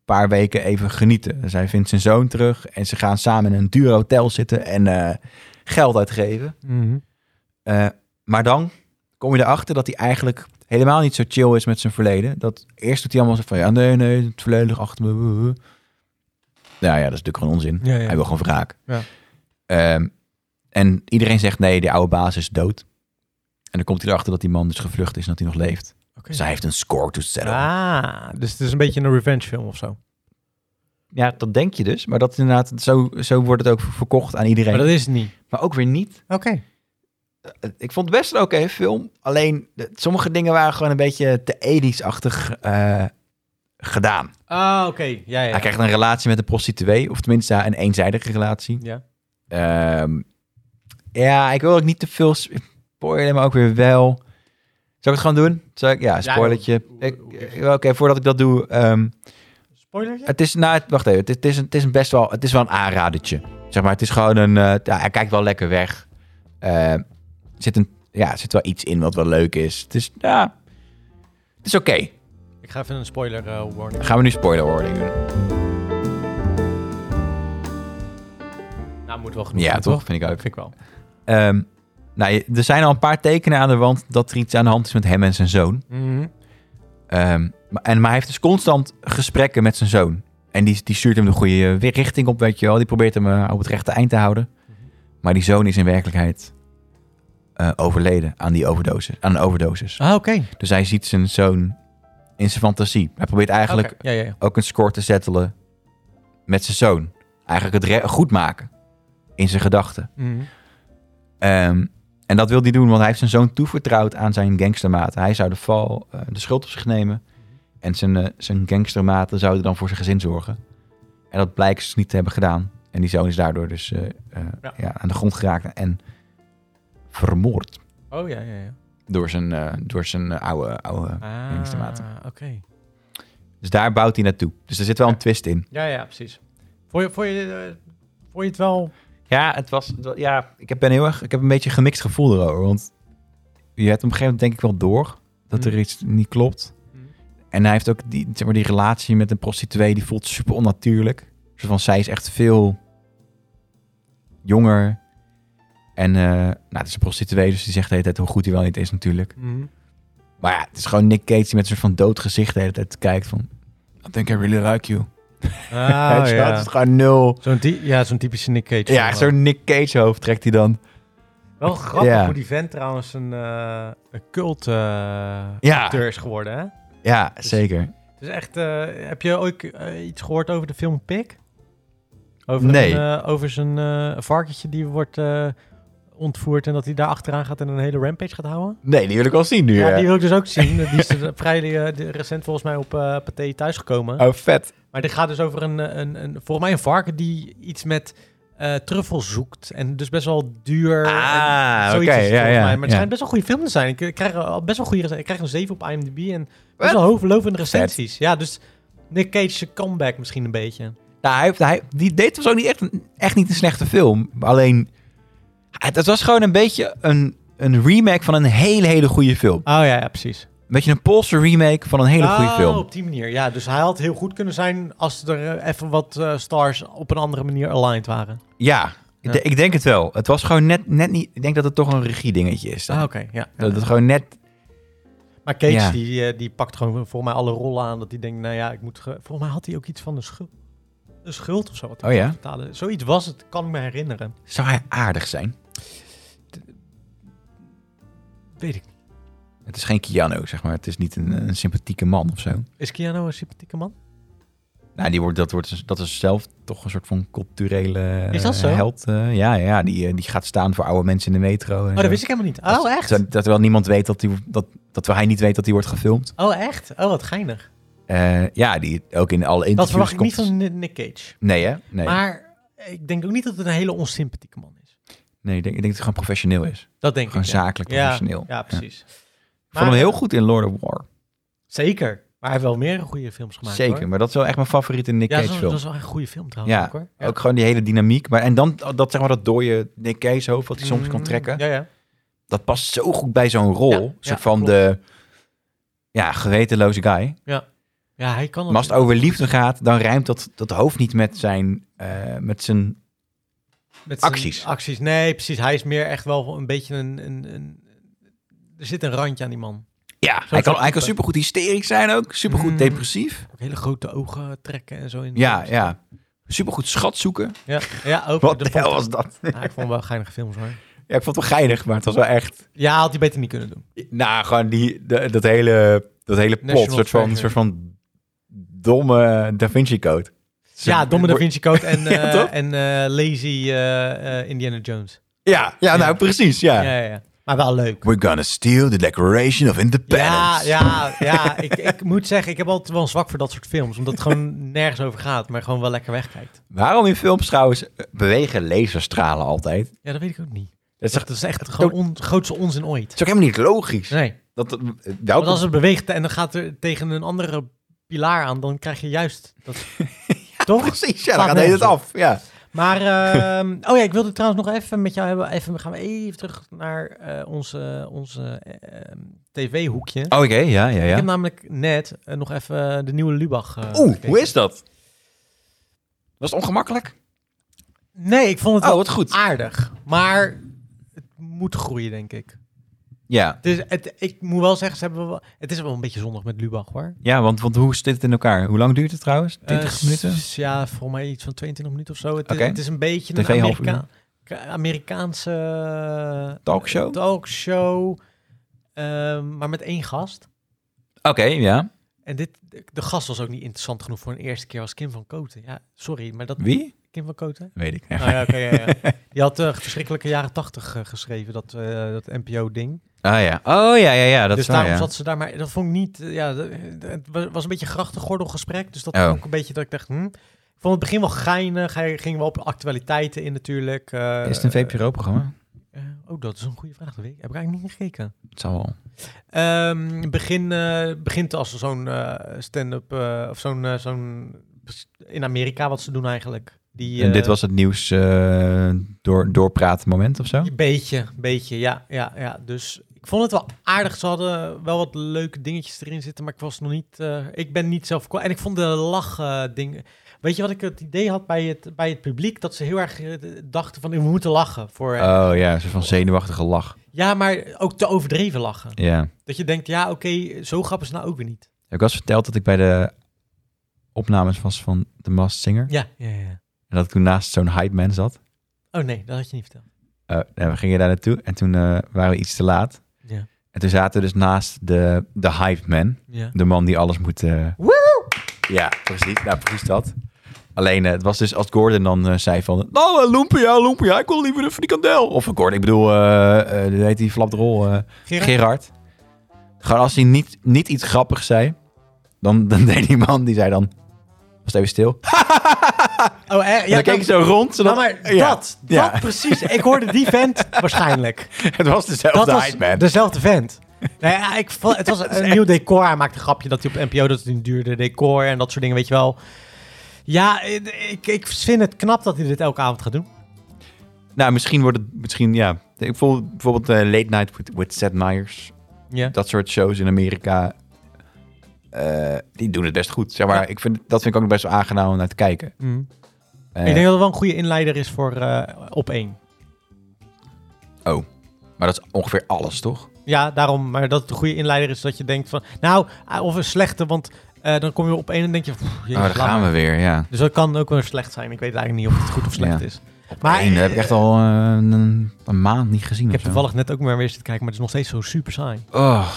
Speaker 1: paar weken even genieten. Dus hij vindt zijn zoon terug en ze gaan samen in een duur hotel zitten en eh, geld uitgeven.
Speaker 2: Mm-hmm.
Speaker 1: Eh, maar dan kom je erachter dat hij eigenlijk helemaal niet zo chill is met zijn verleden. Dat eerst doet hij allemaal zo van, ja, nee, nee, het verleden ligt achter me. Nou ja, dat is natuurlijk gewoon onzin.
Speaker 2: Ja, ja.
Speaker 1: Hij wil gewoon wraak.
Speaker 2: Ja.
Speaker 1: Ehm, en iedereen zegt, nee, die oude baas is dood. En dan komt hij erachter dat die man dus gevlucht is en dat hij nog leeft.
Speaker 2: Oké.
Speaker 1: Dus hij heeft een score to settle.
Speaker 2: Ah, dus het is een beetje een revenge film of zo.
Speaker 1: Ja, dat denk je dus. Maar dat is inderdaad, zo, zo wordt het ook verkocht aan iedereen.
Speaker 2: Maar
Speaker 1: Maar,
Speaker 2: dat is het niet.
Speaker 1: ook weer niet.
Speaker 2: Oké.
Speaker 1: Eh, Ik vond het best een oké film. Alleen, de- sommige dingen waren gewoon een beetje te edisch-achtig eh, gedaan.
Speaker 2: Ah, oké. Ja, ja.
Speaker 1: Hij krijgt een relatie met een prostituee. Of tenminste, ja, een eenzijdige relatie.
Speaker 2: Ja.
Speaker 1: Ehm, ja, ik wil ook niet te veel spoilen, maar ook weer wel. Zal ik het gewoon doen? Zal ik, ja, spoilertje.
Speaker 2: hoe-
Speaker 1: Ik-
Speaker 2: hoe-
Speaker 1: eh, Oké, voordat ik dat doe. ehm,
Speaker 2: Spoilertje?
Speaker 1: het is, nou, het- wacht even. Het, is- het, is een, het is een best wel, het is wel een aanradertje. Zeg maar, het is gewoon een, eh, ja, hij kijkt wel lekker weg. Eh, er zit een, ja, er zit wel iets in wat wel leuk is. Het is, ja, het is oké.
Speaker 2: Ik ga even een spoiler eh, warning.
Speaker 1: Gaan we nu spoiler warning doen?
Speaker 2: Nou, moet wel genoeg
Speaker 1: Ja,
Speaker 2: zijn,
Speaker 1: toch? Vind ik ook.
Speaker 2: Vind ik wel.
Speaker 1: Ehm, nou, je- er zijn al een paar tekenen aan de wand dat er iets aan de hand is met hem en zijn zoon.
Speaker 2: Mm-hmm.
Speaker 1: Ehm, maar, en, maar hij heeft dus constant gesprekken met zijn zoon. En die, die stuurt hem de goede eh, weer richting op, weet je wel. Die probeert hem eh, op het rechte eind te houden.
Speaker 2: Mhm.
Speaker 1: Maar die zoon is in werkelijkheid eh, overleden aan, die overdosis, aan een overdosis.
Speaker 2: Ah, oké.
Speaker 1: Dus hij ziet zijn zoon in zijn fantasie. Hij probeert eigenlijk
Speaker 2: Oké. Ja, ja, ja.
Speaker 1: ook een score te settelen met zijn zoon. Eigenlijk het re- goed maken in zijn gedachten.
Speaker 2: Mm-hmm.
Speaker 1: Ehm, en dat wil hij doen, want hij heeft zijn zoon toevertrouwd aan zijn gangstermaten. Hij zou de val, eh, de schuld op zich nemen. En zijn, eh, zijn gangstermaten zouden dan voor zijn gezin zorgen. En dat blijkt ze dus niet te hebben gedaan. En die zoon is daardoor dus eh, eh,
Speaker 2: Ja.
Speaker 1: ja. aan de grond geraakt en vermoord
Speaker 2: Oh, ja, ja, ja.
Speaker 1: door zijn, eh, door zijn eh, oude, oude...
Speaker 2: Ah,
Speaker 1: Meningstomaten.
Speaker 2: oké.
Speaker 1: Dus daar bouwt hij naartoe. Dus er zit wel een
Speaker 2: Ja.
Speaker 1: twist in.
Speaker 2: Ja, ja, precies. Vond je, vond je, eh, vond je het wel...
Speaker 1: Ja, het was, het wa- ja ik, heb, ben heel erg, ik heb een beetje een gemixt gevoel erover. Want je hebt op een gegeven moment denk ik wel door dat
Speaker 2: Mm.
Speaker 1: er iets niet klopt.
Speaker 2: Mhm.
Speaker 1: En hij heeft ook die, zeg maar, die relatie met een prostituee, die voelt super onnatuurlijk. Een soort van, zij is echt veel jonger. En eh, nou, het is een prostituee, dus die zegt de hele tijd hoe goed hij wel niet is natuurlijk. Maar ja, het is gewoon Nick Cage die met een soort van dood gezicht de hele tijd kijkt van... I think I really like you.
Speaker 2: Ah,
Speaker 1: Weet je wel? Het
Speaker 2: ja.
Speaker 1: is gewoon nul.
Speaker 2: Zo'n ty- ja, zo'n typische Nick Cage.
Speaker 1: Ja,
Speaker 2: film wel.
Speaker 1: zo'n Nick Cage hoofd trekt hij dan.
Speaker 2: Wel grappig
Speaker 1: Ja.
Speaker 2: hoe die vent trouwens een, eh, een cult eh,
Speaker 1: Ja.
Speaker 2: acteur is geworden, hè?
Speaker 1: Ja,
Speaker 2: Dus-
Speaker 1: zeker.
Speaker 2: Dus echt, eh, heb je ooit eh, iets gehoord over de film Pik? Over
Speaker 1: Nee.
Speaker 2: Een, eh, over zijn eh varkentje die wordt eh, ontvoert en dat hij daar achteraan gaat en een hele rampage gaat houden.
Speaker 1: Nee, die wil ik wel zien nu.
Speaker 2: Ja,
Speaker 1: hè.
Speaker 2: die wil ik dus ook
Speaker 1: [LAUGHS]
Speaker 2: zien. Die is eh, vrij eh, de- recent volgens mij op eh Pathé thuisgekomen.
Speaker 1: Oh, vet.
Speaker 2: Maar dit gaat dus over een, eh, een, een, volgens mij een varken die iets met eh truffel zoekt. En dus best wel duur.
Speaker 1: Ah,
Speaker 2: en
Speaker 1: oké.
Speaker 2: zoiets is het
Speaker 1: ja,
Speaker 2: volgens
Speaker 1: ja,
Speaker 2: mij. Maar het
Speaker 1: ja.
Speaker 2: schijnt best wel goede film te zijn. Ik eh, krijg er al best wel goede rec- Ik krijg een 7 op IMDb en best wel hooglovende recensies. Ja, dus Nick Cage's comeback misschien een beetje.
Speaker 1: Nou, hij, heeft- hij, die deed was ook niet echt, een- echt niet een slechte film. Alleen, het, het was gewoon een beetje een, een remake van een hele, hele goede film.
Speaker 2: Oh ja, ja precies.
Speaker 1: Een beetje een Poolse remake van een hele goede
Speaker 2: Oh,
Speaker 1: film.
Speaker 2: op die manier. Ja, dus hij had heel goed kunnen zijn als er eh, even wat eh, stars op een andere manier aligned waren.
Speaker 1: Ja,
Speaker 2: Ja.
Speaker 1: de- ik denk het wel. Het was gewoon net, net niet... Ik denk dat het toch een regiedingetje is.
Speaker 2: Ah, oké. ja.
Speaker 1: Dat het gewoon net...
Speaker 2: Maar Cage,
Speaker 1: Ja.
Speaker 2: die, eh, die pakt gewoon voor mij alle rollen aan. Dat hij denkt, nou ja, ik moet... ge- Volgens mij had hij ook iets van een schuld. Een schuld of zo. Wat hij
Speaker 1: Oh
Speaker 2: moest
Speaker 1: ja?
Speaker 2: betalen. Zoiets was het, kan ik me herinneren.
Speaker 1: Zou hij aardig zijn?
Speaker 2: Weet ik. niet.
Speaker 1: Het is geen Keanu, zeg maar. Het is niet een, een sympathieke man of zo.
Speaker 2: Is Keanu een sympathieke man?
Speaker 1: Nou, die wordt, dat, wordt, dat is zelf toch een soort van culturele
Speaker 2: Is dat
Speaker 1: eh,
Speaker 2: zo?
Speaker 1: held. eh, ja, ja die, eh, die gaat staan voor oude mensen in de metro.
Speaker 2: Oh, dat wist ik helemaal niet. Oh, echt?
Speaker 1: Dat, dat wel niemand weet dat, die, dat, dat wel hij niet weet dat hij wordt gefilmd.
Speaker 2: Oh, echt? Oh, wat geinig.
Speaker 1: Eh, ja, die ook in alle interviews
Speaker 2: Dat verwacht ik niet
Speaker 1: komt-
Speaker 2: van Ni- Nick Cage.
Speaker 1: Nee, hè? Nee,
Speaker 2: Maar ik denk ook niet dat het een hele onsympathieke man is.
Speaker 1: nee ik, denk, ik denk dat hij gewoon professioneel is.
Speaker 2: Dat denk
Speaker 1: Gewoon
Speaker 2: ik, ja.
Speaker 1: zakelijk professioneel.
Speaker 2: Ja, ja precies.
Speaker 1: Ik vond hem heel goed in Lord of War.
Speaker 2: Zeker. Maar hij heeft wel meer goede films gemaakt,
Speaker 1: Zeker,
Speaker 2: hoor.
Speaker 1: maar dat is wel echt mijn favoriete Nick
Speaker 2: Ja,
Speaker 1: Cage
Speaker 2: dat is, wel-
Speaker 1: film.
Speaker 2: dat is wel echt een goede film trouwens.
Speaker 1: Ja,
Speaker 2: ook, hoor.
Speaker 1: Ook gewoon die hele dynamiek. Maar, en dan dat, zeg maar, dat dode Nick Cage hoofd wat hij soms kan
Speaker 2: Mm,
Speaker 1: trekken.
Speaker 2: Ja, ja.
Speaker 1: Dat past zo goed bij zo'n rol.
Speaker 2: Ja,
Speaker 1: Een
Speaker 2: ja,
Speaker 1: soort van
Speaker 2: klopt.
Speaker 1: de ja, gewetenloze guy.
Speaker 2: ja, hij kan
Speaker 1: Maar als het
Speaker 2: ook
Speaker 1: over liefde gaat, dan rijmt dat, dat hoofd niet met zijn, eh, met zijn...
Speaker 2: Met zijn
Speaker 1: Acties.
Speaker 2: Acties, nee, precies. Hij is meer echt wel een beetje een... een, een er zit een randje aan die man.
Speaker 1: Ja, hij kan,
Speaker 2: type.
Speaker 1: hij kan supergoed hysterisch zijn ook. Supergoed
Speaker 2: Mm.
Speaker 1: depressief.
Speaker 2: Ook hele grote ogen trekken en zo. In de
Speaker 1: Ja,
Speaker 2: films.
Speaker 1: ja. Supergoed schat zoeken.
Speaker 2: ja. Ja, ook.
Speaker 1: Wat
Speaker 2: dat
Speaker 1: de
Speaker 2: vond
Speaker 1: hel
Speaker 2: ik-
Speaker 1: was dat?
Speaker 2: Ja, ik vond wel geinige films hoor.
Speaker 1: [LAUGHS] Ja, ik vond het wel geinig, maar het was wel echt...
Speaker 2: Ja, had hij beter niet kunnen doen.
Speaker 1: Nou, gewoon die, de- dat hele, dat hele plot.
Speaker 2: National
Speaker 1: soort van,
Speaker 2: treasure.
Speaker 1: soort van domme Da Vinci Code.
Speaker 2: Ja, Domme Da Vinci Code en,
Speaker 1: [LAUGHS] Ja,
Speaker 2: eh,
Speaker 1: toch?
Speaker 2: en eh, Lazy eh, eh, Indiana Jones.
Speaker 1: Ja, ja nou
Speaker 2: Ja.
Speaker 1: precies,
Speaker 2: Ja.
Speaker 1: ja.
Speaker 2: Ja, ja. Maar wel leuk.
Speaker 1: We're gonna steal the Declaration of
Speaker 2: Ja,
Speaker 1: Independence.
Speaker 2: ja, ja. ik, ik moet zeggen, ik heb altijd wel een zwak voor dat soort films. Omdat het gewoon nergens over gaat, maar gewoon wel lekker wegkijkt.
Speaker 1: Waarom in films trouwens eh, bewegen laserstralen altijd?
Speaker 2: Ja, dat weet ik ook niet.
Speaker 1: Dat is,
Speaker 2: Dat
Speaker 1: echt,
Speaker 2: is echt gewoon on, grootste onzin ooit.
Speaker 1: dat is ook helemaal niet logisch.
Speaker 2: Nee.
Speaker 1: Dat, dat,
Speaker 2: Want als het beweegt en dan gaat er tegen een andere pilaar aan, dan krijg je juist dat.
Speaker 1: [LAUGHS]
Speaker 2: Toch?
Speaker 1: [LAUGHS] precies, ja, dan
Speaker 2: Slaat
Speaker 1: gaat hij het
Speaker 2: nergens
Speaker 1: af. Ja.
Speaker 2: Maar, ehm, oh ja, ik wilde trouwens nog even met jou hebben. Even, gaan we even terug naar eh onze, onze ehm, tv-hoekje.
Speaker 1: Oké, Oh, ja, ja,
Speaker 2: Ik heb namelijk net eh, nog even de nieuwe Lubach. eh,
Speaker 1: Oeh,
Speaker 2: gekeken.
Speaker 1: hoe is dat? Was het ongemakkelijk?
Speaker 2: Nee, ik vond het
Speaker 1: Oh,
Speaker 2: wel
Speaker 1: wat goed.
Speaker 2: aardig. Maar het moet groeien, denk ik.
Speaker 1: Ja,
Speaker 2: Het is, het, ik moet wel zeggen, ze hebben wel, het is wel een beetje zondig met Lubach hoor.
Speaker 1: ja want, want hoe zit het in elkaar? Hoe lang duurt het trouwens? 20
Speaker 2: Eh,
Speaker 1: minuten?
Speaker 2: s- Ja, volgens mij iets van 22 minuten of zo. Het,
Speaker 1: Oké.
Speaker 2: is, het is een beetje
Speaker 1: TV
Speaker 2: een
Speaker 1: half
Speaker 2: Amerika- Ka- Amerikaanse eh,
Speaker 1: Talkshow?
Speaker 2: talkshow ehm, maar met één gast.
Speaker 1: Oké, ja.
Speaker 2: En dit, de gast was ook niet interessant genoeg voor een eerste keer als Kim van Koten. Ja, sorry, maar dat...
Speaker 1: Wie?
Speaker 2: Kim van Koten?
Speaker 1: Weet ik.
Speaker 2: Oh, ja, oké, ja, ja. Die had eh, verschrikkelijke jaren tachtig geschreven, dat, eh, dat NPO-ding.
Speaker 1: [LAUGHS] Ah ja. Oh ja, ja, ja. Dat
Speaker 2: Dus
Speaker 1: is waar,
Speaker 2: daarom
Speaker 1: ja.
Speaker 2: zat ze daar, maar dat vond ik niet... eh, Ja, dat- het wa- was een beetje een grachtengordelgesprek, dus dat
Speaker 1: Oh.
Speaker 2: vond ik een beetje dat ik dacht... Hm. Ik vond het begin wel geinig, hij ging wel op actualiteiten in natuurlijk. eh,
Speaker 1: Is het een VPRO-programma?
Speaker 2: eh, oh, dat is een goede vraag, dat weet ik. Heb ik eigenlijk niet gekeken.
Speaker 1: Het zal wel.
Speaker 2: Ehm, begin, eh, begint als zo'n eh, stand-up, eh, of zo'n, eh, zo'n in Amerika wat ze doen eigenlijk. Die,
Speaker 1: En dit
Speaker 2: eh,
Speaker 1: was het nieuws eh door, doorpraten moment of zo?
Speaker 2: Een beetje, beetje, ja, ja, ja. Dus ik vond het wel aardig. Ze hadden wel wat leuke dingetjes erin zitten, maar ik was nog niet... eh, ik ben niet zelf... En ik vond de lach eh, dingen... Weet je wat ik het idee had bij het, bij het publiek? Dat ze heel erg eh, dachten van, we moeten lachen. Voor, eh,
Speaker 1: Oh ja, een soort van zenuwachtige lach.
Speaker 2: Ja, maar ook te overdreven lachen.
Speaker 1: Ja. Heb
Speaker 2: Dat je denkt, ja, oké, zo grappig is het nou ook weer niet.
Speaker 1: ik wel eens verteld dat ik bij de opnames was van The Masked Singer.
Speaker 2: Ja, ja, ja.
Speaker 1: En dat ik toen naast zo'n hype man zat.
Speaker 2: Oh nee, dat had je niet verteld.
Speaker 1: Eh, en we gingen daar naartoe en toen eh, waren we iets te laat.
Speaker 2: Ja.
Speaker 1: En toen zaten we dus naast de, de hype man.
Speaker 2: Ja.
Speaker 1: De man die alles moet... eh,
Speaker 2: Woe!
Speaker 1: Ja, precies. Nou, precies dat. Alleen, eh, het was dus als Gordon dan eh, zei van... Nou, eh, lumpia, lumpia, ik wil liever een frikandel. Of eh, Gordon, ik bedoel, eh eh, hoe heet die flapdrol? eh
Speaker 2: Gerard?
Speaker 1: Gerard. Gewoon als hij niet, niet iets grappigs zei... Dan, dan deed die man, die zei dan... Was het even stil?
Speaker 2: Oh, eh,
Speaker 1: en dan keek hij zo rond. Zodat,
Speaker 2: nou, maar
Speaker 1: ja,
Speaker 2: dat,
Speaker 1: ja.
Speaker 2: dat precies. Ik hoorde die
Speaker 1: [LAUGHS]
Speaker 2: vent waarschijnlijk.
Speaker 1: het was
Speaker 2: Dat
Speaker 1: dezelfde
Speaker 2: was
Speaker 1: Iceman.
Speaker 2: dezelfde
Speaker 1: [LAUGHS]
Speaker 2: vent. Nou ja, ik, vo- het was een nieuw decor. Hij maakte een grapje dat hij op NPO dat het een duurde decor en dat soort dingen, weet je wel. Ja, ik, ik- ik vind het knap dat hij dit elke avond gaat doen.
Speaker 1: Nou, misschien wordt het... Misschien, ja. Ik voel bijvoorbeeld eh, Late Night with, with Seth Meyers.
Speaker 2: Ja.
Speaker 1: dat soort shows in Amerika. eh, die doen het best goed. Zeg maar,
Speaker 2: Ja.
Speaker 1: ik vind, dat vind ik ook best wel aangenaam om naar te kijken. Eh,
Speaker 2: ik denk dat het wel een goede inleider is voor eh, op één.
Speaker 1: Maar dat is ongeveer alles, toch?
Speaker 2: Ja, daarom. Maar dat het een goede inleider is dat je denkt van... Nou, ah, of een slechte, want eh, dan kom je op één en denk je... pff, jezus,
Speaker 1: Oh, daar
Speaker 2: laat
Speaker 1: gaan we
Speaker 2: maar.
Speaker 1: weer, ja.
Speaker 2: Dus dat kan ook wel slecht zijn. Ik weet eigenlijk niet of het goed of slecht
Speaker 1: Ja.
Speaker 2: is.
Speaker 1: Maar Eén, dat heb ik echt al eh, een, een maand niet gezien.
Speaker 2: Ik heb
Speaker 1: of zo.
Speaker 2: toevallig net ook maar weer zitten kijken, maar het is nog steeds zo super saai.
Speaker 1: Oh,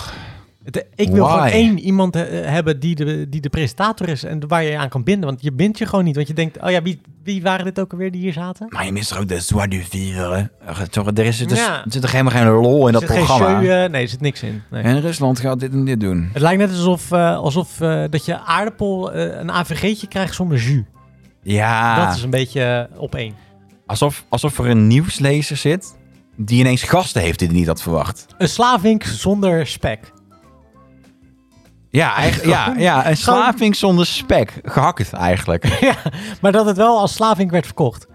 Speaker 2: Het- ik wil
Speaker 1: Why?
Speaker 2: gewoon één iemand eh, hebben die de, die de presentator is en waar je je aan kan binden. Want je bindt je gewoon niet. Want je denkt, oh ja, wie, wie waren dit ook alweer die hier zaten?
Speaker 1: maar je mist toch ook de joie du vivre. hè? Ach, toch, Er, is, er, is-
Speaker 2: Ja.
Speaker 1: er zit toch helemaal geen lol in dat
Speaker 2: Er zit geen
Speaker 1: programma.
Speaker 2: show, eh, nee, er zit niks in. Nee.
Speaker 1: En Rusland gaat dit en dit doen.
Speaker 2: Het lijkt net alsof, eh, alsof eh, dat je aardappel eh, een AVG'tje krijgt zonder jus.
Speaker 1: Ja,
Speaker 2: Dat is een beetje eh, op één.
Speaker 1: alsof, alsof er een nieuwslezer zit die ineens gasten heeft die hij niet had verwacht.
Speaker 2: Een slavink zonder spek.
Speaker 1: Ja, eigenlijk, ja, ja, een slaving zonder spek. Gehakt eigenlijk.
Speaker 2: Maar dat het wel als slavink werd verkocht.
Speaker 1: [LAUGHS]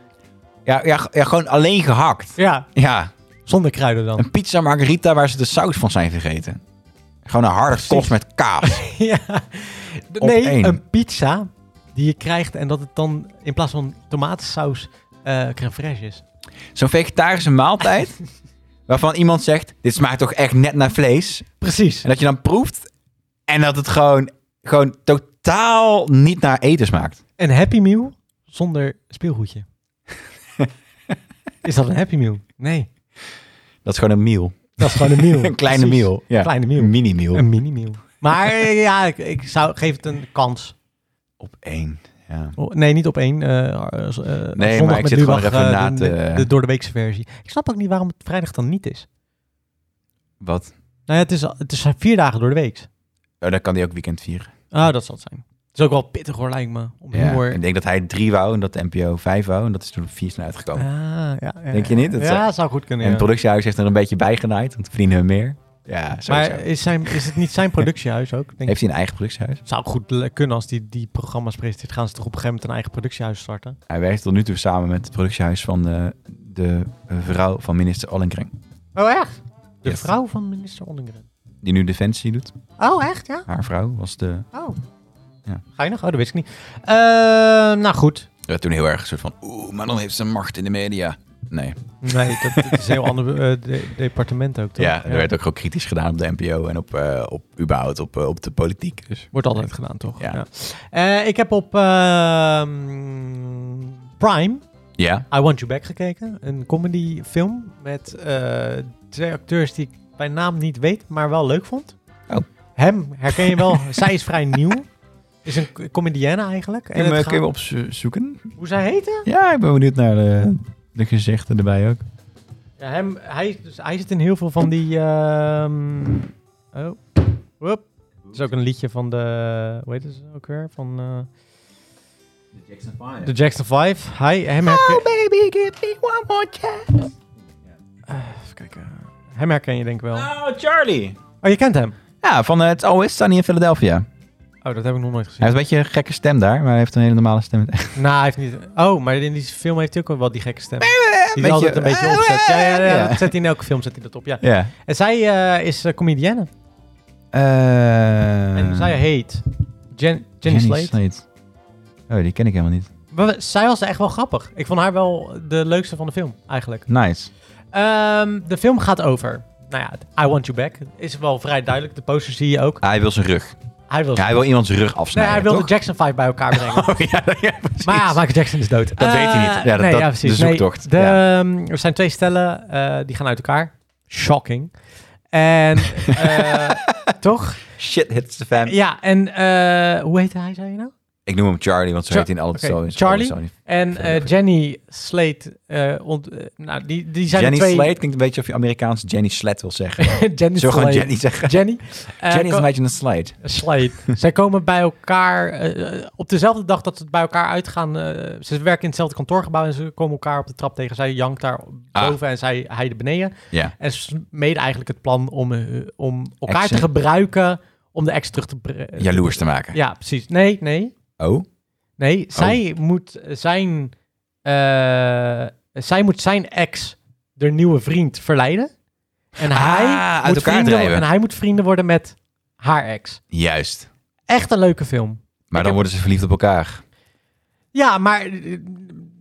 Speaker 1: Ja, ja, ja, gewoon alleen gehakt.
Speaker 2: Ja,
Speaker 1: Ja,
Speaker 2: zonder kruiden dan.
Speaker 1: een pizza margarita waar ze de saus van zijn vergeten. Gewoon een harde
Speaker 2: Precies.
Speaker 1: kost met [LAUGHS] kaas.
Speaker 2: [LAUGHS] ja.
Speaker 1: Op
Speaker 2: Nee,
Speaker 1: één.
Speaker 2: een pizza die je krijgt en dat het dan in plaats van tomatensaus eh crème fraîche is.
Speaker 1: Zo'n vegetarische [LAUGHS] maaltijd waarvan iemand zegt, dit smaakt toch echt net naar vlees.
Speaker 2: Precies.
Speaker 1: En dat je dan proeft en dat het gewoon, gewoon totaal niet naar eten smaakt.
Speaker 2: Een Happy Meal zonder
Speaker 1: [LAUGHS]
Speaker 2: speelgoedje. is dat een Happy Meal? Nee.
Speaker 1: Dat is gewoon een meal. [LAUGHS]
Speaker 2: Dat is gewoon een meal.
Speaker 1: Een kleine
Speaker 2: Precies.
Speaker 1: meal. Ja.
Speaker 2: Een kleine meal.
Speaker 1: Een mini meal.
Speaker 2: Een mini meal. Maar eh, ja, ik, ik zou, geef het een kans.
Speaker 1: Op één. Ja.
Speaker 2: Oh, Nee, niet op één. eh, eh, z- eh, zondag
Speaker 1: maar ik
Speaker 2: met
Speaker 1: zit gewoon
Speaker 2: Lubach,
Speaker 1: er even
Speaker 2: eh,
Speaker 1: na
Speaker 2: de,
Speaker 1: te-
Speaker 2: de, de door de weekse versie. Ik snap ook niet waarom het vrijdag dan niet is.
Speaker 1: Wat?
Speaker 2: Nou ja, het is, het is vier dagen door de week.
Speaker 1: Oh, dan kan die ook weekend vieren.
Speaker 2: Ah, dat zal het zijn. Het is ook wel pittig hoor, lijkt me. Om
Speaker 1: Ja,
Speaker 2: humor.
Speaker 1: Ik denk dat hij drie wou en dat de NPO vijf wou. En dat is toen op vier snel
Speaker 2: Ah,
Speaker 1: uitgekomen.
Speaker 2: ja, ja,
Speaker 1: Denk je niet? Dat
Speaker 2: ja,
Speaker 1: zou-
Speaker 2: zou goed kunnen.
Speaker 1: En het
Speaker 2: [LAUGHS] ja.
Speaker 1: productiehuis heeft er een beetje bijgenaaid, want verdienen hun meer. Ja, sowieso.
Speaker 2: Maar is, zijn, is het niet
Speaker 1: [LAUGHS]
Speaker 2: zijn productiehuis ook? Denk
Speaker 1: heeft hij een eigen productiehuis?
Speaker 2: Het zou goed le- kunnen als die, die programma's presenteert. Gaan ze toch op een gegeven moment een eigen productiehuis starten?
Speaker 1: Hij werkt tot nu toe samen met het productiehuis van eh, de eh, vrouw van minister Ollengren.
Speaker 2: Oh, echt? De
Speaker 1: Yes.
Speaker 2: vrouw van minister Ollengren.
Speaker 1: Die nu Defensie doet.
Speaker 2: Oh, echt? Ja?
Speaker 1: Haar vrouw was de...
Speaker 2: Oh.
Speaker 1: Ja.
Speaker 2: Ga je nog? Oh, dat wist ik niet. Eh, nou goed.
Speaker 1: Ja, toen heel erg een soort van... Oeh, maar dan heeft ze macht in de media. Nee.
Speaker 2: Nee, dat, dat is een heel ander eh, de- departement ook. Toch?
Speaker 1: Ja, er werd ook gewoon kritisch gedaan op de NPO en op, eh, op überhaupt op, eh, op de politiek. Dus.
Speaker 2: Wordt altijd gedaan, toch?
Speaker 1: Ja.
Speaker 2: Eh, ik heb op ehm, Prime
Speaker 1: Ja.
Speaker 2: I Want You Back gekeken. Een comedyfilm met eh, twee acteurs die ik bij naam niet weet, maar wel leuk vond.
Speaker 1: Oh.
Speaker 2: Hem herken je
Speaker 1: [LAUGHS]
Speaker 2: wel. Zij is vrij nieuw. Is een co- comedienne eigenlijk. En
Speaker 1: Kun je
Speaker 2: het
Speaker 1: hem, kun je
Speaker 2: gaat-
Speaker 1: hem opzoeken?
Speaker 2: Hoe zij heette?
Speaker 1: Ja, ik ben benieuwd naar de, de gezichten erbij ook.
Speaker 2: Ja, hem, hij, is dus, hij zit in heel veel van die... ehm, oh. Whoop. Het is ook een liedje van de... Hoe heet ze ook weer? Van eh,
Speaker 4: Jackson
Speaker 2: de Jackson 5. Hij, hem herken...
Speaker 1: Oh, baby, give me one more chance.
Speaker 2: Even kijken. Hem herken je denk ik wel.
Speaker 1: Oh, Charlie.
Speaker 2: Oh, je kent hem?
Speaker 1: Ja, van eh, het Always Sunny in Philadelphia.
Speaker 2: Oh, dat heb ik nog nooit
Speaker 1: Hij
Speaker 2: gezien.
Speaker 1: heeft een beetje een gekke stem daar, maar hij heeft een hele normale [LAUGHS] stem.
Speaker 2: Nou, hij heeft niet. Oh, maar in die film heeft hij ook wel die gekke stem. Die
Speaker 1: Beetje- eh,
Speaker 2: hij altijd een beetje opzet. Ja, ja, ja,
Speaker 1: Ja.
Speaker 2: Dat zet hij in elke film zet hij dat op. Ja.
Speaker 1: Ja.
Speaker 2: En zij eh, is eh, comedienne.
Speaker 1: Eh,
Speaker 2: En zij heet Jen, Jenny,
Speaker 1: Jenny
Speaker 2: Slate.
Speaker 1: Oh, die ken ik helemaal niet.
Speaker 2: Maar we- zij was echt wel grappig. Ik vond haar wel de leukste van de film, eigenlijk.
Speaker 1: Nice.
Speaker 2: Ehm, de film gaat over. Nou ja, I Want You Back. Is wel vrij duidelijk. De poster zie je ook.
Speaker 1: Ah, Hij wil zijn rug.
Speaker 2: Hij wil.
Speaker 1: Ja, hij wil iemands rug
Speaker 2: nee, hij
Speaker 1: afsnijden,
Speaker 2: wilde
Speaker 1: toch?
Speaker 2: Jackson 5 bij elkaar brengen.
Speaker 1: [LAUGHS] Oh, ja, ja, precies.
Speaker 2: Maar ja, Michael Jackson is dood.
Speaker 1: Dat
Speaker 2: Eh,
Speaker 1: weet hij niet. Ja, dat-
Speaker 2: nee,
Speaker 1: dat-
Speaker 2: ja, precies.
Speaker 1: de
Speaker 2: Nee,
Speaker 1: zoektocht.
Speaker 2: de,
Speaker 1: Ja.
Speaker 2: ehm, er zijn twee stellen, eh, die gaan uit elkaar. Shocking. En, eh, toch?
Speaker 1: [LAUGHS] Shit hits the fan.
Speaker 2: Ja, en eh, hoe heet hij, zei je nou?
Speaker 1: Ik noem hem Charlie, want zo
Speaker 2: Char-
Speaker 1: heet hij in alle
Speaker 2: oké,
Speaker 1: zo- in
Speaker 2: Charlie?
Speaker 1: alle Sony-
Speaker 2: En eh,
Speaker 1: Oké.
Speaker 2: Jenny Slate, eh, ont- eh, nou, die, die zijn de
Speaker 1: Jenny
Speaker 2: twee...
Speaker 1: Slate klinkt een beetje of je Amerikaans Jenny Slate wil zeggen.
Speaker 2: [LAUGHS] Jenny
Speaker 1: Zullen we gewoon
Speaker 2: Slate.
Speaker 1: Jenny zeggen?
Speaker 2: Jenny. Eh,
Speaker 1: Jenny is
Speaker 2: ko-
Speaker 1: een beetje een Slate. [LAUGHS]
Speaker 2: Slate. Zij komen bij elkaar eh, eh, op dezelfde dag dat ze bij elkaar uitgaan. eh, ze werken in hetzelfde kantoorgebouw en ze komen elkaar op de trap tegen. Zij jankt daar
Speaker 1: Ah.
Speaker 2: boven en zij hij er beneden.
Speaker 1: Ja.
Speaker 2: En ze mede eigenlijk het plan om, eh, om elkaar
Speaker 1: Exen.
Speaker 2: te gebruiken om de ex terug te brengen.
Speaker 1: Jaloers te maken.
Speaker 2: Ja, precies. Nee, nee,
Speaker 1: Oh?
Speaker 2: nee. Zij moet zijn, eh, zij moet zijn ex, de nieuwe vriend, verleiden. En hij
Speaker 1: Ah, uit
Speaker 2: moet
Speaker 1: elkaar
Speaker 2: vrienden,
Speaker 1: drijven.
Speaker 2: En hij moet vrienden worden met haar ex.
Speaker 1: Juist.
Speaker 2: Echt een leuke film.
Speaker 1: Maar
Speaker 2: Ik
Speaker 1: dan
Speaker 2: heb-
Speaker 1: worden ze verliefd op elkaar.
Speaker 2: Ja, maar, eh,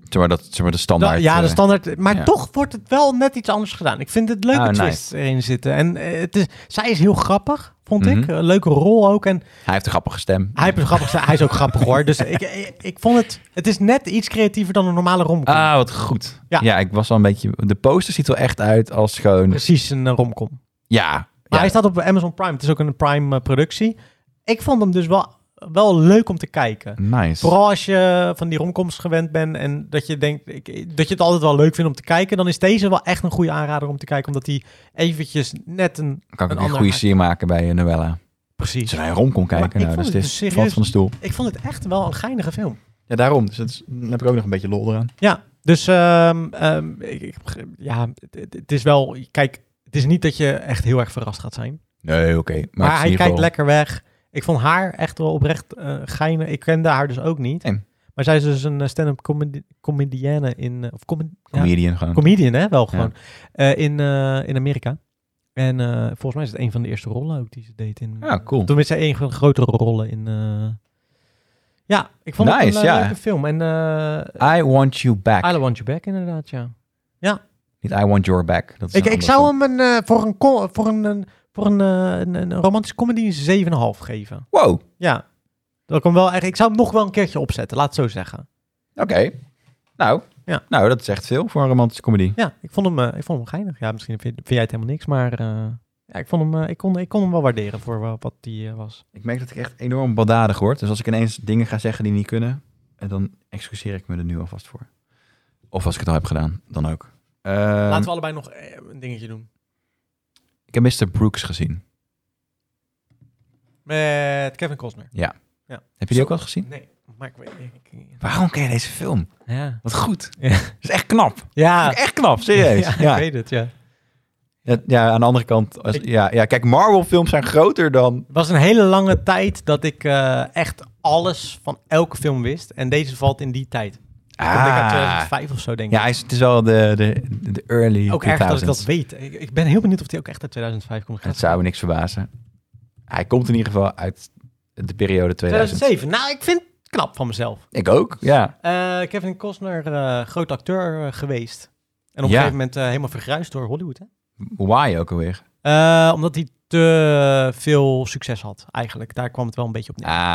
Speaker 1: Zeg maar, dat, zeg maar de
Speaker 2: da-
Speaker 1: standaard.
Speaker 2: ja, de
Speaker 1: eh,
Speaker 2: standaard. Maar
Speaker 1: ja.
Speaker 2: toch wordt het wel net iets anders gedaan. Ik vind het leuke
Speaker 1: Ah, nice.
Speaker 2: twist erin zitten. En eh, het is, zij is heel grappig, vond ik.
Speaker 1: Mhm.
Speaker 2: Een leuke rol ook. En
Speaker 1: Hij heeft een grappige stem.
Speaker 2: hij, heeft een grappige, hij is ook grappig hoor. Dus ik, ik, ik vond het. Het is net iets creatiever dan een normale romcom.
Speaker 1: Ah, wat goed.
Speaker 2: Ja.
Speaker 1: Ja. ik was al een beetje... De poster ziet er echt uit als gewoon...
Speaker 2: Precies een eh, romcom.
Speaker 1: Ja.
Speaker 2: Maar
Speaker 1: ja.
Speaker 2: hij staat op Amazon Prime. Het is ook een Prime eh, productie. Ik vond hem dus wel, wel leuk om te kijken.
Speaker 1: Nice.
Speaker 2: Vooral als je van die romcoms gewend bent en dat je denkt ik, dat je het altijd wel leuk vindt om te kijken, dan is deze wel echt een goede aanrader om te kijken, omdat die eventjes net een
Speaker 1: kan
Speaker 2: een
Speaker 1: ik ook een
Speaker 2: ander
Speaker 1: goede
Speaker 2: haak.
Speaker 1: sier maken bij eh, Noella.
Speaker 2: precies.
Speaker 1: Zullen wij een rom kon
Speaker 2: Maar ik
Speaker 1: kijken? Nou,
Speaker 2: vond
Speaker 1: dus
Speaker 2: het
Speaker 1: dit
Speaker 2: een
Speaker 1: valt
Speaker 2: serieus-
Speaker 1: van de stoel.
Speaker 2: Ik vond het echt wel een geinige film.
Speaker 1: Ja, daarom. Dus dat is- dan heb ik ook nog een beetje lol eraan.
Speaker 2: Ja, dus ehm, ehm, ik, ik- ja, het- het, het is wel. Kijk, het is niet dat je echt heel erg verrast gaat zijn,
Speaker 1: Nee, oké.
Speaker 2: maar,
Speaker 1: Maar, het is in
Speaker 2: hij
Speaker 1: ieder
Speaker 2: kijkt
Speaker 1: geval-
Speaker 2: lekker weg. Ik vond haar echt wel oprecht eh geinig. Ik kende haar dus ook niet.
Speaker 1: Nee.
Speaker 2: Maar zij is dus een eh, stand-up comedi comedienne in. eh, of comedi- ja,
Speaker 1: Comedian gewoon.
Speaker 2: comedian, hè? Wel gewoon. Eh, in, eh, in Amerika. En eh, volgens mij is het een van de eerste rollen ook die ze deed in...
Speaker 1: Ja, Ah, cool.
Speaker 2: Toen is zij een van de grotere rollen in... eh, Ja, ik vond het
Speaker 1: Nice,
Speaker 2: een eh,
Speaker 1: ja.
Speaker 2: leuke film. En eh
Speaker 1: I want you back.
Speaker 2: I Want You Back inderdaad, ja.
Speaker 1: Niet I want your back. Dat is
Speaker 2: Ik,
Speaker 1: een
Speaker 2: ik
Speaker 1: andere
Speaker 2: zou
Speaker 1: film.
Speaker 2: hem een, eh, voor, een, co- voor, een, een- voor een, eh, een, een romantische comedy een 7,5 geven.
Speaker 1: Wow. Oké.
Speaker 2: Ja. Dat ik, hem wel, echt- ik zou hem nog wel een keertje opzetten, laat het zo zeggen.
Speaker 1: Nou.
Speaker 2: Ja.
Speaker 1: Nou, dat is echt veel voor een romantische comedy.
Speaker 2: Ja, ik vond hem, eh, ik vond hem geinig. Ja, misschien vind, vind jij het helemaal niks, maar eh, ja, ik, vond hem, eh, ik, kon, ik kon hem wel waarderen voor wa- wat die eh, was.
Speaker 1: Ik merk dat ik echt enorm baldadig word. Dus als ik ineens dingen ga zeggen die niet kunnen, eh, dan excuseer ik me er nu alvast voor. Of als ik het al heb gedaan, dan ook. Ehm,
Speaker 2: Laten we allebei nog eh, een dingetje doen.
Speaker 1: Ik heb Mr. Brooks gezien.
Speaker 2: Met Kevin Costner.
Speaker 1: Heb je die ook al gezien?
Speaker 2: Nee, maar ik weet ik-
Speaker 1: Waarom ken je deze film?
Speaker 2: Ja.
Speaker 1: Wat goed.
Speaker 2: [LAUGHS] Ja.
Speaker 1: Dat is echt knap.
Speaker 2: Ja.
Speaker 1: Vind ik Echt knap, serieus.
Speaker 2: [LAUGHS] Ja,
Speaker 1: Ja.
Speaker 2: ik weet het, ja.
Speaker 1: Ja, ja, aan de andere kant. Als,
Speaker 2: Ik-
Speaker 1: ja, ja, kijk, Marvel-films zijn groter dan.
Speaker 2: Het was een hele lange tijd dat ik eh, echt alles van elke film wist. En deze valt in die tijd. Ik denk uit 2005 of zo, denk ik.
Speaker 1: Ah. Ja, hij is, het is wel de, de, de early.
Speaker 2: ook erg dat ik
Speaker 1: 2000s.
Speaker 2: dat weet. Ik, ik ben heel benieuwd of die ook echt uit 2005 komt.
Speaker 1: Het zou me niks verbazen. Hij komt in ieder geval uit de periode 2000.
Speaker 2: 2007. Nou, ik vind het knap van mezelf.
Speaker 1: Ik ook, ja.
Speaker 2: Eh, Kevin Costner, eh, groot acteur eh, geweest. En op een
Speaker 1: Ja.
Speaker 2: gegeven moment eh, helemaal vergruisd door Hollywood. Hè?
Speaker 1: Why ook alweer.
Speaker 2: Eh, omdat hij te veel succes had, eigenlijk. Daar kwam het wel een beetje op neer.
Speaker 1: Ah,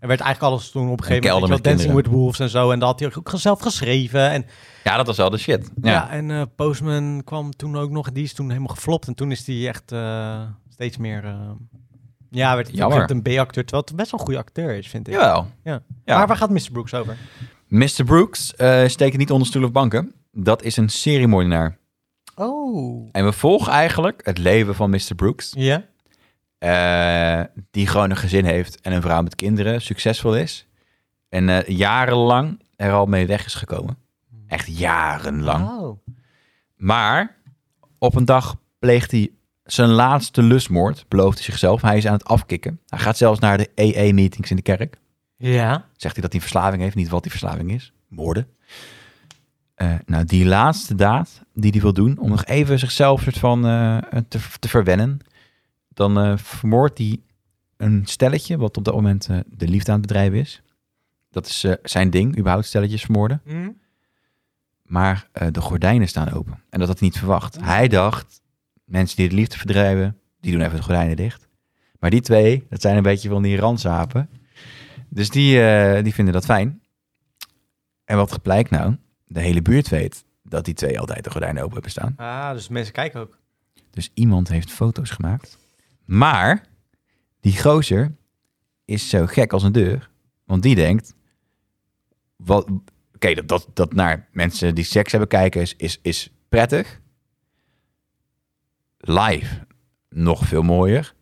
Speaker 2: Er werd eigenlijk alles toen op een gegeven
Speaker 1: kelder
Speaker 2: moment... weet je wel,
Speaker 1: met
Speaker 2: Dancing with Wolves en zo. En dat had hij ook zelf geschreven. En
Speaker 1: ja, dat was wel de shit. Ja.
Speaker 2: Ja, en eh, Postman kwam toen ook nog. Die is toen helemaal geflopt. En toen is die echt eh, steeds meer... eh, ja, werd hij op een gegeven
Speaker 1: Jammer.
Speaker 2: moment een B-acteur. Terwijl het best wel een goede acteur is, vind ik.
Speaker 1: Jawel.
Speaker 2: Ja.
Speaker 1: Ja.
Speaker 2: Maar waar gaat Mr. Brooks over?
Speaker 1: Mr. Brooks eh steekt niet onder stoelen of banken. Dat is een seriemoordenaar.
Speaker 2: Oh.
Speaker 1: En we volgen eigenlijk het leven van Mr. Brooks.
Speaker 2: Ja?
Speaker 1: Eh, die gewoon een gezin heeft en een vrouw met kinderen, succesvol is. En eh, jarenlang er al mee weg is gekomen. Echt jarenlang.
Speaker 2: Oh.
Speaker 1: Maar op een dag pleegt hij zijn laatste lustmoord, belooft hij zichzelf. Hij is aan het afkicken. Hij gaat zelfs naar de EE-meetings in de kerk.
Speaker 2: Ja.
Speaker 1: Zegt hij dat hij een verslaving heeft, niet wat die verslaving is. Moorden. Eh, nou, die laatste daad die hij wil doen, om nog even zichzelf soort van eh, te, te verwennen. Dan eh, vermoordt hij een stelletje, wat op dat moment eh, de liefde aan het bedrijven is. Dat is eh, zijn ding, überhaupt stelletjes vermoorden.
Speaker 2: Hm?
Speaker 1: Maar eh, de gordijnen staan open. En dat had hij niet verwacht. Hij dacht, mensen die de liefde verdrijven, die doen even de gordijnen dicht. Maar die twee, dat zijn een beetje van die randzapen. Dus die, eh, die vinden dat fijn. En wat blijkt nou? De hele buurt weet dat die twee altijd de gordijnen open hebben staan.
Speaker 2: Ah, dus mensen kijken ook.
Speaker 1: Dus iemand heeft foto's gemaakt. Maar die gozer is zo gek als een deur. Want die denkt, wat, oké, dat, dat, dat naar mensen die seks hebben kijken is, is, is prettig. Live nog veel mooier.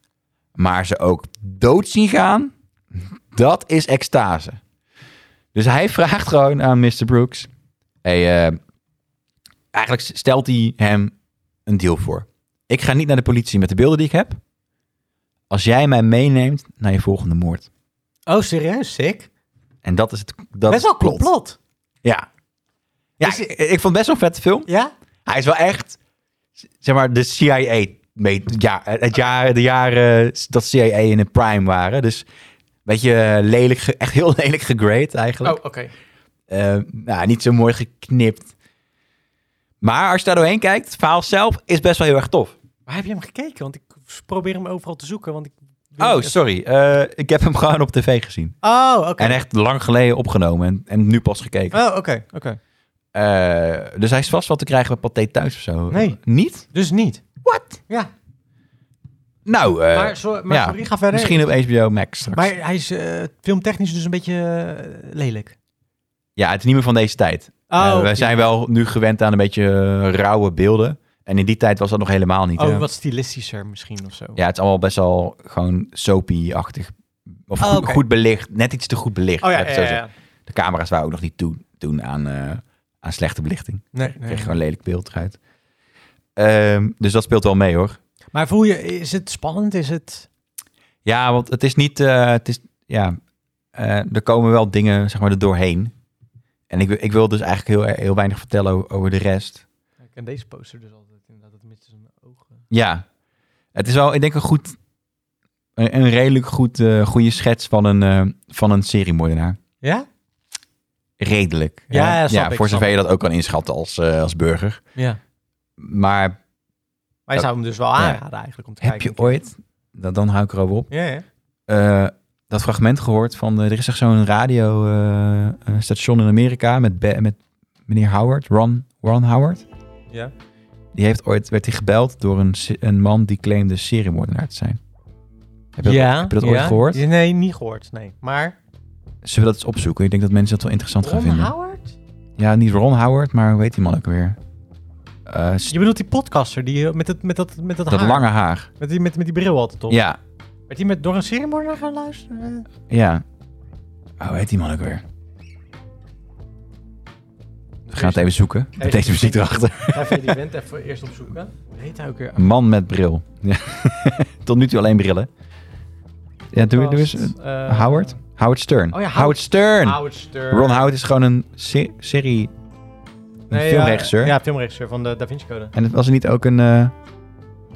Speaker 1: Maar ze ook dood zien gaan, dat is extase. Dus hij [LAUGHS] vraagt gewoon aan Mr. Brooks. Hey, eh, eigenlijk stelt hij hem een deal voor. Ik ga niet naar de politie met de beelden die ik heb. Als jij mij meeneemt naar je volgende moord.
Speaker 2: Oh, serieus? Sick.
Speaker 1: En dat is het. Dat
Speaker 2: Best
Speaker 1: is
Speaker 2: wel
Speaker 1: het plot.
Speaker 2: complot. Dus-
Speaker 1: Ja. Ja,
Speaker 2: Is-
Speaker 1: ik, ik vond het best wel een vette film.
Speaker 2: Ja?
Speaker 1: Hij is wel echt, zeg maar, de CIA. mee- Ja, het jaar, de jaren dat CIA in de prime waren. Dus een beetje lelijk, ge- echt heel [LAUGHS] lelijk gegrade eigenlijk.
Speaker 2: Oh, oké.
Speaker 1: Eh, nou, niet zo mooi geknipt. Maar als je daar doorheen kijkt, het verhaal zelf is best wel heel erg tof.
Speaker 2: Waar heb je hem gekeken? Want ik probeer hem overal te zoeken, want ik...
Speaker 1: Oh, sorry. eh, ik heb hem gewoon op tv gezien.
Speaker 2: Oh, oké.
Speaker 1: En echt lang geleden opgenomen en, en nu pas gekeken.
Speaker 2: Oh, oké, oké.
Speaker 1: Eh, dus hij is vast wel te krijgen bij Pathé thuis of zo.
Speaker 2: Nee.
Speaker 1: Niet?
Speaker 2: Dus niet.
Speaker 1: What?
Speaker 2: Ja,
Speaker 1: Nou, eh,
Speaker 2: maar, zo, maar
Speaker 1: ja,
Speaker 2: sorry, ga verder.
Speaker 1: misschien op HBO Max straks.
Speaker 2: Maar hij is eh, filmtechnisch dus een beetje eh, lelijk.
Speaker 1: Ja, het is niet meer van deze tijd. Eh,
Speaker 2: Oh, oké.
Speaker 1: wij zijn wel nu gewend aan een beetje eh, rauwe beelden. En in die tijd was dat nog helemaal niet. hè.
Speaker 2: Oh, wat stilistischer misschien of zo.
Speaker 1: Ja, het is allemaal best wel gewoon soapy-achtig. Of
Speaker 2: Oh,
Speaker 1: goed,
Speaker 2: oké.
Speaker 1: goed belicht. Net iets te goed belicht.
Speaker 2: Oh ja,
Speaker 1: laat ik
Speaker 2: ja,
Speaker 1: het zo
Speaker 2: ja,
Speaker 1: zeggen.
Speaker 2: ja.
Speaker 1: De camera's waren ook nog niet toen, toen aan, eh, aan slechte belichting.
Speaker 2: Nee,
Speaker 1: Kreeg
Speaker 2: nee.
Speaker 1: gewoon een lelijk beeld eruit. Ehm, dus dat speelt wel mee hoor.
Speaker 2: Maar voel je, is het spannend? Is het...
Speaker 1: Ja, want het is niet... eh, het is, ja, eh, er komen wel dingen zeg maar, er doorheen. En ik, wil- ik wil dus eigenlijk heel, heel weinig vertellen o- over de rest.
Speaker 2: Ik ken deze poster dus altijd inderdaad, dat mist zijn ogen.
Speaker 1: Ja, het is wel, ik denk, een goed, een, een redelijk goed, eh, goede schets van een, eh van een seriemoordenaar.
Speaker 2: Ja?
Speaker 1: Redelijk.
Speaker 2: Ja,
Speaker 1: hè?
Speaker 2: ja, snap ik,
Speaker 1: voor
Speaker 2: snap
Speaker 1: zover je dat ook kan inschatten als, eh, als burger.
Speaker 2: Ja.
Speaker 1: Maar
Speaker 2: Maar je zou hem dus wel aanraden eigenlijk om te
Speaker 1: heb
Speaker 2: kijken.
Speaker 1: je ooit, dan, dan hou ik er over op,
Speaker 2: Ja, ja.
Speaker 1: eh, dat fragment gehoord van, eh, er is echt zo'n radiostation in Amerika met, Be- met meneer Howard, Ron, Ron Howard.
Speaker 2: ja.
Speaker 1: Die heeft ooit, werd hij gebeld door een, se- een man die claimde seriemoordenaar te zijn. Heb je, dat, heb je dat ooit
Speaker 2: ja.
Speaker 1: gehoord?
Speaker 2: Nee, niet gehoord, nee. Maar
Speaker 1: Zullen we dat eens opzoeken? Ik denk dat mensen dat wel interessant
Speaker 2: Ron
Speaker 1: gaan vinden.
Speaker 2: Howard?
Speaker 1: Ja, niet Ron Howard, maar hoe heet die man ook weer? Eh, s-
Speaker 2: Je bedoelt die podcaster die eh, met, het, met dat, met dat,
Speaker 1: dat
Speaker 2: haar,
Speaker 1: lange haar.
Speaker 2: Met, die, met, met die bril altijd op.
Speaker 1: Ja,
Speaker 2: Werd die met, door een seriemoordenaar gaan luisteren?
Speaker 1: ja. Oh, hoe heet die man ook weer? We gaan het even zoeken. Met deze muziek erachter.
Speaker 2: Ga even die vent even eerst opzoeken. Hoe Heet hij ook weer?
Speaker 1: Een Man met bril.
Speaker 2: [LAUGHS]
Speaker 1: Ja. Tot nu toe alleen brillen. Ja, doe, doe eens. eh,
Speaker 2: Eh,
Speaker 1: Howard? Howard Stern.
Speaker 2: Oh ja, Howard-
Speaker 1: Stern.
Speaker 2: Howard Stern.
Speaker 1: Ron Howard is gewoon een se- serie... Een
Speaker 2: Nee, ja,
Speaker 1: filmregisseur.
Speaker 2: Ja, filmregisseur van de Da Vinci Code.
Speaker 1: En was er niet ook een... eh,
Speaker 2: En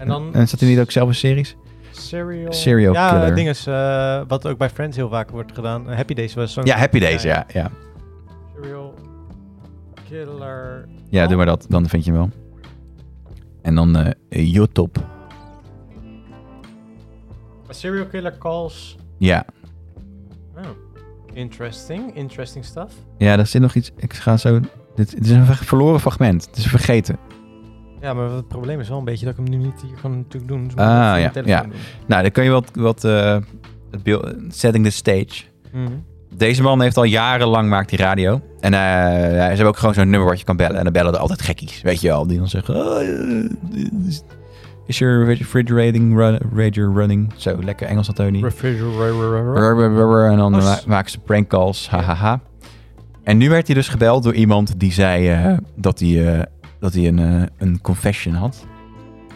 Speaker 2: dan...
Speaker 1: en zat hij niet ook zelf in series?
Speaker 2: Serial...
Speaker 1: serial
Speaker 2: ja,
Speaker 1: killer.
Speaker 2: het ding is, eh, wat ook bij Friends heel vaak wordt gedaan. Eh, Happy Days was zo'n...
Speaker 1: Ja, Happy Days, ja. Ja,
Speaker 2: Serial killer...
Speaker 1: ja doe maar dat. Dan vind je hem wel. En dan eh YouTube.
Speaker 2: A serial killer calls...
Speaker 1: Ja.
Speaker 2: Oh. Interesting, interesting stuff.
Speaker 1: ja, daar zit nog iets. Ik ga zo. Dit, dit is een ver- verloren fragment. Het is vergeten.
Speaker 2: Ja, maar het probleem is wel een beetje dat ik hem nu niet hier kan natuurlijk doen. Dus
Speaker 1: Ah, ja, ja. Nou, dan kun je wat. wat eh, het beeld, setting the stage.
Speaker 2: Mhm.
Speaker 1: Deze man heeft al jarenlang maakt die radio. En eh, ja, ze hebben ook gewoon zo'n nummer wat je kan bellen. En dan bellen er altijd gekkies. Weet je wel. Die dan zeggen: oh, eh, is- Is your refrigerating run, radio running? Zo, lekker Engels, Antonie.
Speaker 2: Refrigerator.
Speaker 1: Brr, brr, brr, brr, En dan
Speaker 2: Oh,
Speaker 1: ma-
Speaker 2: s-
Speaker 1: maken ze prankcalls. Hahaha. En nu werd hij dus gebeld door iemand die zei eh, dat hij, eh, dat hij een, eh, een confession had.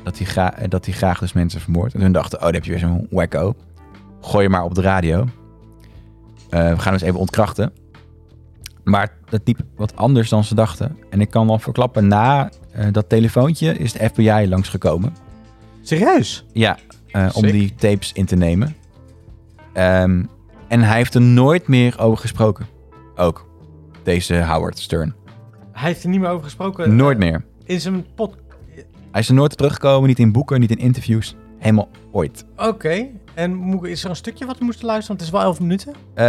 Speaker 1: Dat hij, gra- eh, dat hij graag dus mensen vermoordt. En toen dachten, oh, daar heb je weer zo'n wacko. Gooi je maar op de radio. Eh, we gaan hem eens even ontkrachten. Maar dat liep wat anders dan ze dachten. En ik kan al verklappen, na eh, dat telefoontje is de FBI langsgekomen.
Speaker 2: Serieus?
Speaker 1: Ja, eh, om
Speaker 2: Sick.
Speaker 1: die tapes in te nemen. Ehm, en hij heeft er nooit meer over gesproken. Ook. Deze Howard Stern.
Speaker 2: Hij heeft er niet meer over gesproken. Eh,
Speaker 1: Nooit meer.
Speaker 2: In zijn pod...
Speaker 1: Hij is er nooit teruggekomen, niet in boeken, niet in interviews. Helemaal ooit.
Speaker 2: Oké. En moet- is er een stukje wat we moesten luisteren? Want het is wel 11 minuten.
Speaker 1: Eh,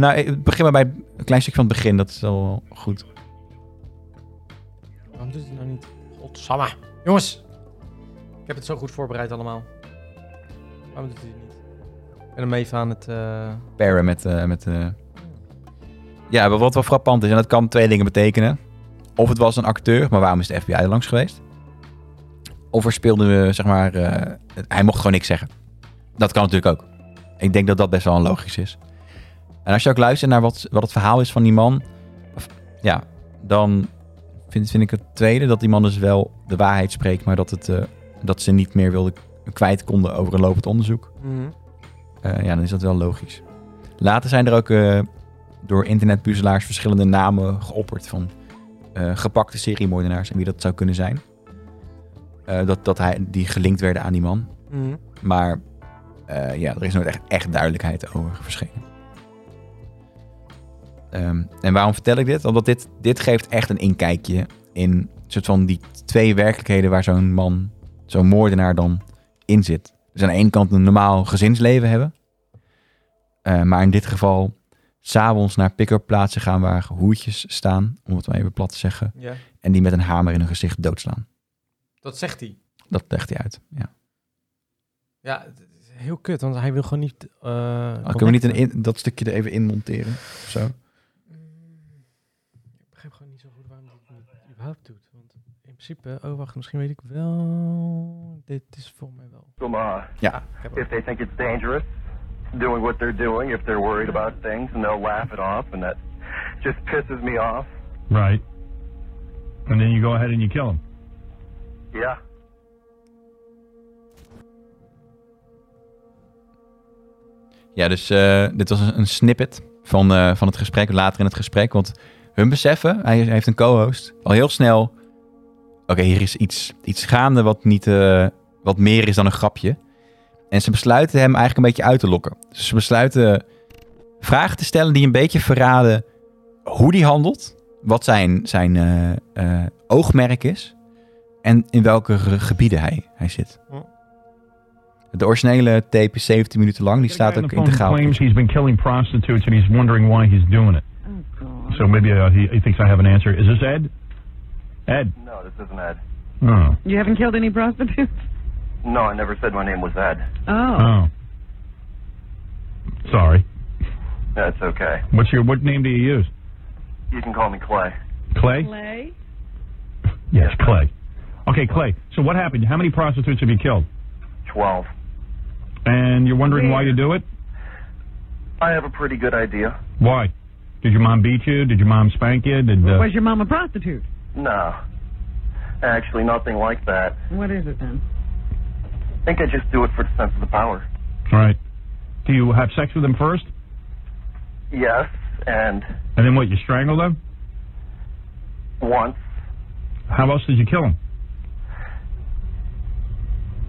Speaker 1: nou, ik begin maar bij een klein stukje van het begin. Dat is al goed.
Speaker 2: Waarom doet hij nou niet? Godsamme. Jongens. Ik heb het zo goed voorbereid allemaal. Waarom doet hij het niet? Ik ben hem even aan het... eh,
Speaker 1: Paren met, eh, met eh, Ja, maar wat wel frappant is, en dat kan twee dingen betekenen. Of het was een acteur, maar waarom is de FBI er langs geweest? Of er speelde, eh, zeg maar, eh, het- hij mocht gewoon niks zeggen. Dat kan natuurlijk ook. Ik denk dat dat best wel een logisch is. En als je ook luistert naar wat, wat het verhaal is van die man, of, ja, dan vind, vind ik het tweede dat die man dus wel de waarheid spreekt, maar dat, het, eh, dat ze niet meer wilden kwijt konden over een lopend onderzoek.
Speaker 2: Mhm,
Speaker 1: Eh, ja, dan is dat wel logisch. Later zijn er ook eh, door internetpuzzelaars verschillende namen geopperd van eh, gepakte seriemoordenaars en wie dat zou kunnen zijn. Eh, dat, dat hij, die gelinkt werden aan die man.
Speaker 2: mhm,
Speaker 1: Maar eh, ja, er is nooit echt, echt duidelijkheid over verschenen. Ehm, en waarom vertel ik dit? Omdat dit, dit geeft echt een inkijkje in een soort van die twee werkelijkheden waar zo'n man, zo'n moordenaar dan in zit. Dus aan de ene kant een normaal gezinsleven hebben. eh, maar in dit geval s'avonds naar pick-up plaatsen gaan waar hoertjes staan, om het maar even plat te zeggen.
Speaker 2: Ja.
Speaker 1: En die met een hamer in hun gezicht doodslaan.
Speaker 2: Dat zegt hij.
Speaker 1: Dat legt hij uit. Ja.
Speaker 2: Ja, het is heel kut, want hij wil gewoon niet... eh,
Speaker 1: Ah, Kunnen we niet
Speaker 2: connecten.
Speaker 1: een in- dat stukje er even in monteren? Of zo?
Speaker 2: Ik begrijp gewoon niet zo goed waarom hij het überhaupt doet. Want in principe, oh wacht, misschien weet ik wel. Dit is voor mij wel.
Speaker 5: them uh,
Speaker 1: Ja.
Speaker 2: Ik heb
Speaker 5: if they think it's dangerous doing what they're doing, if they're worried about things, and they'll laugh it off, and that just pisses me off.
Speaker 6: Right. And then you go ahead and you kill him.
Speaker 5: Yeah.
Speaker 1: Ja, dus eh, dit was een, een snippet van, eh, van het gesprek, later in het gesprek. Want hun beseffen, hij, hij heeft een co-host, al heel snel... Oké, hier is iets, iets gaande wat, niet, eh, wat meer is dan een grapje. En ze besluiten hem eigenlijk een beetje uit te lokken. Dus ze besluiten vragen te stellen die een beetje verraden hoe hij handelt. Wat zijn, zijn eh, eh, oogmerk is. En in welke ge- gebieden hij, hij zit.
Speaker 2: Hm.
Speaker 1: De originele tape is 17 minuten lang. Die staat ook
Speaker 6: The phone
Speaker 1: integraal. op
Speaker 6: claims he's been killing prostitutes and he's wondering why he's doing it.
Speaker 7: Oh, God.
Speaker 6: So maybe uh, he, he thinks I have an answer. Is this Ed? Ed.
Speaker 5: No, this isn't Ed.
Speaker 6: Oh.
Speaker 7: You haven't killed any prostitutes?
Speaker 5: No, I never said my name was Ed.
Speaker 7: [LAUGHS] Oh.
Speaker 6: Oh. Sorry.
Speaker 5: That's okay.
Speaker 6: What's your what name do you use?
Speaker 5: You can call me Clay.
Speaker 6: Clay?
Speaker 7: Clay?
Speaker 6: Yes, Clay. Okay, Clay. So what happened? How many prostitutes have you killed?
Speaker 5: Twelve.
Speaker 6: And you're wondering why
Speaker 7: Where?
Speaker 6: you do it?
Speaker 5: I have a pretty good idea.
Speaker 6: Why? Did your mom beat you? Did your mom spank you? Did uh,
Speaker 7: Was your mom a prostitute?
Speaker 5: No. Actually, nothing like that.
Speaker 7: What is it then?
Speaker 5: I think I just do it for the sense of the power.
Speaker 6: all right? Do you have sex with them first,
Speaker 5: Yes, and
Speaker 6: and then what? You strangle them?
Speaker 5: once.
Speaker 6: How else did you kill them?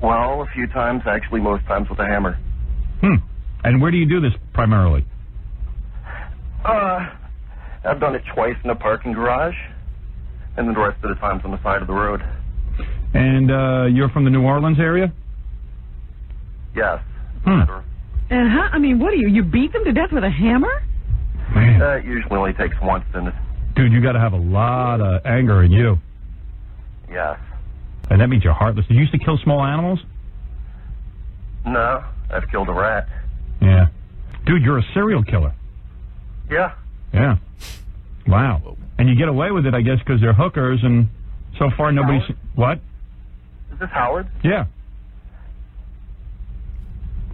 Speaker 5: Well, a few times, actually, most times with a hammer.
Speaker 6: Hmm. And where do you do this primarily?
Speaker 5: Uh, I've done it twice in a parking garage, and then the rest of the time's on the side of the road.
Speaker 6: And uh, you're from the New Orleans area?
Speaker 5: Yes.
Speaker 6: Hmm.
Speaker 7: And how, I mean, what are you? You beat them to death with a hammer? Uh,
Speaker 6: Man,
Speaker 5: That Uh, usually only takes once, and
Speaker 6: dude, you got to have a lot of anger in you,
Speaker 5: yes.
Speaker 6: and that means you're heartless. You used to kill small animals?
Speaker 5: No, I've killed a rat.
Speaker 6: Yeah. Dude, you're a serial killer.
Speaker 5: Yeah.
Speaker 6: Yeah. Wow. And you get away with it, I guess, because they're hookers, and so far nobody's what?
Speaker 5: Is this Howard?
Speaker 6: Yeah.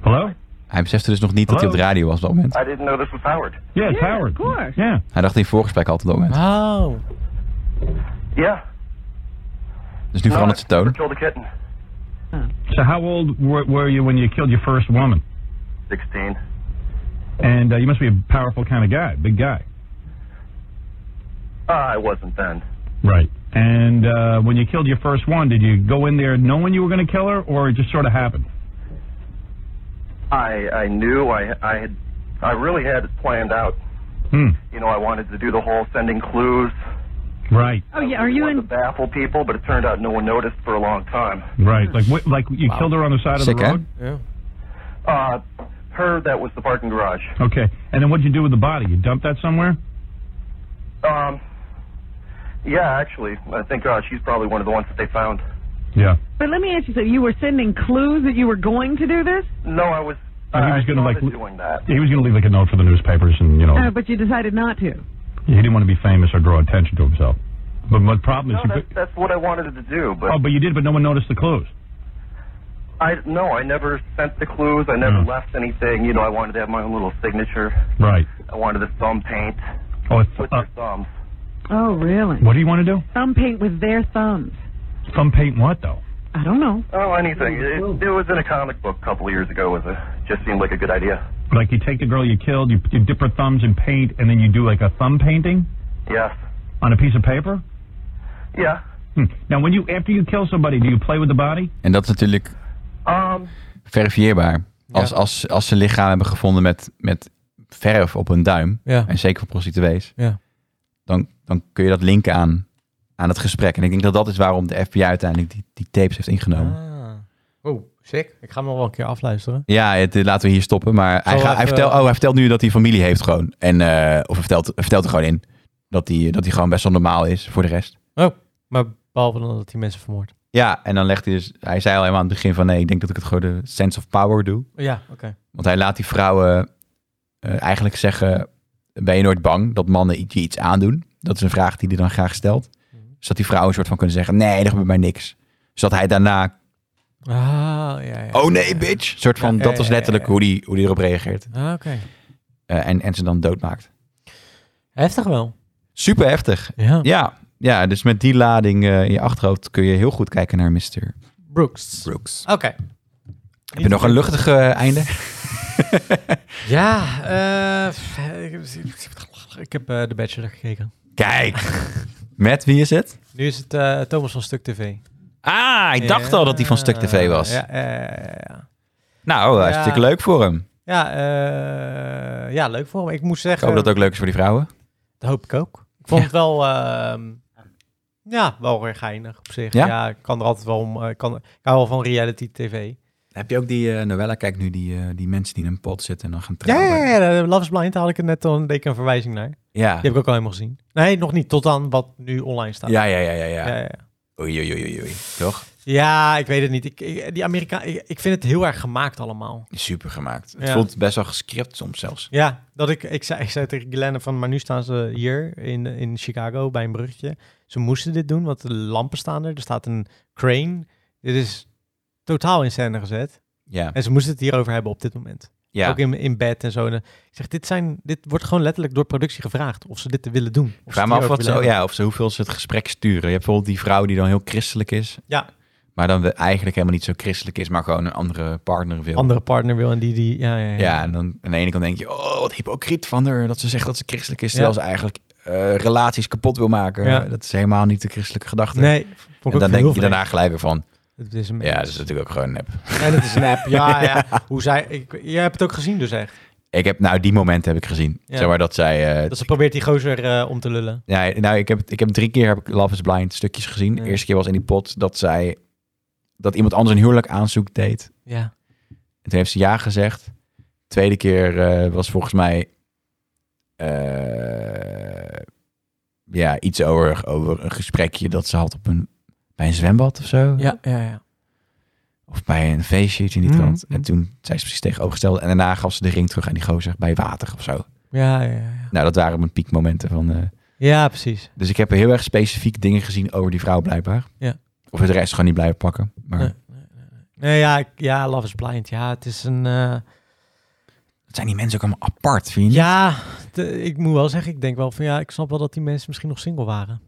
Speaker 6: Hello?
Speaker 1: Hij besefte dus nog niet dat hij op de
Speaker 6: Hallo?
Speaker 1: radio was op dat moment.
Speaker 5: I didn't know this was Howard.
Speaker 6: Yeah, it's
Speaker 7: Yeah,
Speaker 6: Howard.
Speaker 7: of course.
Speaker 6: Yeah.
Speaker 1: Hij dacht in het voorgesprek altijd op dat moment.
Speaker 2: Oh,
Speaker 5: Yeah.
Speaker 1: Dus nu verandert zijn toon.
Speaker 5: Killed a kitten.
Speaker 6: So how old were, were you when you killed your first woman?
Speaker 5: Sixteen.
Speaker 6: And uh, you must be a powerful kind of guy, big guy.
Speaker 5: Uh, I wasn't then.
Speaker 6: Right. And uh, when you killed your first one, did you go in there knowing you were going to kill her, or it just sort of happened?
Speaker 5: I I knew I I had I really had it planned out.
Speaker 6: Hmm.
Speaker 5: You know, I wanted to do the whole sending clues.
Speaker 6: Right.
Speaker 7: Oh, yeah. Are you
Speaker 5: wanted to
Speaker 7: in?
Speaker 5: baffle people? But it turned out no one noticed for a long time.
Speaker 6: Right. Like wh- like you killed her on the side
Speaker 1: Sick,
Speaker 6: of the
Speaker 1: hè?
Speaker 6: road.
Speaker 2: ja.
Speaker 5: Uh, her that was the parking garage.
Speaker 6: Okay. And then what did you do with the body? You dumped that somewhere?
Speaker 5: Um, yeah, actually, I think uh, she's probably one of the ones that they found.
Speaker 6: Yeah.
Speaker 7: But let me ask you something. You were sending clues that you were going to do this,
Speaker 5: No, I was.
Speaker 6: Oh, he
Speaker 5: I
Speaker 6: was gonna,
Speaker 5: started
Speaker 6: like,
Speaker 5: doing that.
Speaker 7: Oh.
Speaker 5: Oh.
Speaker 6: He was going to leave like a note for the newspapers, and you know.
Speaker 7: uh, but you decided not to.
Speaker 6: He didn't want to be famous or draw attention to himself. But my problem
Speaker 5: No,
Speaker 6: is, you
Speaker 5: that's,
Speaker 6: could-
Speaker 5: that's what I wanted to do, but
Speaker 6: oh, but you did, but no one noticed the clues.
Speaker 5: I no, I never sent the clues. I never
Speaker 6: Hmm.
Speaker 5: left anything. You know, I wanted to have my own little signature.
Speaker 6: Right.
Speaker 5: I wanted the thumb paint
Speaker 6: Oh, it's,
Speaker 5: with
Speaker 6: uh,
Speaker 5: your thumbs.
Speaker 7: Oh, really?
Speaker 6: what do you want to do?
Speaker 7: Thumb paint with their thumbs.
Speaker 6: Thumb paint what though?
Speaker 7: I don't know.
Speaker 5: Oh, anything. It, it was in a comic book a couple of years ago. It was a, just seemed like a good idea.
Speaker 6: Like you take the girl you killed, you, you dip her thumbs in paint, and then you do like a thumb painting
Speaker 5: Yes.
Speaker 6: on a piece of paper.
Speaker 5: Yeah.
Speaker 6: Hmm. Now, when you after you kill somebody, do you play with the body?
Speaker 1: En dat is natuurlijk
Speaker 5: Um.
Speaker 1: verifieerbaar. Als, als, als ze lichaam hebben gevonden met, met verf op hun duim,
Speaker 2: Ja.
Speaker 1: en zeker voor prostituees,
Speaker 2: Ja.
Speaker 1: dan, dan kun je dat linken aan, aan het gesprek. En ik denk dat dat is waarom de FBI uiteindelijk die, die tapes heeft ingenomen.
Speaker 2: Ah. Oh, sick. Ik ga hem nog wel een keer afluisteren.
Speaker 1: Ja, het, dit laten we hier stoppen. Maar hij,
Speaker 2: Zal
Speaker 1: ga, hij,
Speaker 2: even-
Speaker 1: vertelt, oh, hij vertelt nu dat hij familie heeft gewoon. En, eh, of hij vertelt, hij vertelt er gewoon in dat hij, dat hij gewoon best wel normaal is voor de rest.
Speaker 2: Maar behalve dan dat hij mensen vermoord.
Speaker 1: Ja, en dan legt hij dus... Hij zei al helemaal aan het begin van... Nee, ik denk dat ik het gewoon de sense of power doe.
Speaker 2: Ja, oké.
Speaker 1: Want hij laat die vrouwen eh, eigenlijk zeggen... Ben je nooit bang dat mannen je iets aandoen? Dat is een vraag die hij dan graag stelt.
Speaker 2: Mhm.
Speaker 1: Dus dat die vrouwen een soort van kunnen zeggen... Nee, er gebeurt mij niks. Zodat hij daarna...
Speaker 2: Ah, ja, ja.
Speaker 1: Oh nee,
Speaker 2: ja.
Speaker 1: bitch! Een soort van...
Speaker 2: Ja,
Speaker 1: Dat
Speaker 2: ja,
Speaker 1: was
Speaker 2: ja, ja,
Speaker 1: letterlijk
Speaker 2: ja.
Speaker 1: hoe die, hoe die erop reageert.
Speaker 2: Ah, oké.
Speaker 1: Eh, en, en ze dan doodmaakt.
Speaker 2: Heftig wel.
Speaker 1: Super heftig.
Speaker 2: Ja.
Speaker 1: Ja, ja dus met die lading eh, in je achterhoofd kun je heel goed kijken naar Mr.
Speaker 2: Brooks.
Speaker 1: Brooks.
Speaker 2: Oké.
Speaker 1: Heb je nog een luchtig eh,
Speaker 2: [LAUGHS]
Speaker 1: einde?
Speaker 2: Ja, eh, pff, ik heb- ik heb eh, The Bachelor gekeken.
Speaker 1: Kijk, met wie is het?
Speaker 2: Nu is het eh, Thomas van Stuk TV.
Speaker 1: Ah, ik dacht
Speaker 2: Ja,
Speaker 1: al dat hij van Stuk TV was.
Speaker 2: Ja, eh, ja.
Speaker 1: Nou, hartstikke
Speaker 2: Ja.
Speaker 1: leuk voor hem.
Speaker 2: Ja, eh, ja, leuk voor hem. Ik moet
Speaker 1: Ik
Speaker 2: zeggen,
Speaker 1: hoop dat het ook leuk is voor die vrouwen.
Speaker 2: dat hoop ik ook. Ik vond het wel, ehm, ja, wel weer geinig op zich.
Speaker 1: Ja?
Speaker 2: Ja, ik kan er altijd wel om. eh, Ik, kan, ik hou wel van reality tv.
Speaker 1: Heb je ook die eh, Novella, kijk nu, die, eh, die mensen die in een pot zitten en dan gaan
Speaker 2: Ja, ja, ja, ja, Love is Blind daar had ik het net al een deed ik een verwijzing naar. Die
Speaker 1: Ja,
Speaker 2: heb ik ook al helemaal gezien. Nee, nog niet. Tot aan wat nu online staat.
Speaker 1: ja, ja, ja, ja.
Speaker 2: ja, ja.
Speaker 1: Oei, oei, oei, oei, oei. Toch?
Speaker 2: Ja, ik weet het niet. Ik, ik- die Amerika, ik, ik vind het heel erg gemaakt allemaal.
Speaker 1: Super gemaakt. Het
Speaker 2: Ja.
Speaker 1: voelt best wel gescript soms zelfs.
Speaker 2: Ja, dat ik, ik, zei, ik zei tegen Glenn van, maar nu staan ze hier in, in Chicago bij een bruggetje. Ze moesten dit doen, want de lampen staan er. Er staat een crane. Dit is totaal in scène gezet.
Speaker 1: Ja,
Speaker 2: En ze moesten het hierover hebben op dit moment.
Speaker 1: ja.
Speaker 2: Ook in, in bed en zo. En, eh, ik zeg, dit, zijn, dit wordt gewoon letterlijk door productie gevraagd of ze dit willen doen. Of ze
Speaker 1: Ik
Speaker 2: het
Speaker 1: vraag me af
Speaker 2: hierover
Speaker 1: wat ze, oh,
Speaker 2: willen
Speaker 1: ja, of ze, hoeveel ze het gesprek sturen. Je hebt bijvoorbeeld die vrouw die dan heel christelijk is.
Speaker 2: Ja.
Speaker 1: Maar dan we- eigenlijk helemaal niet zo christelijk is, maar gewoon een andere partner wil.
Speaker 2: hebben. Andere partner wil en die... die ja, ja, ja.
Speaker 1: Ja, en dan aan de ene kant denk je, oh, wat hypocriet van haar. Dat ze zegt dat ze christelijk is, terwijl
Speaker 2: Ja.
Speaker 1: ze eigenlijk eh, relaties kapot wil maken.
Speaker 2: Ja.
Speaker 1: Dat is helemaal niet de christelijke gedachte.
Speaker 2: Nee, vond ik
Speaker 1: en
Speaker 2: ook
Speaker 1: dan denk
Speaker 2: heel
Speaker 1: je daarna gelijk weer van,
Speaker 2: vreemd. Het is een
Speaker 1: ja, dus dat is natuurlijk ook gewoon nep.
Speaker 2: En het is een app.
Speaker 1: [LAUGHS]
Speaker 2: Ja, ja. Hoe zij, ik, jij hebt het ook gezien dus echt.
Speaker 1: Ik heb, nou, die momenten heb ik gezien.
Speaker 2: Ja.
Speaker 1: Zeg maar dat zij... eh,
Speaker 2: Dat ze probeert die gozer eh, om te lullen.
Speaker 1: Ja, nou, ik heb, ik heb drie keer heb ik Love is Blind stukjes gezien.
Speaker 2: Ja.
Speaker 1: De eerste keer was in die pot dat zij... Dat iemand anders een huwelijk aanzoek deed.
Speaker 2: Ja.
Speaker 1: En toen heeft ze ja gezegd. Tweede keer eh, was volgens mij. eh, ja, iets over, over een gesprekje dat ze had op een, bij een zwembad of zo.
Speaker 2: Ja, ja, ja.
Speaker 1: Of bij een feestje, iets in die
Speaker 2: Mhm.
Speaker 1: trant. En toen zei ze precies tegenovergesteld. En daarna gaf ze de ring terug aan die gozer bij water of zo.
Speaker 2: Ja, ja, ja.
Speaker 1: Nou, dat waren mijn piekmomenten van. eh,
Speaker 2: Ja, precies.
Speaker 1: dus ik heb heel erg specifiek dingen gezien over die vrouw blijkbaar.
Speaker 2: Ja.
Speaker 1: Of het rest gewoon niet blijven pakken. Maar
Speaker 2: Nee. Nee, ja, ik- ja, Love is Blind. Ja, het is een... eh,
Speaker 1: het zijn die mensen ook allemaal apart, vind je? niet?
Speaker 2: ja, de- ik moet wel zeggen, ik denk wel van ja, ik snap wel dat die mensen misschien nog single waren.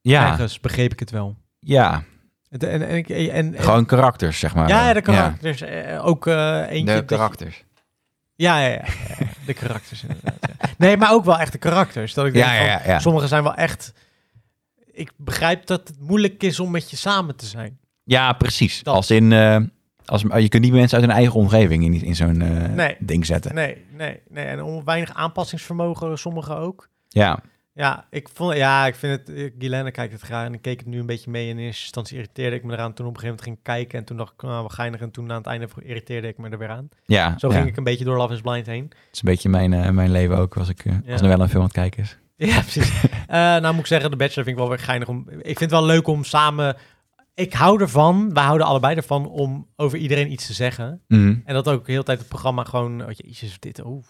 Speaker 1: ja.
Speaker 2: Ergens begreep ik het wel.
Speaker 1: ja.
Speaker 2: Het- En, en, ik- en, en-
Speaker 1: Gewoon karakters, zeg maar.
Speaker 2: ja, ja, de karakters. eh, ook eh, eentje...
Speaker 1: De
Speaker 2: dat je-
Speaker 1: karakters.
Speaker 2: Ja, ja, ja, ja. De karakters inderdaad. ja. Nee, maar ook wel echt de karakters. Dat ik denk
Speaker 1: Ja, ja,
Speaker 2: van,
Speaker 1: ja, ja.
Speaker 2: Sommigen zijn wel echt... Ik begrijp dat het moeilijk is om met je samen te zijn.
Speaker 1: Ja, precies.
Speaker 2: Dat.
Speaker 1: Als in, eh, als, je kunt niet mensen uit hun eigen omgeving in, in zo'n eh,
Speaker 2: Nee.
Speaker 1: ding zetten.
Speaker 2: Nee, nee, nee. En om weinig aanpassingsvermogen, sommigen ook.
Speaker 1: Ja,
Speaker 2: Ja, ik vond, ja, ik vind het... eh, Guilaine kijkt het graag en ik keek het nu een beetje mee. En in eerste instantie irriteerde ik me eraan. Toen op een gegeven moment ging ik kijken en toen dacht ik, nou, we geinig. En toen aan het einde irriteerde ik me er weer aan.
Speaker 1: ja.
Speaker 2: Zo
Speaker 1: ja.
Speaker 2: ging ik een beetje door Love is Blind heen. [LAUGHS]
Speaker 1: Het is een beetje mijn, eh, mijn leven ook, als ik eh,
Speaker 2: Ja.
Speaker 1: als er wel een film aan het kijken is.
Speaker 2: Ja, precies. Eh, nou moet ik zeggen, de Bachelor vind ik wel weer geinig. Om, ik vind het wel leuk om samen... Ik hou ervan, wij houden allebei ervan om over iedereen iets te zeggen.
Speaker 1: Mhm.
Speaker 2: En dat ook de hele tijd het programma gewoon... Oh, jezus, dit, oh,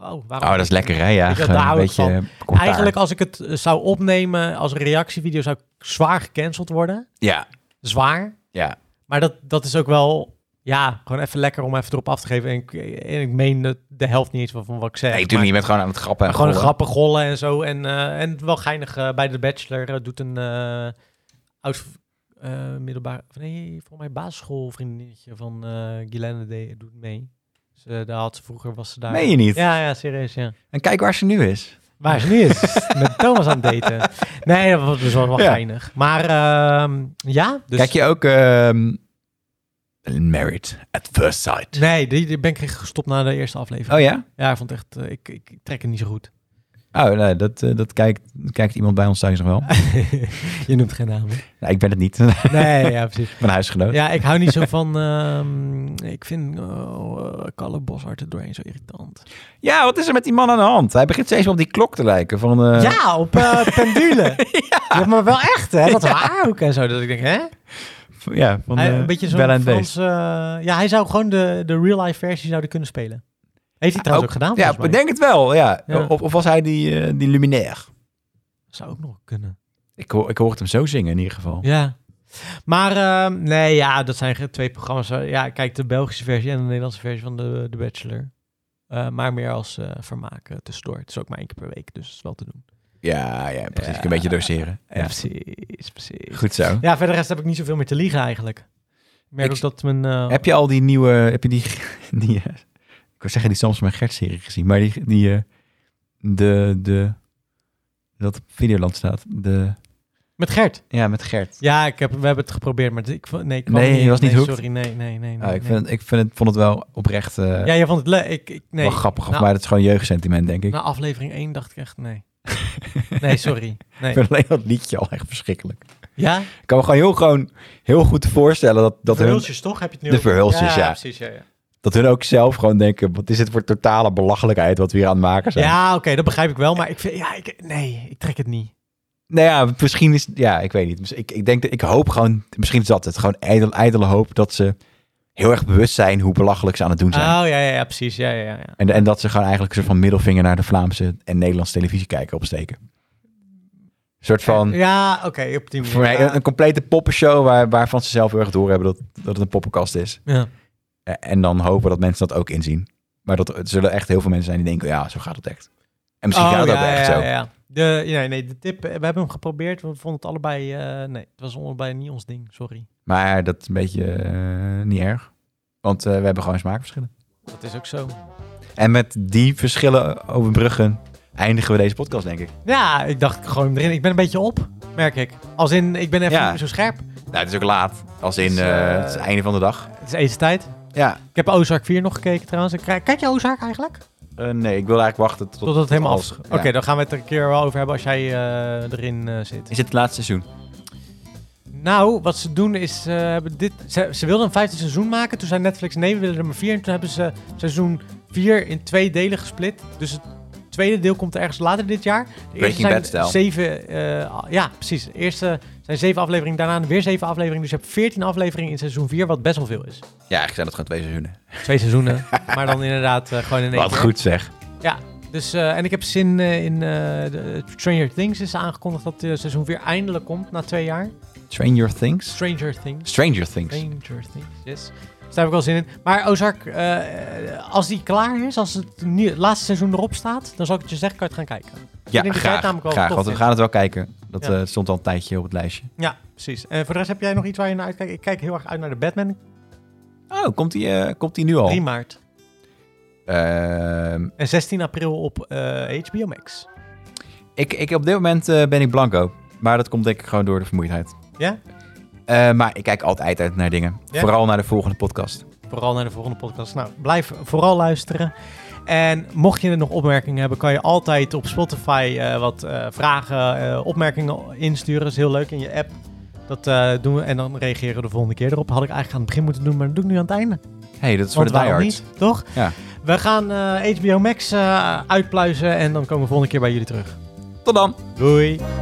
Speaker 2: oh, waarom...
Speaker 1: Oh, dat is lekker hè, ja.
Speaker 2: Ik dacht,
Speaker 1: Gewoon
Speaker 2: daar
Speaker 1: een
Speaker 2: hou ik
Speaker 1: beetje eh, commentaar.
Speaker 2: Eigenlijk als ik het eh, zou opnemen als een reactievideo zou ik zwaar gecanceld worden.
Speaker 1: Ja,
Speaker 2: Zwaar.
Speaker 1: ja.
Speaker 2: Maar dat, dat is ook wel, ja, gewoon even lekker om even erop af te geven. En ik, en ik meen het- de helft niet eens van, van wat ik zeg.
Speaker 1: Nee,
Speaker 2: maar
Speaker 1: natuurlijk, je bent gewoon aan het grappen. En
Speaker 2: gewoon een
Speaker 1: rollen.
Speaker 2: grappen gollen en zo. En, eh, en wel geinig eh, bij The Bachelor eh, doet een eh, oud eh middelbaar, of nee, volgens mij basisschoolvriendinnetje van eh Guylaine de, doet mee. Dus, eh, daar had ze vroeger, was ze daar.
Speaker 1: Meen je niet?
Speaker 2: Ja, ja, serieus, ja.
Speaker 1: En kijk waar ze nu is.
Speaker 2: Waar ze nu is, [LAUGHS] met Thomas aan het daten. Nee, dat was dus wel, wel
Speaker 1: Ja.
Speaker 2: geinig. Maar ehm, ja, dus...
Speaker 1: Kijk je ook ehm, Married at First Sight?
Speaker 2: Nee, die, die ben ik gestopt na de eerste aflevering.
Speaker 1: Oh ja?
Speaker 2: Ja, ik vond het echt, eh, ik, ik, ik trek het niet zo goed. [LAUGHS]
Speaker 1: Oh, nee, dat, eh, dat kijkt, kijkt iemand bij ons thuis nog
Speaker 2: [LAUGHS]
Speaker 1: wel.
Speaker 2: je noemt geen namen.
Speaker 1: nee, ik ben het niet. [LAUGHS] Mijn
Speaker 2: Nee, ja, precies.
Speaker 1: huisgenoot.
Speaker 2: Ja, ik hou niet zo van, ehm, ik vind eh Kalle Boshart er doorheen zo irritant.
Speaker 1: Ja, wat is er met die man aan de hand? Hij begint steeds wel op die klok te lijken. Van, eh,
Speaker 2: ja, op eh, pendule.
Speaker 1: [LAUGHS]
Speaker 2: ja. Maar wel echt, hè? Dat waar ook en zo. Dat ik denk, hè?
Speaker 1: v- ja, van
Speaker 2: Hij,
Speaker 1: eh,
Speaker 2: een beetje zo'n
Speaker 1: Bella en het
Speaker 2: Frans... eh, ja, hij zou gewoon de, de real-life versie zouden kunnen spelen. Heeft hij
Speaker 1: Beest.
Speaker 2: trouwens ook,
Speaker 1: Ah,
Speaker 2: gedaan,
Speaker 1: Ja,
Speaker 2: volgens mij.
Speaker 1: bedenk het wel. Ja.
Speaker 2: Ja.
Speaker 1: Of, of was hij die, eh, die luminair?
Speaker 2: Zou ook nog kunnen.
Speaker 1: Ik, hoor, ik hoor het hem zo zingen in ieder geval.
Speaker 2: Ja. Maar ehm, nee, ja, dat zijn ge- twee programma's. eh, Ja, kijk, de Belgische versie en de Nederlandse versie van de, de Bachelor. Eh, maar meer als eh vermaak eh, tussendoor. Het is ook maar één keer per week, dus het is wel te doen.
Speaker 1: Ja, ja precies.
Speaker 2: Ja.
Speaker 1: Een beetje doseren. Ja.
Speaker 2: precies, precies.
Speaker 1: Goed zo.
Speaker 2: Ja, verder rest heb ik niet zoveel meer te liegen eigenlijk. Ik merk
Speaker 1: Ik-
Speaker 2: ook dat mijn... eh,
Speaker 1: Heb je al die nieuwe... Heb je die... [LAUGHS] die eh, ik wil zeggen die Samson en Gert serie gezien. Maar die... die eh, de, de... Dat op Videoland staat. De,
Speaker 2: Met Gert.
Speaker 1: ja, met Gert.
Speaker 2: Ja, ik heb, we hebben het geprobeerd, maar ik, vo- nee, ik kwam
Speaker 1: Nee,
Speaker 2: niet
Speaker 1: je
Speaker 2: in.
Speaker 1: was niet
Speaker 2: nee,
Speaker 1: hooked.
Speaker 2: Sorry, nee, nee, nee. nee,
Speaker 1: Ah, ik
Speaker 2: nee.
Speaker 1: vind, het- ik vind het, vond het wel oprecht eh,
Speaker 2: Ja, je vond het leuk. Ik, ik, nee.
Speaker 1: wel grappig.
Speaker 2: Nou,
Speaker 1: maar het is gewoon jeugdsentiment, denk ik.
Speaker 2: Na aflevering 1 dacht ik echt, nee. Nee, sorry.
Speaker 1: [LAUGHS]
Speaker 2: Nee.
Speaker 1: Ik vind alleen dat liedje al echt verschrikkelijk.
Speaker 2: Ja?
Speaker 1: Ik kan me gewoon heel, gewoon heel goed voorstellen dat, dat, hun,
Speaker 2: toch? Heb je het nu
Speaker 1: De
Speaker 2: over?
Speaker 1: verhulsjes, ja.
Speaker 2: precies, ja, ja.
Speaker 1: dat hun ook zelf gewoon denken... wat is het voor totale belachelijkheid wat we hier aan het maken zijn.
Speaker 2: Ja, oké, dat begrijp ik wel. Maar ik vind, ja, ik, nee, ik trek het niet.
Speaker 1: Nou ja, misschien is... Ja, ik weet niet. Misschien- Ik, ik denk dat... Ik hoop gewoon... Misschien is dat het. Gewoon ijdel, ijdele hoop dat ze heel erg bewust zijn hoe belachelijk ze aan het doen zijn.
Speaker 2: Oh, ja, ja, ja, precies. Ja, ja, ja, ja.
Speaker 1: En, en dat ze gewoon eigenlijk een soort van middelvinger naar de Vlaamse en Nederlandse televisie kijken opsteken. Een soort van...
Speaker 2: Ja, oké, op die
Speaker 1: Hm.
Speaker 2: manier.
Speaker 1: Voor mij eh,
Speaker 2: ja.
Speaker 1: een, een complete poppenshow waar, waarvan ze zelf heel erg doorhebben dat, dat het een poppenkast is.
Speaker 2: Ja.
Speaker 1: Eh, En dan hopen dat mensen dat ook inzien. Maar dat, er zullen echt heel veel mensen zijn die denken, ja, zo gaat het echt. En misschien
Speaker 2: Oh,
Speaker 1: gaat het ook
Speaker 2: ja,
Speaker 1: wel echt
Speaker 2: ja,
Speaker 1: zo.
Speaker 2: ja, ja. De, nee, nee, de tip, eh, we hebben hem geprobeerd. We vonden het allebei, eh, nee, het was allebei niet ons ding, sorry.
Speaker 1: Maar dat is een beetje eh, niet erg. Want eh, we hebben gewoon smaakverschillen.
Speaker 2: Dat is ook zo.
Speaker 1: En met die verschillen overbruggen eindigen we deze podcast, denk ik.
Speaker 2: Ja, ik dacht, ik gooi hem erin. Ik ben een beetje op, merk ik. Als in, ik ben even
Speaker 1: Ja.
Speaker 2: niet zo scherp.
Speaker 1: Nou, het is ook laat. Als in
Speaker 2: Het is, eh,
Speaker 1: eh, het is het einde van de dag.
Speaker 2: Het is etenstijd.
Speaker 1: Ja.
Speaker 2: Ik heb Ozark 4 nog gekeken trouwens. Ik krijg- Kijk je Ozark eigenlijk?
Speaker 1: Eh, nee, ik wil eigenlijk wachten tot,
Speaker 2: Totdat het helemaal af.
Speaker 1: alles-
Speaker 2: Oké,
Speaker 1: ja.
Speaker 2: dan gaan we het er een keer wel over hebben als jij eh, erin eh, zit.
Speaker 1: Is het het laatste seizoen?
Speaker 2: Nou, wat ze doen is, eh, hebben dit, ze, ze wilden een vijfde seizoen maken. Toen zei Netflix, nee, we willen er maar vier. En toen hebben ze seizoen vier in twee delen gesplit. Dus het tweede deel komt ergens later dit jaar. De eerste
Speaker 1: Breaking
Speaker 2: zijn
Speaker 1: Bad stijl.
Speaker 2: Zeven, eh, a- ja, precies. De eerste zijn zeven afleveringen, daarna weer zeven afleveringen. Dus je hebt veertien afleveringen in seizoen vier, wat best wel veel is.
Speaker 1: Ja, eigenlijk zijn dat gewoon twee seizoenen.
Speaker 2: Twee seizoenen, [LAUGHS] maar dan inderdaad eh, gewoon in één
Speaker 1: Wat
Speaker 2: keer.
Speaker 1: goed zeg.
Speaker 2: Ja, dus, eh, en ik heb zin eh, in eh, de- Stranger Things is aangekondigd dat eh, seizoen weer eindelijk komt na twee jaar.
Speaker 1: Stranger Things?
Speaker 2: Stranger Things.
Speaker 1: Stranger Things.
Speaker 2: Stranger Things, yes. Dus daar heb ik wel zin in. Maar Ozark, eh, als die klaar is, als het, nieuw- het laatste seizoen erop staat, dan zal ik het je zeggen, kan je het gaan kijken.
Speaker 1: Ja,
Speaker 2: denk dat jij
Speaker 1: graag.
Speaker 2: het namelijk wel
Speaker 1: graag
Speaker 2: tof
Speaker 1: want we
Speaker 2: vindt.
Speaker 1: gaan het wel kijken. Dat
Speaker 2: Ja.
Speaker 1: eh, stond al een tijdje op het lijstje.
Speaker 2: Ja, precies. En voor de rest heb jij nog iets waar je naar uitkijkt? Ik kijk heel erg uit naar de Batman.
Speaker 1: Oh, komt die, eh, komt die nu al?
Speaker 2: 3 maart.
Speaker 1: Ehm,
Speaker 2: En 16 april op eh, HBO Max.
Speaker 1: ik, ik, op dit moment eh, ben ik blanco. Maar dat komt denk ik gewoon door de vermoeidheid.
Speaker 2: Ja?
Speaker 1: Eh, maar ik kijk altijd uit naar dingen.
Speaker 2: Ja?
Speaker 1: Vooral naar de volgende podcast.
Speaker 2: Vooral naar de volgende podcast. Nou, blijf vooral luisteren. En mocht je nog opmerkingen hebben, kan je altijd op Spotify eh, wat eh, vragen, eh, opmerkingen insturen. is heel leuk in je app. Dat eh, doen we en dan reageren we de volgende keer erop. Had ik eigenlijk aan het begin moeten doen, maar dat doe ik nu aan het einde.
Speaker 1: hey, dat is voor de
Speaker 2: waarom
Speaker 1: diehards.
Speaker 2: niet, toch?
Speaker 1: Ja.
Speaker 2: We gaan eh, HBO Max eh, uitpluizen en dan komen we volgende keer bij jullie terug.
Speaker 1: Tot dan!
Speaker 2: Doei!